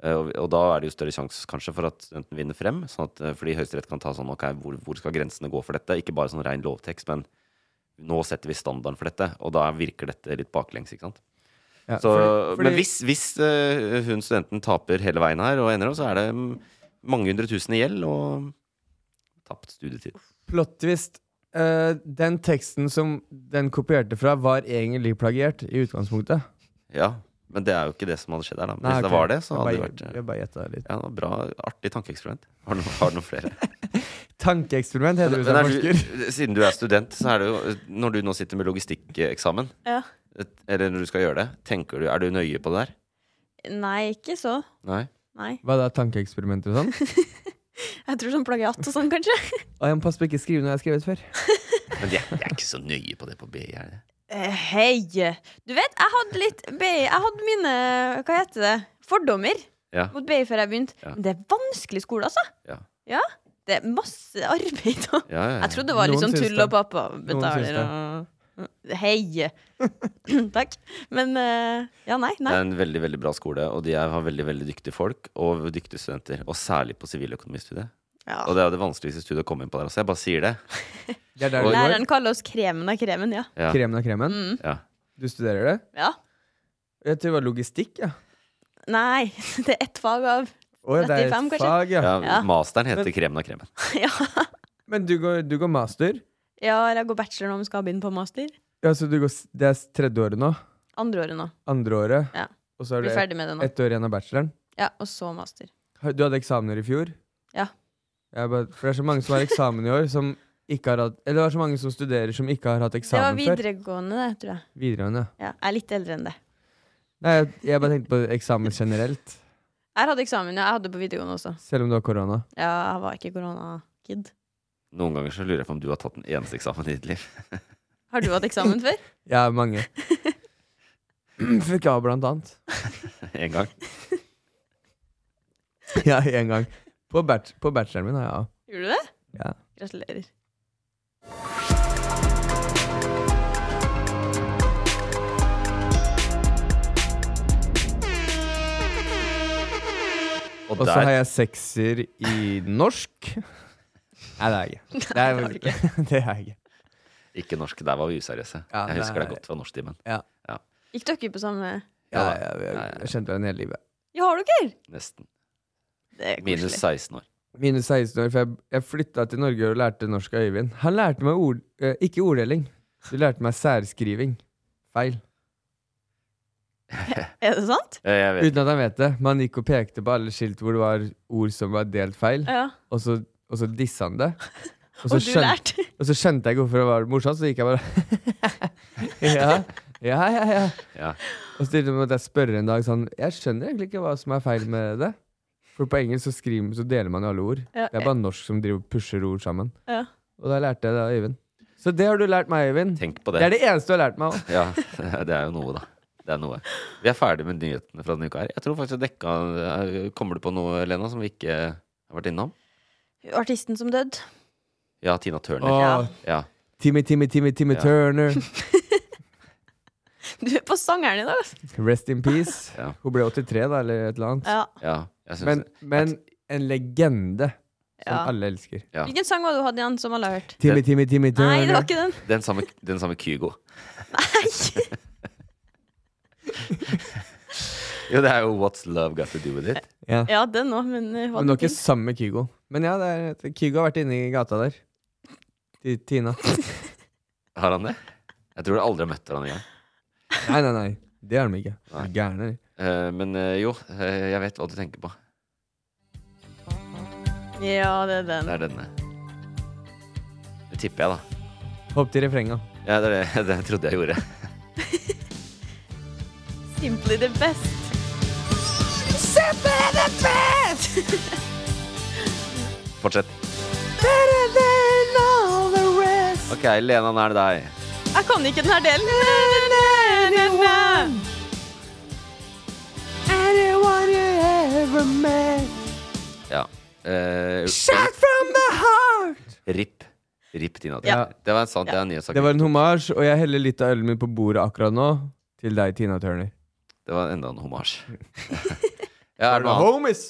Speaker 1: Eh, og, og da er det jo større sjanse kanskje for at studenten vinner frem. Sånn at, eh, fordi Høyesterett kan ta sånn ok, hvor, hvor skal grensene gå for dette? Ikke bare sånn ren lovtekst, men nå setter vi standarden for dette. Og da virker dette litt baklengs, ikke sant.
Speaker 2: Ja,
Speaker 1: så,
Speaker 2: fordi- fordi-
Speaker 1: Men hvis, hvis eh, hun studenten taper hele veien her og ender opp, så er det mm, mange hundre tusen i gjeld og tapt studietid.
Speaker 2: Plot-twist. Eh, den teksten som den kopierte fra, var egentlig plagiert i utgangspunktet.
Speaker 1: Ja, men det er jo ikke det som hadde skjedd her, da. Men
Speaker 2: Nei,
Speaker 1: hvis det
Speaker 2: ok.
Speaker 1: var det, så
Speaker 2: Jeg
Speaker 1: hadde det
Speaker 2: bare-
Speaker 1: vært eh,
Speaker 2: jeg bare gjetta litt.
Speaker 1: Ja, det var bra, Artig tankeeksperiment. Har du, har du noen
Speaker 2: [LAUGHS]
Speaker 1: flere?
Speaker 2: Tankeeksperiment heter det
Speaker 1: Men
Speaker 2: som
Speaker 1: er
Speaker 2: forsker.
Speaker 1: du, siden du er student, så er det jo Når du nå sitter med logistikkeksamen,
Speaker 3: Ja.
Speaker 1: et- eller når du skal gjøre det, tenker du Er du nøye på det der?
Speaker 3: Nei, ikke så.
Speaker 1: Nei?
Speaker 3: Nei.
Speaker 2: Hva da, tankeeksperimenter og sånn?
Speaker 3: Jeg tror sånn plagiat og sånn, kanskje.
Speaker 2: Og jeg må passe på ikke skrive noe jeg har skrevet før.
Speaker 1: Men jeg, jeg er ikke så nøye på det på BI. er jeg?
Speaker 3: [LAUGHS] Eh, Hei! Du vet, jeg hadde litt BI. Jeg hadde mine Hva heter det? Fordommer
Speaker 1: Ja.
Speaker 3: mot BI før jeg begynte.
Speaker 1: Ja.
Speaker 3: Men det er vanskelig skole, altså.
Speaker 1: Ja.
Speaker 3: Ja, Det er masse arbeid. og-
Speaker 1: Ja, ja, ja.
Speaker 3: Jeg trodde det var litt
Speaker 1: Noen
Speaker 3: sånn
Speaker 1: syns
Speaker 3: tull
Speaker 1: det.
Speaker 3: og pappa
Speaker 1: Noen syns
Speaker 3: betaler
Speaker 1: det.
Speaker 3: og Hei! [LAUGHS] Takk. Men eh, ja, nei.
Speaker 1: Det er
Speaker 3: nei.
Speaker 1: en veldig veldig bra skole, og de er- har veldig veldig dyktige folk. Og dyktige studenter. Og særlig på siviløkonomistudiet.
Speaker 3: Ja.
Speaker 1: Og det er jo det vanskeligste studiet å komme inn på der også. Jeg bare sier det.
Speaker 2: Det er der du
Speaker 3: Læreren
Speaker 2: går.
Speaker 3: kaller oss kremen av kremen, ja.
Speaker 1: Ja.
Speaker 2: Kremen av kremen.
Speaker 3: Mm.
Speaker 1: Ja.
Speaker 2: Du studerer det?
Speaker 3: ja.
Speaker 2: Jeg tror det var logistikk, ja.
Speaker 3: Nei, [LAUGHS] det er ett fag av
Speaker 2: Å, ja, det er et
Speaker 3: 35, kanskje.
Speaker 2: fag, ja.
Speaker 3: Ja.
Speaker 1: Masteren heter
Speaker 2: Men-
Speaker 1: Kremen av kremen.
Speaker 2: Men du går, du går master?
Speaker 3: Ja, eller jeg går bachelor nå, men skal begynne på master.
Speaker 2: Ja, så du går, s- det er s- tredje året nå?
Speaker 3: Andre året nå.
Speaker 2: Andre året?
Speaker 3: Ja.
Speaker 2: Og så er
Speaker 3: Blir
Speaker 2: det
Speaker 3: ferdig med det nå.
Speaker 2: ett år igjen av bacheloren?
Speaker 3: Ja, og så master.
Speaker 2: Har- Du hadde eksamener i fjor?
Speaker 3: Ja.
Speaker 2: Jeg bare, for det er så mange som har eksamen i år, som ikke har hatt Eller det er så mange som studerer som ikke har hatt
Speaker 3: Det var
Speaker 2: eksamen før.
Speaker 3: videregående, det, tror jeg.
Speaker 2: Videregående.
Speaker 3: Ja, jeg er litt eldre enn det.
Speaker 2: Nei, jeg, jeg bare tenkte på eksamen generelt.
Speaker 3: Jeg hadde eksamen, ja. Jeg hadde på videregående også.
Speaker 2: Selv om du har korona.
Speaker 3: Ja, jeg var ikke koronakid.
Speaker 1: Noen ganger så lurer jeg på om du har tatt den eneste eksamen i ditt liv. [LAUGHS]
Speaker 3: Har du hatt eksamen
Speaker 2: Jeg
Speaker 3: før?
Speaker 2: er mange. [CLEARS THROAT] Fikk A, blant annet.
Speaker 1: en gang.
Speaker 2: [LAUGHS] Ja, én gang. På, bach på bacheloren min har jeg A.
Speaker 3: [LAUGHS] Gjorde du det?
Speaker 2: Ja.
Speaker 3: Gratulerer.
Speaker 2: Og så
Speaker 1: der-
Speaker 2: har jeg sekser i norsk. Nei, det er jeg ikke. Det er,
Speaker 1: Nei, det har
Speaker 2: [LAUGHS] det er jeg ikke.
Speaker 1: Ikke norsk. Der var vi useriøse.
Speaker 2: Ja,
Speaker 1: jeg husker
Speaker 2: nei.
Speaker 1: det godt fra norsktimen.
Speaker 2: Ja.
Speaker 1: Ja.
Speaker 3: Gikk dere på samme
Speaker 2: Ja, ja, jeg, jeg kjente den hele livet.
Speaker 3: Ja, har dere?
Speaker 1: Nesten.
Speaker 3: Det er
Speaker 1: Minus
Speaker 3: koselig.
Speaker 1: 16 år.
Speaker 2: Mine 16 år, for jeg, jeg flytta til Norge og lærte norsk av Øyvind. Han lærte meg ord, eh, ikke orddeling. Du lærte meg særskriving. Feil.
Speaker 3: Er det sant?
Speaker 2: Uten at han vet det. Men han gikk og pekte på alle skilt hvor det var ord som var delt feil,
Speaker 3: Ja.
Speaker 2: og, så, og så dissa [LAUGHS] han det.
Speaker 3: Og du lærte.
Speaker 2: og så skjønte jeg hvorfor det var morsomt, så gikk jeg bare [LAUGHS] Ja, ja, ja. ja.
Speaker 1: Ja.
Speaker 2: Og så til og med måtte jeg spørre en dag sånn Jeg skjønner egentlig ikke hva som er feil med det. For på engelsk så, skriver, så deler man jo alle ord.
Speaker 3: [LAUGHS] Ja.
Speaker 2: Det er bare norsk som driver og pusher ord sammen.
Speaker 3: Ja.
Speaker 2: Og da lærte jeg det av Øyvind. Så det har du lært meg, Øyvind.
Speaker 1: Tenk på det.
Speaker 2: Det er det eneste du har lært meg. også.
Speaker 1: Ja, [LAUGHS] det er jo noe, da. Det er noe. Vi er ferdig med nyhetene fra denne uka her. Jeg tror faktisk jeg dekka er- Kommer du på noe, Lena, som vi ikke har vært innom?
Speaker 3: Artisten som døde.
Speaker 1: Ja, Tina Turner.
Speaker 2: Åh.
Speaker 1: Ja.
Speaker 2: Timmy, Timmy, Timmy, Timmy
Speaker 1: Ja.
Speaker 2: Turner.
Speaker 3: Du er på sangeren i dag, altså.
Speaker 2: Rest in
Speaker 1: [LAUGHS]
Speaker 2: peace. Hun ble 83, da, eller et eller annet.
Speaker 3: Ja.
Speaker 1: jeg synes
Speaker 2: men men en legende som
Speaker 3: Ja.
Speaker 2: alle elsker.
Speaker 3: Hvilken sang var det du hadde igjen som alle har hørt?
Speaker 2: Timmy, Timmy, Timmy Turner.
Speaker 3: Nei, det var ikke den. [LAUGHS]
Speaker 1: Den samme, den samme Kygo. Nei! jo, det er jo What's Love Got To Do With It.
Speaker 2: Ja.
Speaker 3: Ja, den òg, men eh, hva
Speaker 2: Men det var
Speaker 3: den
Speaker 2: ikke sammen med Kygo. Men ja, det er, Kygo har vært inne i gata der. Til Tina.
Speaker 1: Har han det? Jeg tror jeg aldri har møtt han engang.
Speaker 2: Nei, nei, nei. Det har de ikke. De er Gærne. de.
Speaker 1: Eh, men eh, jo, eh, jeg vet hva du tenker på.
Speaker 3: til? Ja, det er den.
Speaker 1: Det er denne. Det tipper jeg, da.
Speaker 2: Hopp til refrenget.
Speaker 1: Ja, det, er det, [LAUGHS] det trodde jeg gjorde.
Speaker 3: Simply the best.
Speaker 9: Simply the best!
Speaker 1: Fortsett.
Speaker 3: Better than all the rest.
Speaker 1: OK, Lena, nå er det deg.
Speaker 3: Jeg kan ikke den her delen. Na, na, na, na, na.
Speaker 9: Anyone you ever met.
Speaker 1: Ja. Eh,
Speaker 9: Shot from the heart.
Speaker 1: RIP. RIP Tina.
Speaker 2: Ja.
Speaker 1: Turner. Det var en sant, det er en nyhetssak.
Speaker 2: Det var en hommage, og jeg heller litt av ølen min på bordet akkurat nå til deg, Tina Turner.
Speaker 1: Det var enda en
Speaker 3: [LAUGHS]
Speaker 1: hommage. ja, er det
Speaker 2: the
Speaker 1: noe annet?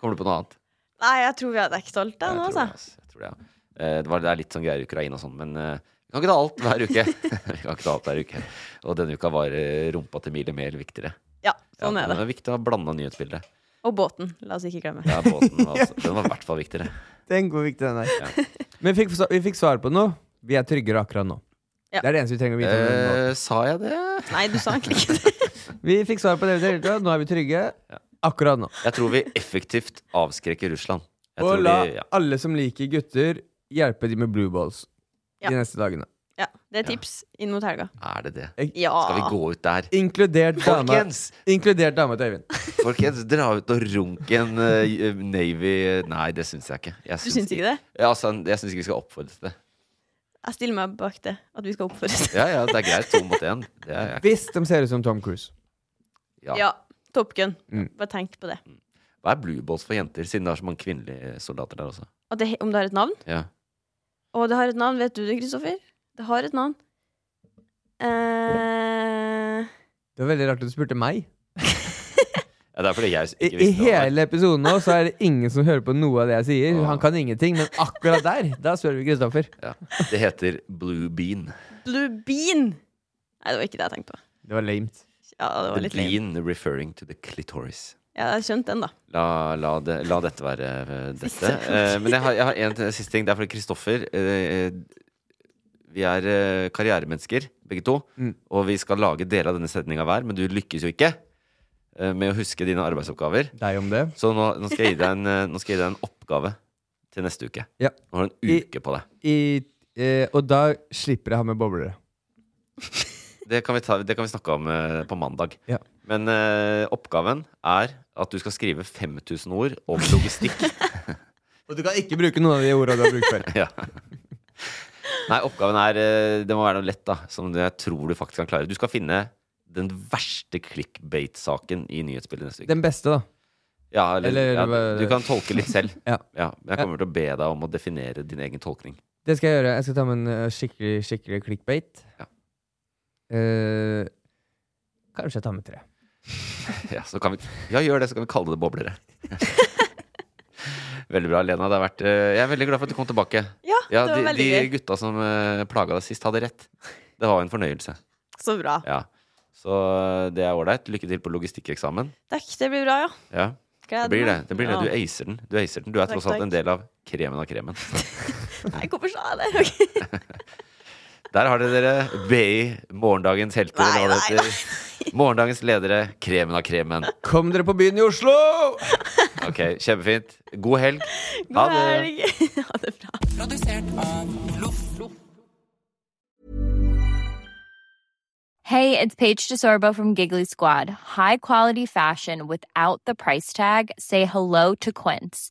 Speaker 1: Kommer du på noe annet?
Speaker 3: Nei, jeg tror vi har dekket alt det nå, altså.
Speaker 1: Tror det, ja. Eh, det, var, det er litt sånn greier i Ukraina og sånn, men eh, vi kan ikke ta alt hver uke.
Speaker 3: [LAUGHS]
Speaker 1: [LAUGHS] vi kan ikke ta alt hver uke. Og denne uka var eh, rumpa til Mille Mehl viktigere.
Speaker 3: Ja, sånn er
Speaker 1: men
Speaker 3: det.
Speaker 1: er viktig å ha blanda nyhetsbildet.
Speaker 3: Og båten. La oss ikke glemme.
Speaker 1: Ja, båten
Speaker 3: [LAUGHS]
Speaker 1: var, også, den var i hvert fall viktigere.
Speaker 2: Tenk hvor viktig den er. Men vi fikk, vi fikk svar på noe. Vi er tryggere akkurat nå.
Speaker 3: Ja.
Speaker 2: Det er det eneste vi trenger å vite. om den
Speaker 1: Eh, sa jeg det?
Speaker 3: Nei, du sa egentlig ikke det.
Speaker 2: båten. Vi fikk svar på det vi trengte. Nå er vi trygge. Akkurat nå.
Speaker 1: Jeg tror vi effektivt avskrekker Russland. Jeg
Speaker 2: Og
Speaker 1: tror
Speaker 2: la
Speaker 1: de, ja.
Speaker 2: alle som liker gutter, hjelpe de med blue balls
Speaker 3: Ja.
Speaker 2: de neste dagene.
Speaker 3: Ja, det er tips inn mot helga.
Speaker 1: Er det det?
Speaker 3: Ja.
Speaker 1: Skal vi gå ut der?
Speaker 3: Ah.
Speaker 2: Inkludert dama,
Speaker 1: Folkens!
Speaker 2: inkludert dama til Øyvind.
Speaker 1: Folkens, dra ut og runk en eh, Navy Nei, det syns jeg ikke. Jeg
Speaker 3: Du syns ikke det?
Speaker 1: Ja, altså, jeg syns ikke vi skal oppfordre til det.
Speaker 3: Jeg stiller meg bak det. At vi skal [LAUGHS] oppføres.
Speaker 1: Ja, ja, det er greit. To
Speaker 3: [LAUGHS]
Speaker 1: mot én. Det er jeg ikke.
Speaker 2: Hvis de ser ut som Tom Cruise.
Speaker 1: Ja.
Speaker 3: Ja. Top Gun.
Speaker 1: Mm.
Speaker 3: Bare tenk på det.
Speaker 1: Hva er blue balls for jenter, siden det er så mange kvinnelige soldater der også?
Speaker 3: Og det, om det har et navn?
Speaker 1: Ja.
Speaker 3: Å, det har et navn. Vet du det, Kristoffer? Det har et navn. Eh,
Speaker 2: Det var veldig rart at du spurte meg.
Speaker 1: Ja, det er fordi jeg
Speaker 2: I,
Speaker 1: ikke
Speaker 2: I
Speaker 1: visste det.
Speaker 2: hele episoden nå så er det ingen som hører på noe av det jeg sier. Han kan ingenting, men akkurat der, da spør vi Kristoffer.
Speaker 1: Ja. Det heter blue bean.
Speaker 3: Blue Bean. Nei, det var ikke det jeg tenkte på.
Speaker 2: Det var lamet.
Speaker 3: Ja, det var
Speaker 1: The
Speaker 3: litt lame.
Speaker 1: bean referring to the clitoris.
Speaker 3: Ja, jeg skjønte den, da.
Speaker 1: La, la, det, la dette være eh, dette.
Speaker 3: Siste.
Speaker 1: Eh, men jeg har, jeg har en til- siste ting. Det er fordi Kristoffer eh, eh, Vi er eh, karrieremennesker, begge to.
Speaker 2: Mm.
Speaker 1: Og vi skal lage deler av denne setninga hver, men du lykkes jo ikke eh, med å huske dine arbeidsoppgaver.
Speaker 2: Deg om det.
Speaker 1: Så nå, nå, skal jeg gi deg en, eh, nå skal jeg gi deg en oppgave til neste uke.
Speaker 2: Ja.
Speaker 1: Nå har du en uke på deg.
Speaker 2: I, eh, og da slipper jeg ha med boblere.
Speaker 1: Det kan vi, ta, det kan vi snakke om eh, på mandag.
Speaker 2: Ja.
Speaker 1: Men eh, oppgaven er at du skal skrive 5000 ord om
Speaker 2: [LAUGHS]
Speaker 1: logistikk.
Speaker 2: Og du kan ikke bruke noen av de ordene du har brukt før.
Speaker 1: ja. Nei, oppgaven er eh, Det må være noe lett, da. Som det jeg tror du faktisk kan klare. Du skal finne den verste clickbait-saken i nyhetsbildet neste uke.
Speaker 2: [LAUGHS] Den beste, da.
Speaker 1: Ja, eller,
Speaker 2: eller-
Speaker 1: ja, du kan tolke litt selv.
Speaker 2: [LAUGHS] Ja.
Speaker 1: men jeg kommer til å be deg om å definere din egen tolkning.
Speaker 2: Det skal jeg gjøre. Jeg skal ta med en eh, skikkelig skikkelig clickbait.
Speaker 1: Ja.
Speaker 2: Eh, kanskje jeg tar med tre.
Speaker 1: [LAUGHS] Ja, så kan vi, ja, gjør det, så kan vi kalle det boblere. [LAUGHS] Veldig bra, Lena. Det har vært, eh, jeg er veldig glad for at du kom tilbake.
Speaker 3: Ja, det var
Speaker 1: de,
Speaker 3: veldig
Speaker 1: De
Speaker 3: gøy.
Speaker 1: gutta som uh, plaga deg sist, hadde rett. Det var jo en fornøyelse.
Speaker 3: Så bra.
Speaker 1: Ja. Så eh, det er ålreit. Lykke til på logistikkeksamen.
Speaker 3: Takk, det blir bra, ja.
Speaker 1: Ja. Det
Speaker 3: Gleder
Speaker 1: blir det.
Speaker 3: meg.
Speaker 1: det, blir det.
Speaker 3: Ja.
Speaker 1: Du acer den. Du, acer den. du er
Speaker 3: Takk,
Speaker 1: tross alt
Speaker 3: takk.
Speaker 1: en del av kremen av kremen.
Speaker 3: Nei, hvorfor sa jeg det? Ok.
Speaker 1: Der har dere dere BI, morgendagens helter, eller hva det heter. Morgendagens ledere, kremen av kremen.
Speaker 2: Kom dere på byen i Oslo!
Speaker 1: Ok, Kjempefint. God helg.
Speaker 3: God helg. [LAUGHS] Ha det bra.
Speaker 5: Hey, it's Paige DeSorbo from Giggly Squad. High quality fashion without the price tag. Say hello to Quince.